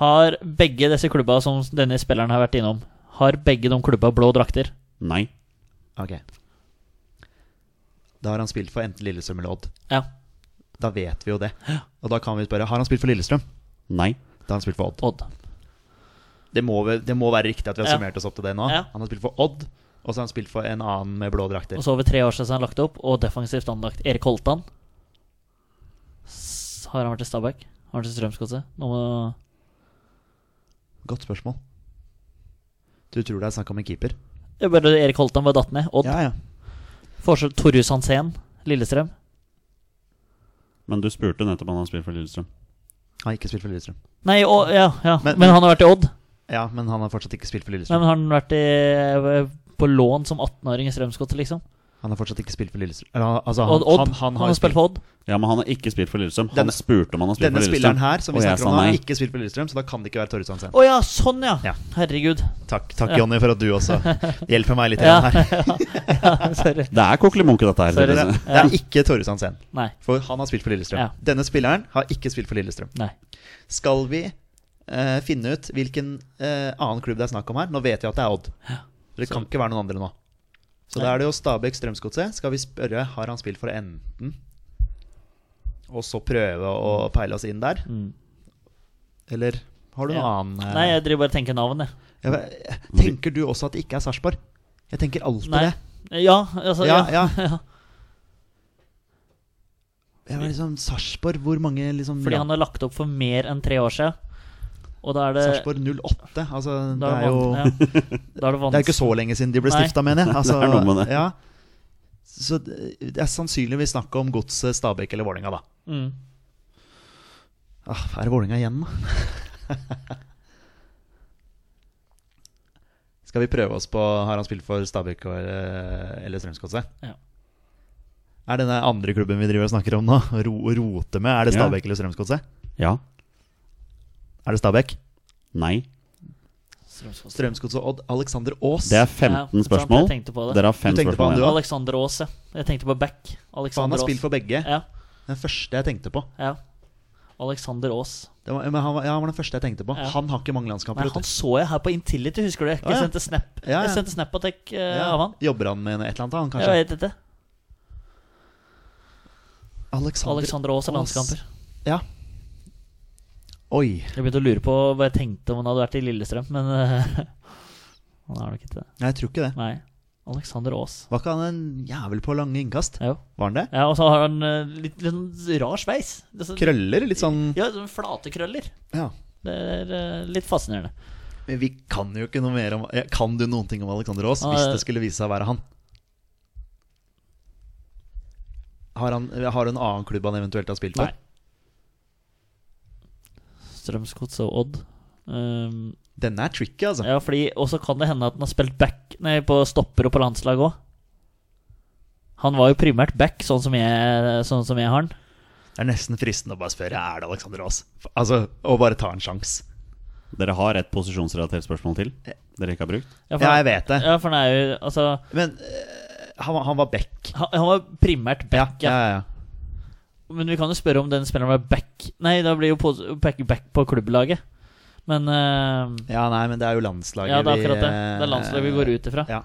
Speaker 3: Har begge disse klubba som denne spilleren har vært innom, har begge de klubba blå drakter?
Speaker 1: Nei.
Speaker 2: Ok Da har han spilt for enten Lillestrøm eller Odd.
Speaker 3: Ja.
Speaker 2: Da vet vi jo det. Og da kan vi spørre Har han spilt for Lillestrøm?
Speaker 1: Nei.
Speaker 2: Da har han spilt for Odd.
Speaker 3: Odd.
Speaker 2: Det må, vel- det må være riktig at vi har
Speaker 3: Ja.
Speaker 2: summert oss opp til det nå.
Speaker 3: Ja.
Speaker 2: Han har spilt for Odd, og så har han spilt for en annen med blå drakter.
Speaker 3: Og så over tre år siden han lagt opp, og defensivt anlagt Erik Holtan. S- Har han vært i Stabæk? Har han vært i Strømsgodset? Nå må
Speaker 2: Godt spørsmål. Du tror det er snakk om en keeper?
Speaker 3: Det er bare Erik Holtan bare datt ned. Odd.
Speaker 2: Ja, ja.
Speaker 3: Forskjell Torjus Hansen, Lillestrøm.
Speaker 1: Men du spurte nettopp om han har spilt for Lillestrøm.
Speaker 2: Han har ikke spilt for Lillestrøm.
Speaker 3: Nei, å, ja, ja. Men,
Speaker 2: Men- men-
Speaker 3: han har vært i Odd.
Speaker 2: Ja, men han har fortsatt ikke spilt for
Speaker 3: Nei,
Speaker 2: Lillestrøm.
Speaker 3: eh, men har han vært i, på lån som 18-åring i Strømsgodset, liksom?
Speaker 2: Han har fortsatt ikke spilt for Lillestrøm. Eller, han- Altså,
Speaker 3: Odd,
Speaker 2: han,
Speaker 3: Odd.
Speaker 2: han, han har
Speaker 3: spilt
Speaker 2: for
Speaker 3: for Odd.
Speaker 1: Ja, men han har ikke spilt for Lillestrøm. Han
Speaker 2: Denne-
Speaker 1: spurte om han har spilt
Speaker 2: Denne
Speaker 1: for Lillestrøm.
Speaker 2: spilleren her som vi
Speaker 1: og jeg
Speaker 2: snakker om,
Speaker 1: sa
Speaker 2: han har
Speaker 1: nei.
Speaker 2: ikke spilt for Lillestrøm, så da kan det ikke være Torre Sandsen.
Speaker 3: Å ja, sånn ja.
Speaker 2: Ja.
Speaker 3: Herregud.
Speaker 2: Takk, takk
Speaker 3: Ja.
Speaker 2: Jonny, for at du
Speaker 3: (laughs)
Speaker 2: også hjelper meg litt
Speaker 3: Ja. (laughs)
Speaker 2: grann her.
Speaker 3: Ja, Sorry.
Speaker 1: Det er kokkelimunke, dette her.
Speaker 3: Sorry.
Speaker 2: Det
Speaker 1: tydeligvis.
Speaker 2: er, det er ikke Torre Sandsen,
Speaker 3: Nei.
Speaker 2: for han har spilt for Lillestrøm.
Speaker 3: Ja.
Speaker 2: Denne spilleren har ikke spilt for Lillestrøm.
Speaker 3: Nei.
Speaker 2: Skal vi eh, finne ut hvilken eh, annen klubb det er snakk om her? Nå vet jeg at det er Odd. Så det kan ikke være noen andre nå. Så da
Speaker 3: Nei.
Speaker 2: er det jo Stabæk Strømsgodset. Skal vi spørre har han spilt for enten Og så prøve å peile oss inn der?
Speaker 3: Mm.
Speaker 2: Eller har du noen
Speaker 3: Ja.
Speaker 2: annen eh,
Speaker 3: Nei, jeg driver bare og tenker navn, jeg.
Speaker 2: Ja, men, Tenker du også at det ikke er Sarpsborg? Jeg tenker alltid
Speaker 3: Nei.
Speaker 2: det.
Speaker 3: Ja, altså
Speaker 2: Ja,
Speaker 3: ja.
Speaker 2: ja. Jeg var liksom Sarpsborg, hvor mange liksom
Speaker 3: Fordi han har lagt opp for mer enn tre år siden. Og da er det
Speaker 2: Sarpsborg 08. Altså, det
Speaker 3: da
Speaker 2: er jo
Speaker 3: van- ja. Da er
Speaker 2: (laughs)
Speaker 3: det
Speaker 2: Det er jo
Speaker 3: vanskelig.
Speaker 2: ikke så lenge siden de ble
Speaker 3: Nei.
Speaker 2: stifta, mener jeg. Altså,
Speaker 1: Det er noe med det.
Speaker 2: Ja. Så det det er sannsynligvis snakk om Godset, Stabæk eller Vålerenga, da.
Speaker 3: Mm.
Speaker 2: Ah, er det Vålerenga igjen, da? (laughs) Skal vi prøve oss på Har han spilt for Stabæk og- eh, eller Strømsgodset?
Speaker 3: Ja.
Speaker 2: Er denne andre klubben vi driver og snakker om nå, ro rote med, er det
Speaker 1: Ja.
Speaker 2: Stabæk eller Strømsgodset?
Speaker 1: Ja.
Speaker 2: Er det Stabæk?
Speaker 1: Nei.
Speaker 3: Strømsgodset.
Speaker 2: Strømsgodset og Odd Alexander Aas.
Speaker 1: Det er
Speaker 3: Ja, sant,
Speaker 1: 15
Speaker 3: jeg
Speaker 1: spørsmål.
Speaker 3: tenkte på det.
Speaker 1: Dere har fem
Speaker 2: Du tenkte på han,
Speaker 1: spørsmål
Speaker 2: du
Speaker 1: igjen.
Speaker 2: også?
Speaker 3: Alexander Aas, ja. Jeg tenkte på Beck.
Speaker 2: For han
Speaker 3: Alexander
Speaker 2: har spilt
Speaker 3: Aas.
Speaker 2: for begge.
Speaker 3: Ja,
Speaker 2: Den første jeg tenkte på.
Speaker 3: ja. Alexander Aas.
Speaker 2: Det var, men han, var, ja, han var den første jeg tenkte på.
Speaker 3: Ja.
Speaker 2: Han har ikke mange landskamper.
Speaker 3: Nei,
Speaker 2: vet du.
Speaker 3: han så jeg her på Intility, husker du? Jeg,
Speaker 2: Å, ja.
Speaker 3: sendte snap
Speaker 2: Ja, ja.
Speaker 3: Jeg sendte snap på tech eh,
Speaker 2: Ja.
Speaker 3: av han.
Speaker 2: Jobber han med et eller annet,
Speaker 3: Jeg
Speaker 2: han kanskje?
Speaker 3: vet ikke.
Speaker 2: Alexander,
Speaker 3: Alexander Aas er
Speaker 2: Aas.
Speaker 3: landskamper.
Speaker 2: Ja. Oi.
Speaker 3: Jeg begynte å lure på hva jeg tenkte om han hadde vært i Lillestrøm, men eh, (laughs) han er nok ikke det.
Speaker 2: Nei, jeg tror ikke det.
Speaker 3: Nei. Alexander Aas.
Speaker 2: Var ikke han en jævel på lange innkast?
Speaker 3: Jo.
Speaker 2: Var han det?
Speaker 3: Ja, og så har han eh, litt, litt sånn rar sveis. Det er sånn-
Speaker 2: Krøller? Litt sånn
Speaker 3: Ja, sånn flate krøller.
Speaker 2: Ja.
Speaker 3: Det er eh, litt fascinerende.
Speaker 2: Men vi kan jo ikke noe mer om ja, Kan du noen ting om Alexander Aas,
Speaker 3: Han er-
Speaker 2: hvis det skulle vise seg å være han? Har han har du en annen klubb han eventuelt har spilt for?
Speaker 3: Nei. Strømsgods og Odd. Um,
Speaker 2: Denne er tricky, altså.
Speaker 3: ja, fordi Og så kan det hende at han har spilt back Nei, på stopper og på landslag òg. Han var jo primært back, sånn som jeg, sånn som jeg har han.
Speaker 2: Det er nesten fristende å bare spørre Er det Alexander Aas. Altså, og bare ta en sjanse.
Speaker 1: Dere har et posisjonsrelatert spørsmål til dere ikke har brukt.
Speaker 3: Ja,
Speaker 2: Ja, jeg vet det.
Speaker 3: Ja, for han er jo Altså,
Speaker 2: Men eh, han, var- han var back.
Speaker 3: han, han var primært back, ja.
Speaker 2: ja, ja.
Speaker 3: Men vi kan jo spørre om den spilleren var back Nei, da blir jo pos- back, back på klubblaget. Men eh,
Speaker 2: Ja, nei, men det er jo landslaget
Speaker 3: Ja, det er akkurat det.
Speaker 2: eh,
Speaker 3: Det er landslaget vi går ut ifra.
Speaker 2: Ja.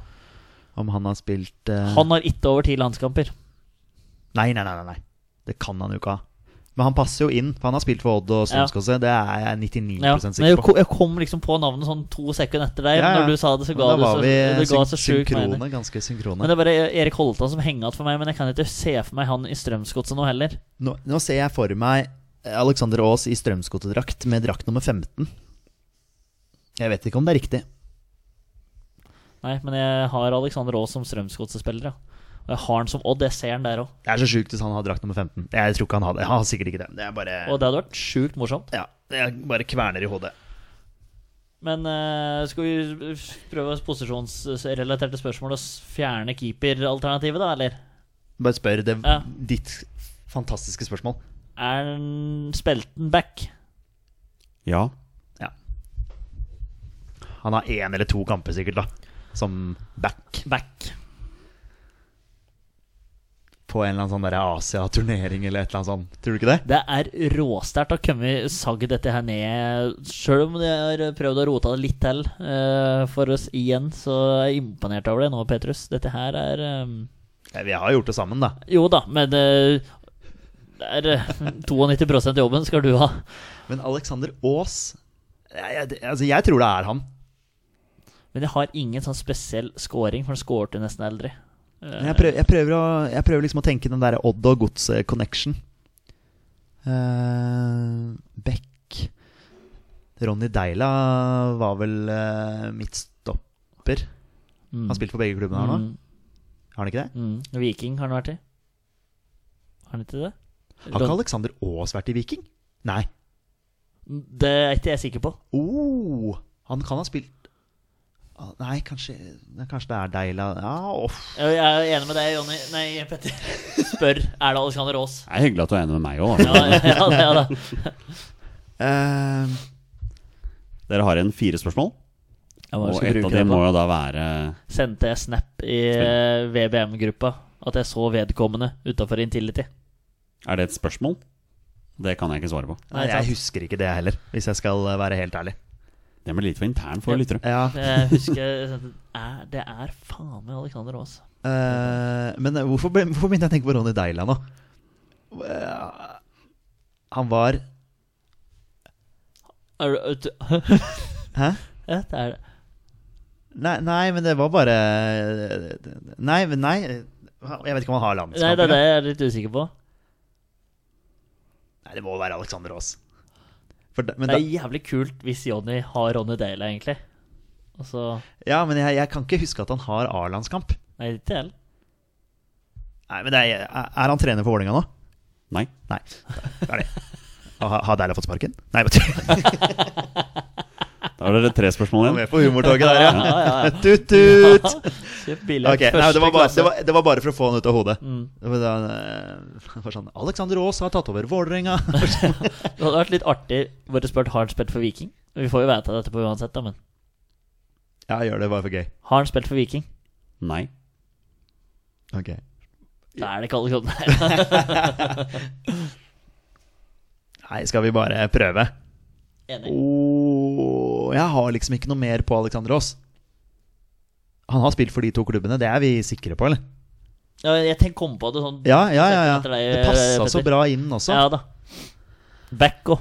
Speaker 2: Om han har spilt eh,
Speaker 3: Han har ikke over ti landskamper.
Speaker 2: Nei, nei, nei, nei, nei. Det kan han jo ikke ha. Men han passer jo inn, for han har spilt for Odd og Strømskose. Det er jeg 99
Speaker 3: Ja. Men jeg,
Speaker 2: sikker på.
Speaker 3: ko- jeg kom liksom på navnet sånn to sekunder etter deg.
Speaker 2: Ja, ja.
Speaker 3: Når du sa det, så
Speaker 2: Men
Speaker 3: ga
Speaker 2: da
Speaker 3: det så,
Speaker 2: var vi
Speaker 3: det ga
Speaker 2: syn-
Speaker 3: så sjukt mening.
Speaker 2: synkrone, ganske
Speaker 3: Men
Speaker 2: synkrone.
Speaker 3: det er bare Erik Holtan som henger igjen for meg, men jeg kan ikke se for meg han i Strømsgodset nå heller.
Speaker 2: Nå, nå ser jeg for meg Alexander Aas i Strømsgotedrakt med drakt nummer 15. Jeg vet ikke om det er riktig.
Speaker 3: Nei, men jeg har Alexander Aas som Strømsgodset-spiller, ja. Og jeg har han som Odd, jeg ser han der òg.
Speaker 2: Det er så sjukt hvis han har drakt nummer 15. Jeg tror ikke han har det. Han har sikkert ikke det. Det er bare
Speaker 3: Og det hadde vært sjukt morsomt.
Speaker 2: Ja, jeg bare kverner i hodet.
Speaker 3: Men eh, skal vi prøve oss posisjonsrelaterte spørsmål og s- fjerne keeperalternativet, da, eller?
Speaker 2: Bare spør det
Speaker 3: Ja.
Speaker 2: ditt fantastiske spørsmål.
Speaker 3: Er han spelten back?
Speaker 1: Ja.
Speaker 2: Han har én eller to kamper sikkert, da. Som back
Speaker 3: Back.
Speaker 2: på en eller annen sånn der Asia-turnering eller et eller annet sånt. Tror du ikke det?
Speaker 3: Det er råsterkt å komme sagd dette her ned. Sjøl om jeg har prøvd å rote det litt til eh, for oss igjen, så er jeg imponert over det nå, Petrus. Dette her er eh,
Speaker 2: Ja, vi har gjort det sammen, da.
Speaker 3: Jo da, men eh, det er eh, 92 av jobben skal du ha.
Speaker 2: Men Alexander Aas jeg, jeg, det- altså, jeg tror det er han.
Speaker 3: Men jeg har ingen sånn spesiell scoring, for han scoret jo nesten aldri.
Speaker 2: Men jeg prøver, jeg prøver, å, jeg prøver liksom å tenke den der Odd og Gods-connection. Uh, Beck Ronny Deila var vel eh, midtstopper.
Speaker 3: Mm.
Speaker 2: Han har spilt for begge klubbene her nå. Har han ikke det?
Speaker 3: Mm, mm. Viking har han vært i. Har han ikke det?
Speaker 2: Har ikke Alexander Aas vært i Viking? Nei.
Speaker 3: Det er ikke jeg sikker på.
Speaker 2: Oh, han kan ha spilt Ah, Nei, kanskje, kanskje det er Deila Ja, off.
Speaker 3: Jeg er enig med deg, Jonny. Nei, Petter. (laughs) Spør. Er det Alexander Aas?
Speaker 1: Det er hyggelig at du er enig med meg altså. òg,
Speaker 3: Ja,
Speaker 1: da.
Speaker 3: ja, det er
Speaker 2: (laughs)
Speaker 3: det.
Speaker 2: Eh,
Speaker 1: Dere har igjen fire spørsmål.
Speaker 3: Ja, hva
Speaker 1: Og
Speaker 3: skal jeg
Speaker 1: et
Speaker 3: bruke
Speaker 1: av
Speaker 3: det
Speaker 1: dem
Speaker 3: på?
Speaker 1: må jo da være
Speaker 3: Sendte jeg snap i eh, VBM-gruppa at jeg så vedkommende utafor Intility.
Speaker 1: Er det et spørsmål? Det kan jeg ikke svare på.
Speaker 2: nei,
Speaker 3: Nei,
Speaker 2: jeg
Speaker 3: sant.
Speaker 2: husker ikke det heller, hvis jeg skal eh, være helt ærlig. Eh,
Speaker 1: Det blir litt for intern for
Speaker 3: Ja.
Speaker 1: lyttere.
Speaker 2: Ja,
Speaker 3: Jeg husker (laughs) jeg sendte, er, Det er faen meg Alexander Aas.
Speaker 2: eh, Men hvorfor, ble- hvorfor begynte jeg å tenke på Ronny Deila nå? Eh, han var
Speaker 3: Er du- (laughs) ut-
Speaker 2: Hæ?
Speaker 3: Ja, det er det.
Speaker 2: Nei, nei, men det var bare Nei, men nei Jeg vet ikke om han har
Speaker 3: Nei, det
Speaker 2: landskampen.
Speaker 3: er det jeg er litt usikker på.
Speaker 2: Nei, det må være Alexander Aas. For da- men
Speaker 3: Det
Speaker 2: da,
Speaker 3: er jævlig kult hvis Jonny har Ronny Dale, egentlig. Og så
Speaker 2: ja, men jeg, jeg kan ikke huske at han har A-landskamp.
Speaker 3: Nei, ikke heller.
Speaker 2: Nei, men det er, er han trener for Vålerenga nå?
Speaker 1: Nei.
Speaker 2: Nei. Det er det. Har, har Deila fått sparken? Nei, vet du.
Speaker 1: Da har dere tre spørsmål
Speaker 2: Han
Speaker 1: igjen.
Speaker 2: er med på humortoget der, ja.
Speaker 3: Ja,
Speaker 2: (laughs)
Speaker 3: ja, ja.
Speaker 2: Tut-tut!
Speaker 3: Kjøp billett
Speaker 2: Ok, nei, det, var bare,
Speaker 3: klasse.
Speaker 2: det, var, det var bare for å få han ut av hodet.
Speaker 3: Mm.
Speaker 2: Det var, da, eh, det var sånn Alexander Aas har tatt over Vålerenga. (laughs)
Speaker 3: Det hadde vært litt artig bare spurt har han spilt for Viking. Vi får jo vite dette på uansett, da, men
Speaker 2: Ja, gjør det bare for gøy.
Speaker 3: har han spilt for Viking?
Speaker 1: Nei.
Speaker 2: Ok
Speaker 3: Da er det ikke alle kodene her.
Speaker 2: Nei, skal vi bare prøve?
Speaker 3: (laughs) Enig.
Speaker 2: Åh, jeg har liksom ikke noe mer på Alexander Aas. Han har spilt for de to klubbene, det er vi sikre på, eller?
Speaker 3: Ja, jeg tenk kom på det sånn.
Speaker 2: Ja, sånn. ja, ja. ja.
Speaker 3: Etter deg,
Speaker 2: Det passa
Speaker 3: Petter.
Speaker 2: så bra inn også.
Speaker 3: Ja da. Backo.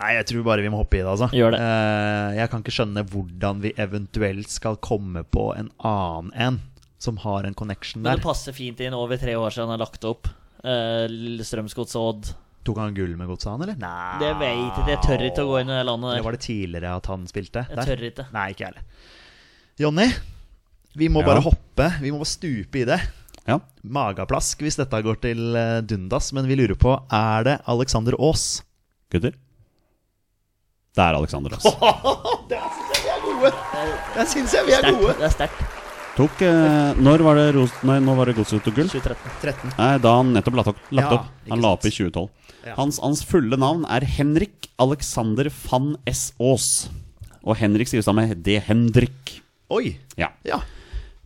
Speaker 2: Nei, jeg tror bare vi må hoppe i det, altså.
Speaker 3: Gjør det.
Speaker 2: Eh, Jeg kan ikke skjønne hvordan vi eventuelt skal komme på en annen en som har en connection
Speaker 3: Men det
Speaker 2: der.
Speaker 3: passer fint inn over tre år siden han har lagt opp. Uh, Strømsgods og Odd.
Speaker 2: Tok han gull med godset, han, eller? Nei.
Speaker 3: Det vet jeg ikke. Jeg tør ikke å gå inn i det landet
Speaker 2: Eller
Speaker 3: der.
Speaker 2: var det tidligere at han spilte?
Speaker 3: Jeg
Speaker 2: der?
Speaker 3: tør ikke.
Speaker 2: Nei, ikke jeg heller. Jonny, vi må
Speaker 1: Ja.
Speaker 2: bare hoppe. Vi må bare stupe i det.
Speaker 1: Ja.
Speaker 2: Magaplask hvis dette går til eh, dundas, men vi lurer på er det Alexander Aas? (laughs)
Speaker 1: Gutter? Det er Alexander Aas.
Speaker 2: Jeg syns jeg vi er
Speaker 3: Sterkt. Det er sterkt.
Speaker 1: Tok eh, Når var det Ros... Nei, nå var det Godset og gull?
Speaker 3: 2013.
Speaker 2: 13.
Speaker 1: Nei, da han nettopp lagt opp. Lagt
Speaker 2: Ja,
Speaker 1: opp.
Speaker 2: ikke
Speaker 1: Han la opp i
Speaker 2: sant.
Speaker 1: 2012.
Speaker 2: Ja.
Speaker 1: Hans, hans fulle navn er Henrik Alexander van S. Aas. Og Henrik skrives da med D. Hendrik.
Speaker 2: Oi!
Speaker 1: Ja.
Speaker 2: Ja.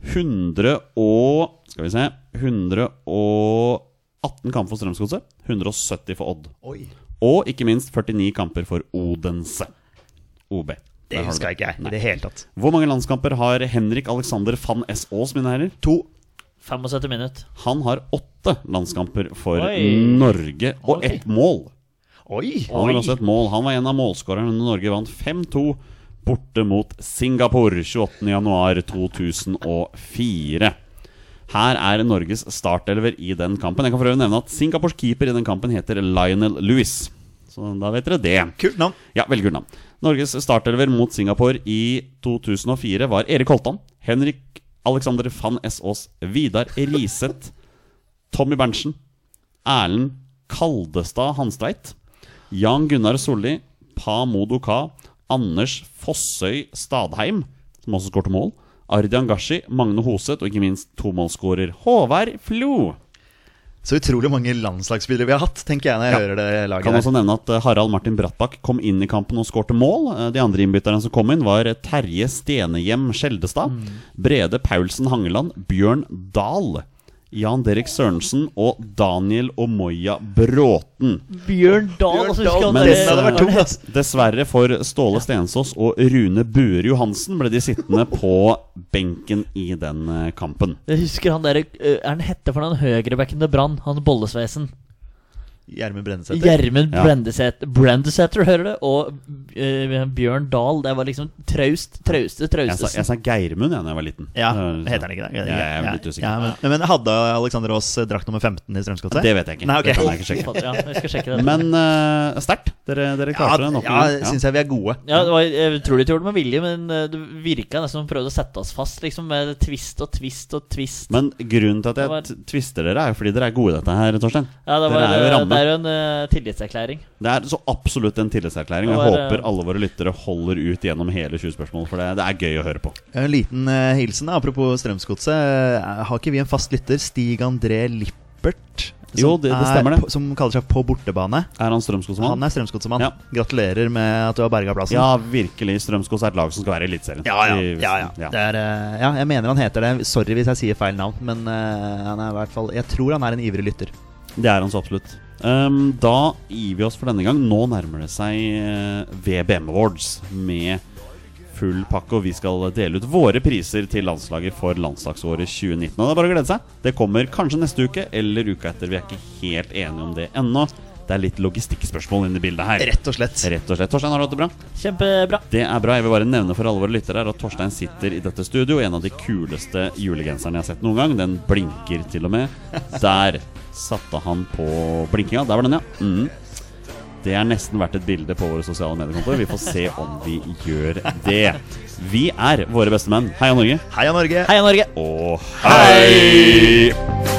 Speaker 1: 100 og Skal vi se 118 kamper for Strømsgodset. 170 for Odd.
Speaker 2: Oi.
Speaker 1: Og ikke minst 49 kamper for Odense. OB. Der
Speaker 2: Det
Speaker 1: har du
Speaker 2: huska ikke jeg
Speaker 1: Nei.
Speaker 2: i det hele tatt.
Speaker 1: Hvor mange landskamper har Henrik Alexander van S. Aas, mine herrer?
Speaker 2: To.
Speaker 3: 75 minutter.
Speaker 1: Han har åtte landskamper for
Speaker 3: Oi.
Speaker 1: Norge, og
Speaker 3: Ok.
Speaker 1: ett mål.
Speaker 2: Oi!
Speaker 1: Han har også et mål. Han var en av målskårerne når Norge vant 5-2 borte mot Singapore 28.1.2004. Her er Norges startelver i den kampen. Jeg kan for øvrig nevne at Singapores keeper i den kampen heter Lionel Lewis. Så da vet dere det.
Speaker 2: Kult navn.
Speaker 1: Ja, veldig kult navn. Norges startelver mot Singapore i 2004 var Erik Holtan, Henrik Alexander van S. Aas, Vidar Riseth, (laughs) Tommy Berntsen, Erlend Kaldestad Hanstveit, Jan Gunnar Solli, Pa Modo Ka, Anders Fossøy Stadheim, som også skårte mål, Ardian Gashi, Magne Hoseth og ikke minst tomålsskårer Håvard Flo.
Speaker 2: Så utrolig mange landslagsspillere vi har hatt, tenker jeg når jeg
Speaker 1: Ja.
Speaker 2: hører det
Speaker 1: Kan
Speaker 2: laget
Speaker 1: også
Speaker 2: der.
Speaker 1: nevne at eh, Harald Martin Brattbakk kom inn i kampen og skårte mål. Eh, De andre innbytterne som kom inn, var eh, Terje Stenehjem Skjeldestad,
Speaker 2: Mm.
Speaker 1: Brede Paulsen Hangeland, Bjørn Dahl, Jan Derek Sørensen og Daniel Omoya Bråten.
Speaker 3: Bjørn Dahl. altså, husker
Speaker 1: Men
Speaker 3: han
Speaker 2: Den hadde
Speaker 3: der-
Speaker 2: vært tung, altså.
Speaker 1: Dessverre for Ståle Stensås og Rune Bure Johansen ble de
Speaker 2: (laughs)
Speaker 1: sittende på benken i den eh, kampen.
Speaker 3: Jeg husker han der, eh, Er han hette for den høyrebekken til Brann? Han bollesveisen.
Speaker 2: Gjermund Brennesæter.
Speaker 3: Gjermund
Speaker 1: Ja.
Speaker 3: Brendesæter, Brendesæter, hører du? Og eh, Bjørn Dahl. Det var liksom traust, trauste,
Speaker 1: Jeg sa,
Speaker 3: trausteste.
Speaker 1: jeg sa Geirmund jeg da jeg var liten.
Speaker 2: Ja,
Speaker 1: Eh, så-
Speaker 2: heter han ikke det?
Speaker 1: Jeg er litt usikker.
Speaker 2: Ja, men, men hadde Alexander Aas eh, drakt nummer 15 i Strømsgodset?
Speaker 1: Det vet jeg ikke.
Speaker 2: Nei, ok.
Speaker 1: Det kan jeg ikke sjekke.
Speaker 3: Fader, Ja, jeg skal sjekke det.
Speaker 1: Men eh, sterkt. Dere, dere klarte det
Speaker 2: Ja,
Speaker 1: nok en
Speaker 2: ja,
Speaker 1: gang. Ja.
Speaker 2: syns jeg vi er gode.
Speaker 3: ja, det var, jeg tror de ikke gjorde det med vilje, men eh, det virka nesten som de prøvde å sette oss fast. Liksom Med twist og twist og twist.
Speaker 1: Men grunnen til at
Speaker 3: Det var-
Speaker 1: jeg t- tvister dere, er jo fordi dere er gode i dette her, Torstein.
Speaker 3: Ja, det
Speaker 1: dere er jo ramme
Speaker 3: er jo en eh, tillitserklæring.
Speaker 1: Det er så absolutt en tillitserklæring. Og
Speaker 3: Det
Speaker 1: jeg
Speaker 3: var, eh,
Speaker 1: håper alle våre lyttere holder ut gjennom hele 20 spørsmål, for det, det er gøy å høre på.
Speaker 2: En liten eh, hilsen da, apropos Strømsgodset. Eh, Har ikke vi en fast lytter, Stig André Lippert? som
Speaker 1: Jo, det- det stemmer
Speaker 2: er,
Speaker 1: det.
Speaker 2: på- Som kaller seg På bortebane.
Speaker 1: Er han
Speaker 2: Han
Speaker 1: Strømskog-mann?
Speaker 2: er Strømsgodsemann.
Speaker 1: Ja.
Speaker 2: Gratulerer med at du har berga plassen.
Speaker 1: Ja, virkelig. Strømskog er et lag som skal være i Eliteserien.
Speaker 2: Ja, ja,
Speaker 1: I-
Speaker 2: ja, ja. Det er, eh, ja. Jeg mener han heter det. Sorry hvis jeg sier feil navn, men eh, han er i hvert fall Jeg tror han er en ivrig lytter.
Speaker 1: Det er han så absolutt. Ehm, da gir vi oss for denne gang. Nå nærmer det seg eh, VBM Awards med full pakke, og vi skal dele ut våre priser til landslaget for landslagsåret 2019. Og det er bare å glede seg. Det kommer kanskje neste uke eller uka etter. Vi er ikke helt enige om det ennå. Det er litt logistikkspørsmål inni bildet her.
Speaker 2: Rett og slett.
Speaker 1: Rett og slett. Torstein, har du hatt det bra?
Speaker 3: Kjempebra.
Speaker 1: Det er bra. Jeg vil bare nevne for alle våre lyttere her at Torstein sitter i dette studio i en av de kuleste julegenserne jeg har sett noen gang. Den blinker til og med. Der satte han på blinkinga. Der var den, ja. Mm. Det er nesten verdt et bilde på våre sosiale mediekontoer. Vi får se om vi gjør det. Vi er våre beste menn. Heia Norge.
Speaker 2: Heia Norge!
Speaker 3: Heia Norge!
Speaker 1: Og hei!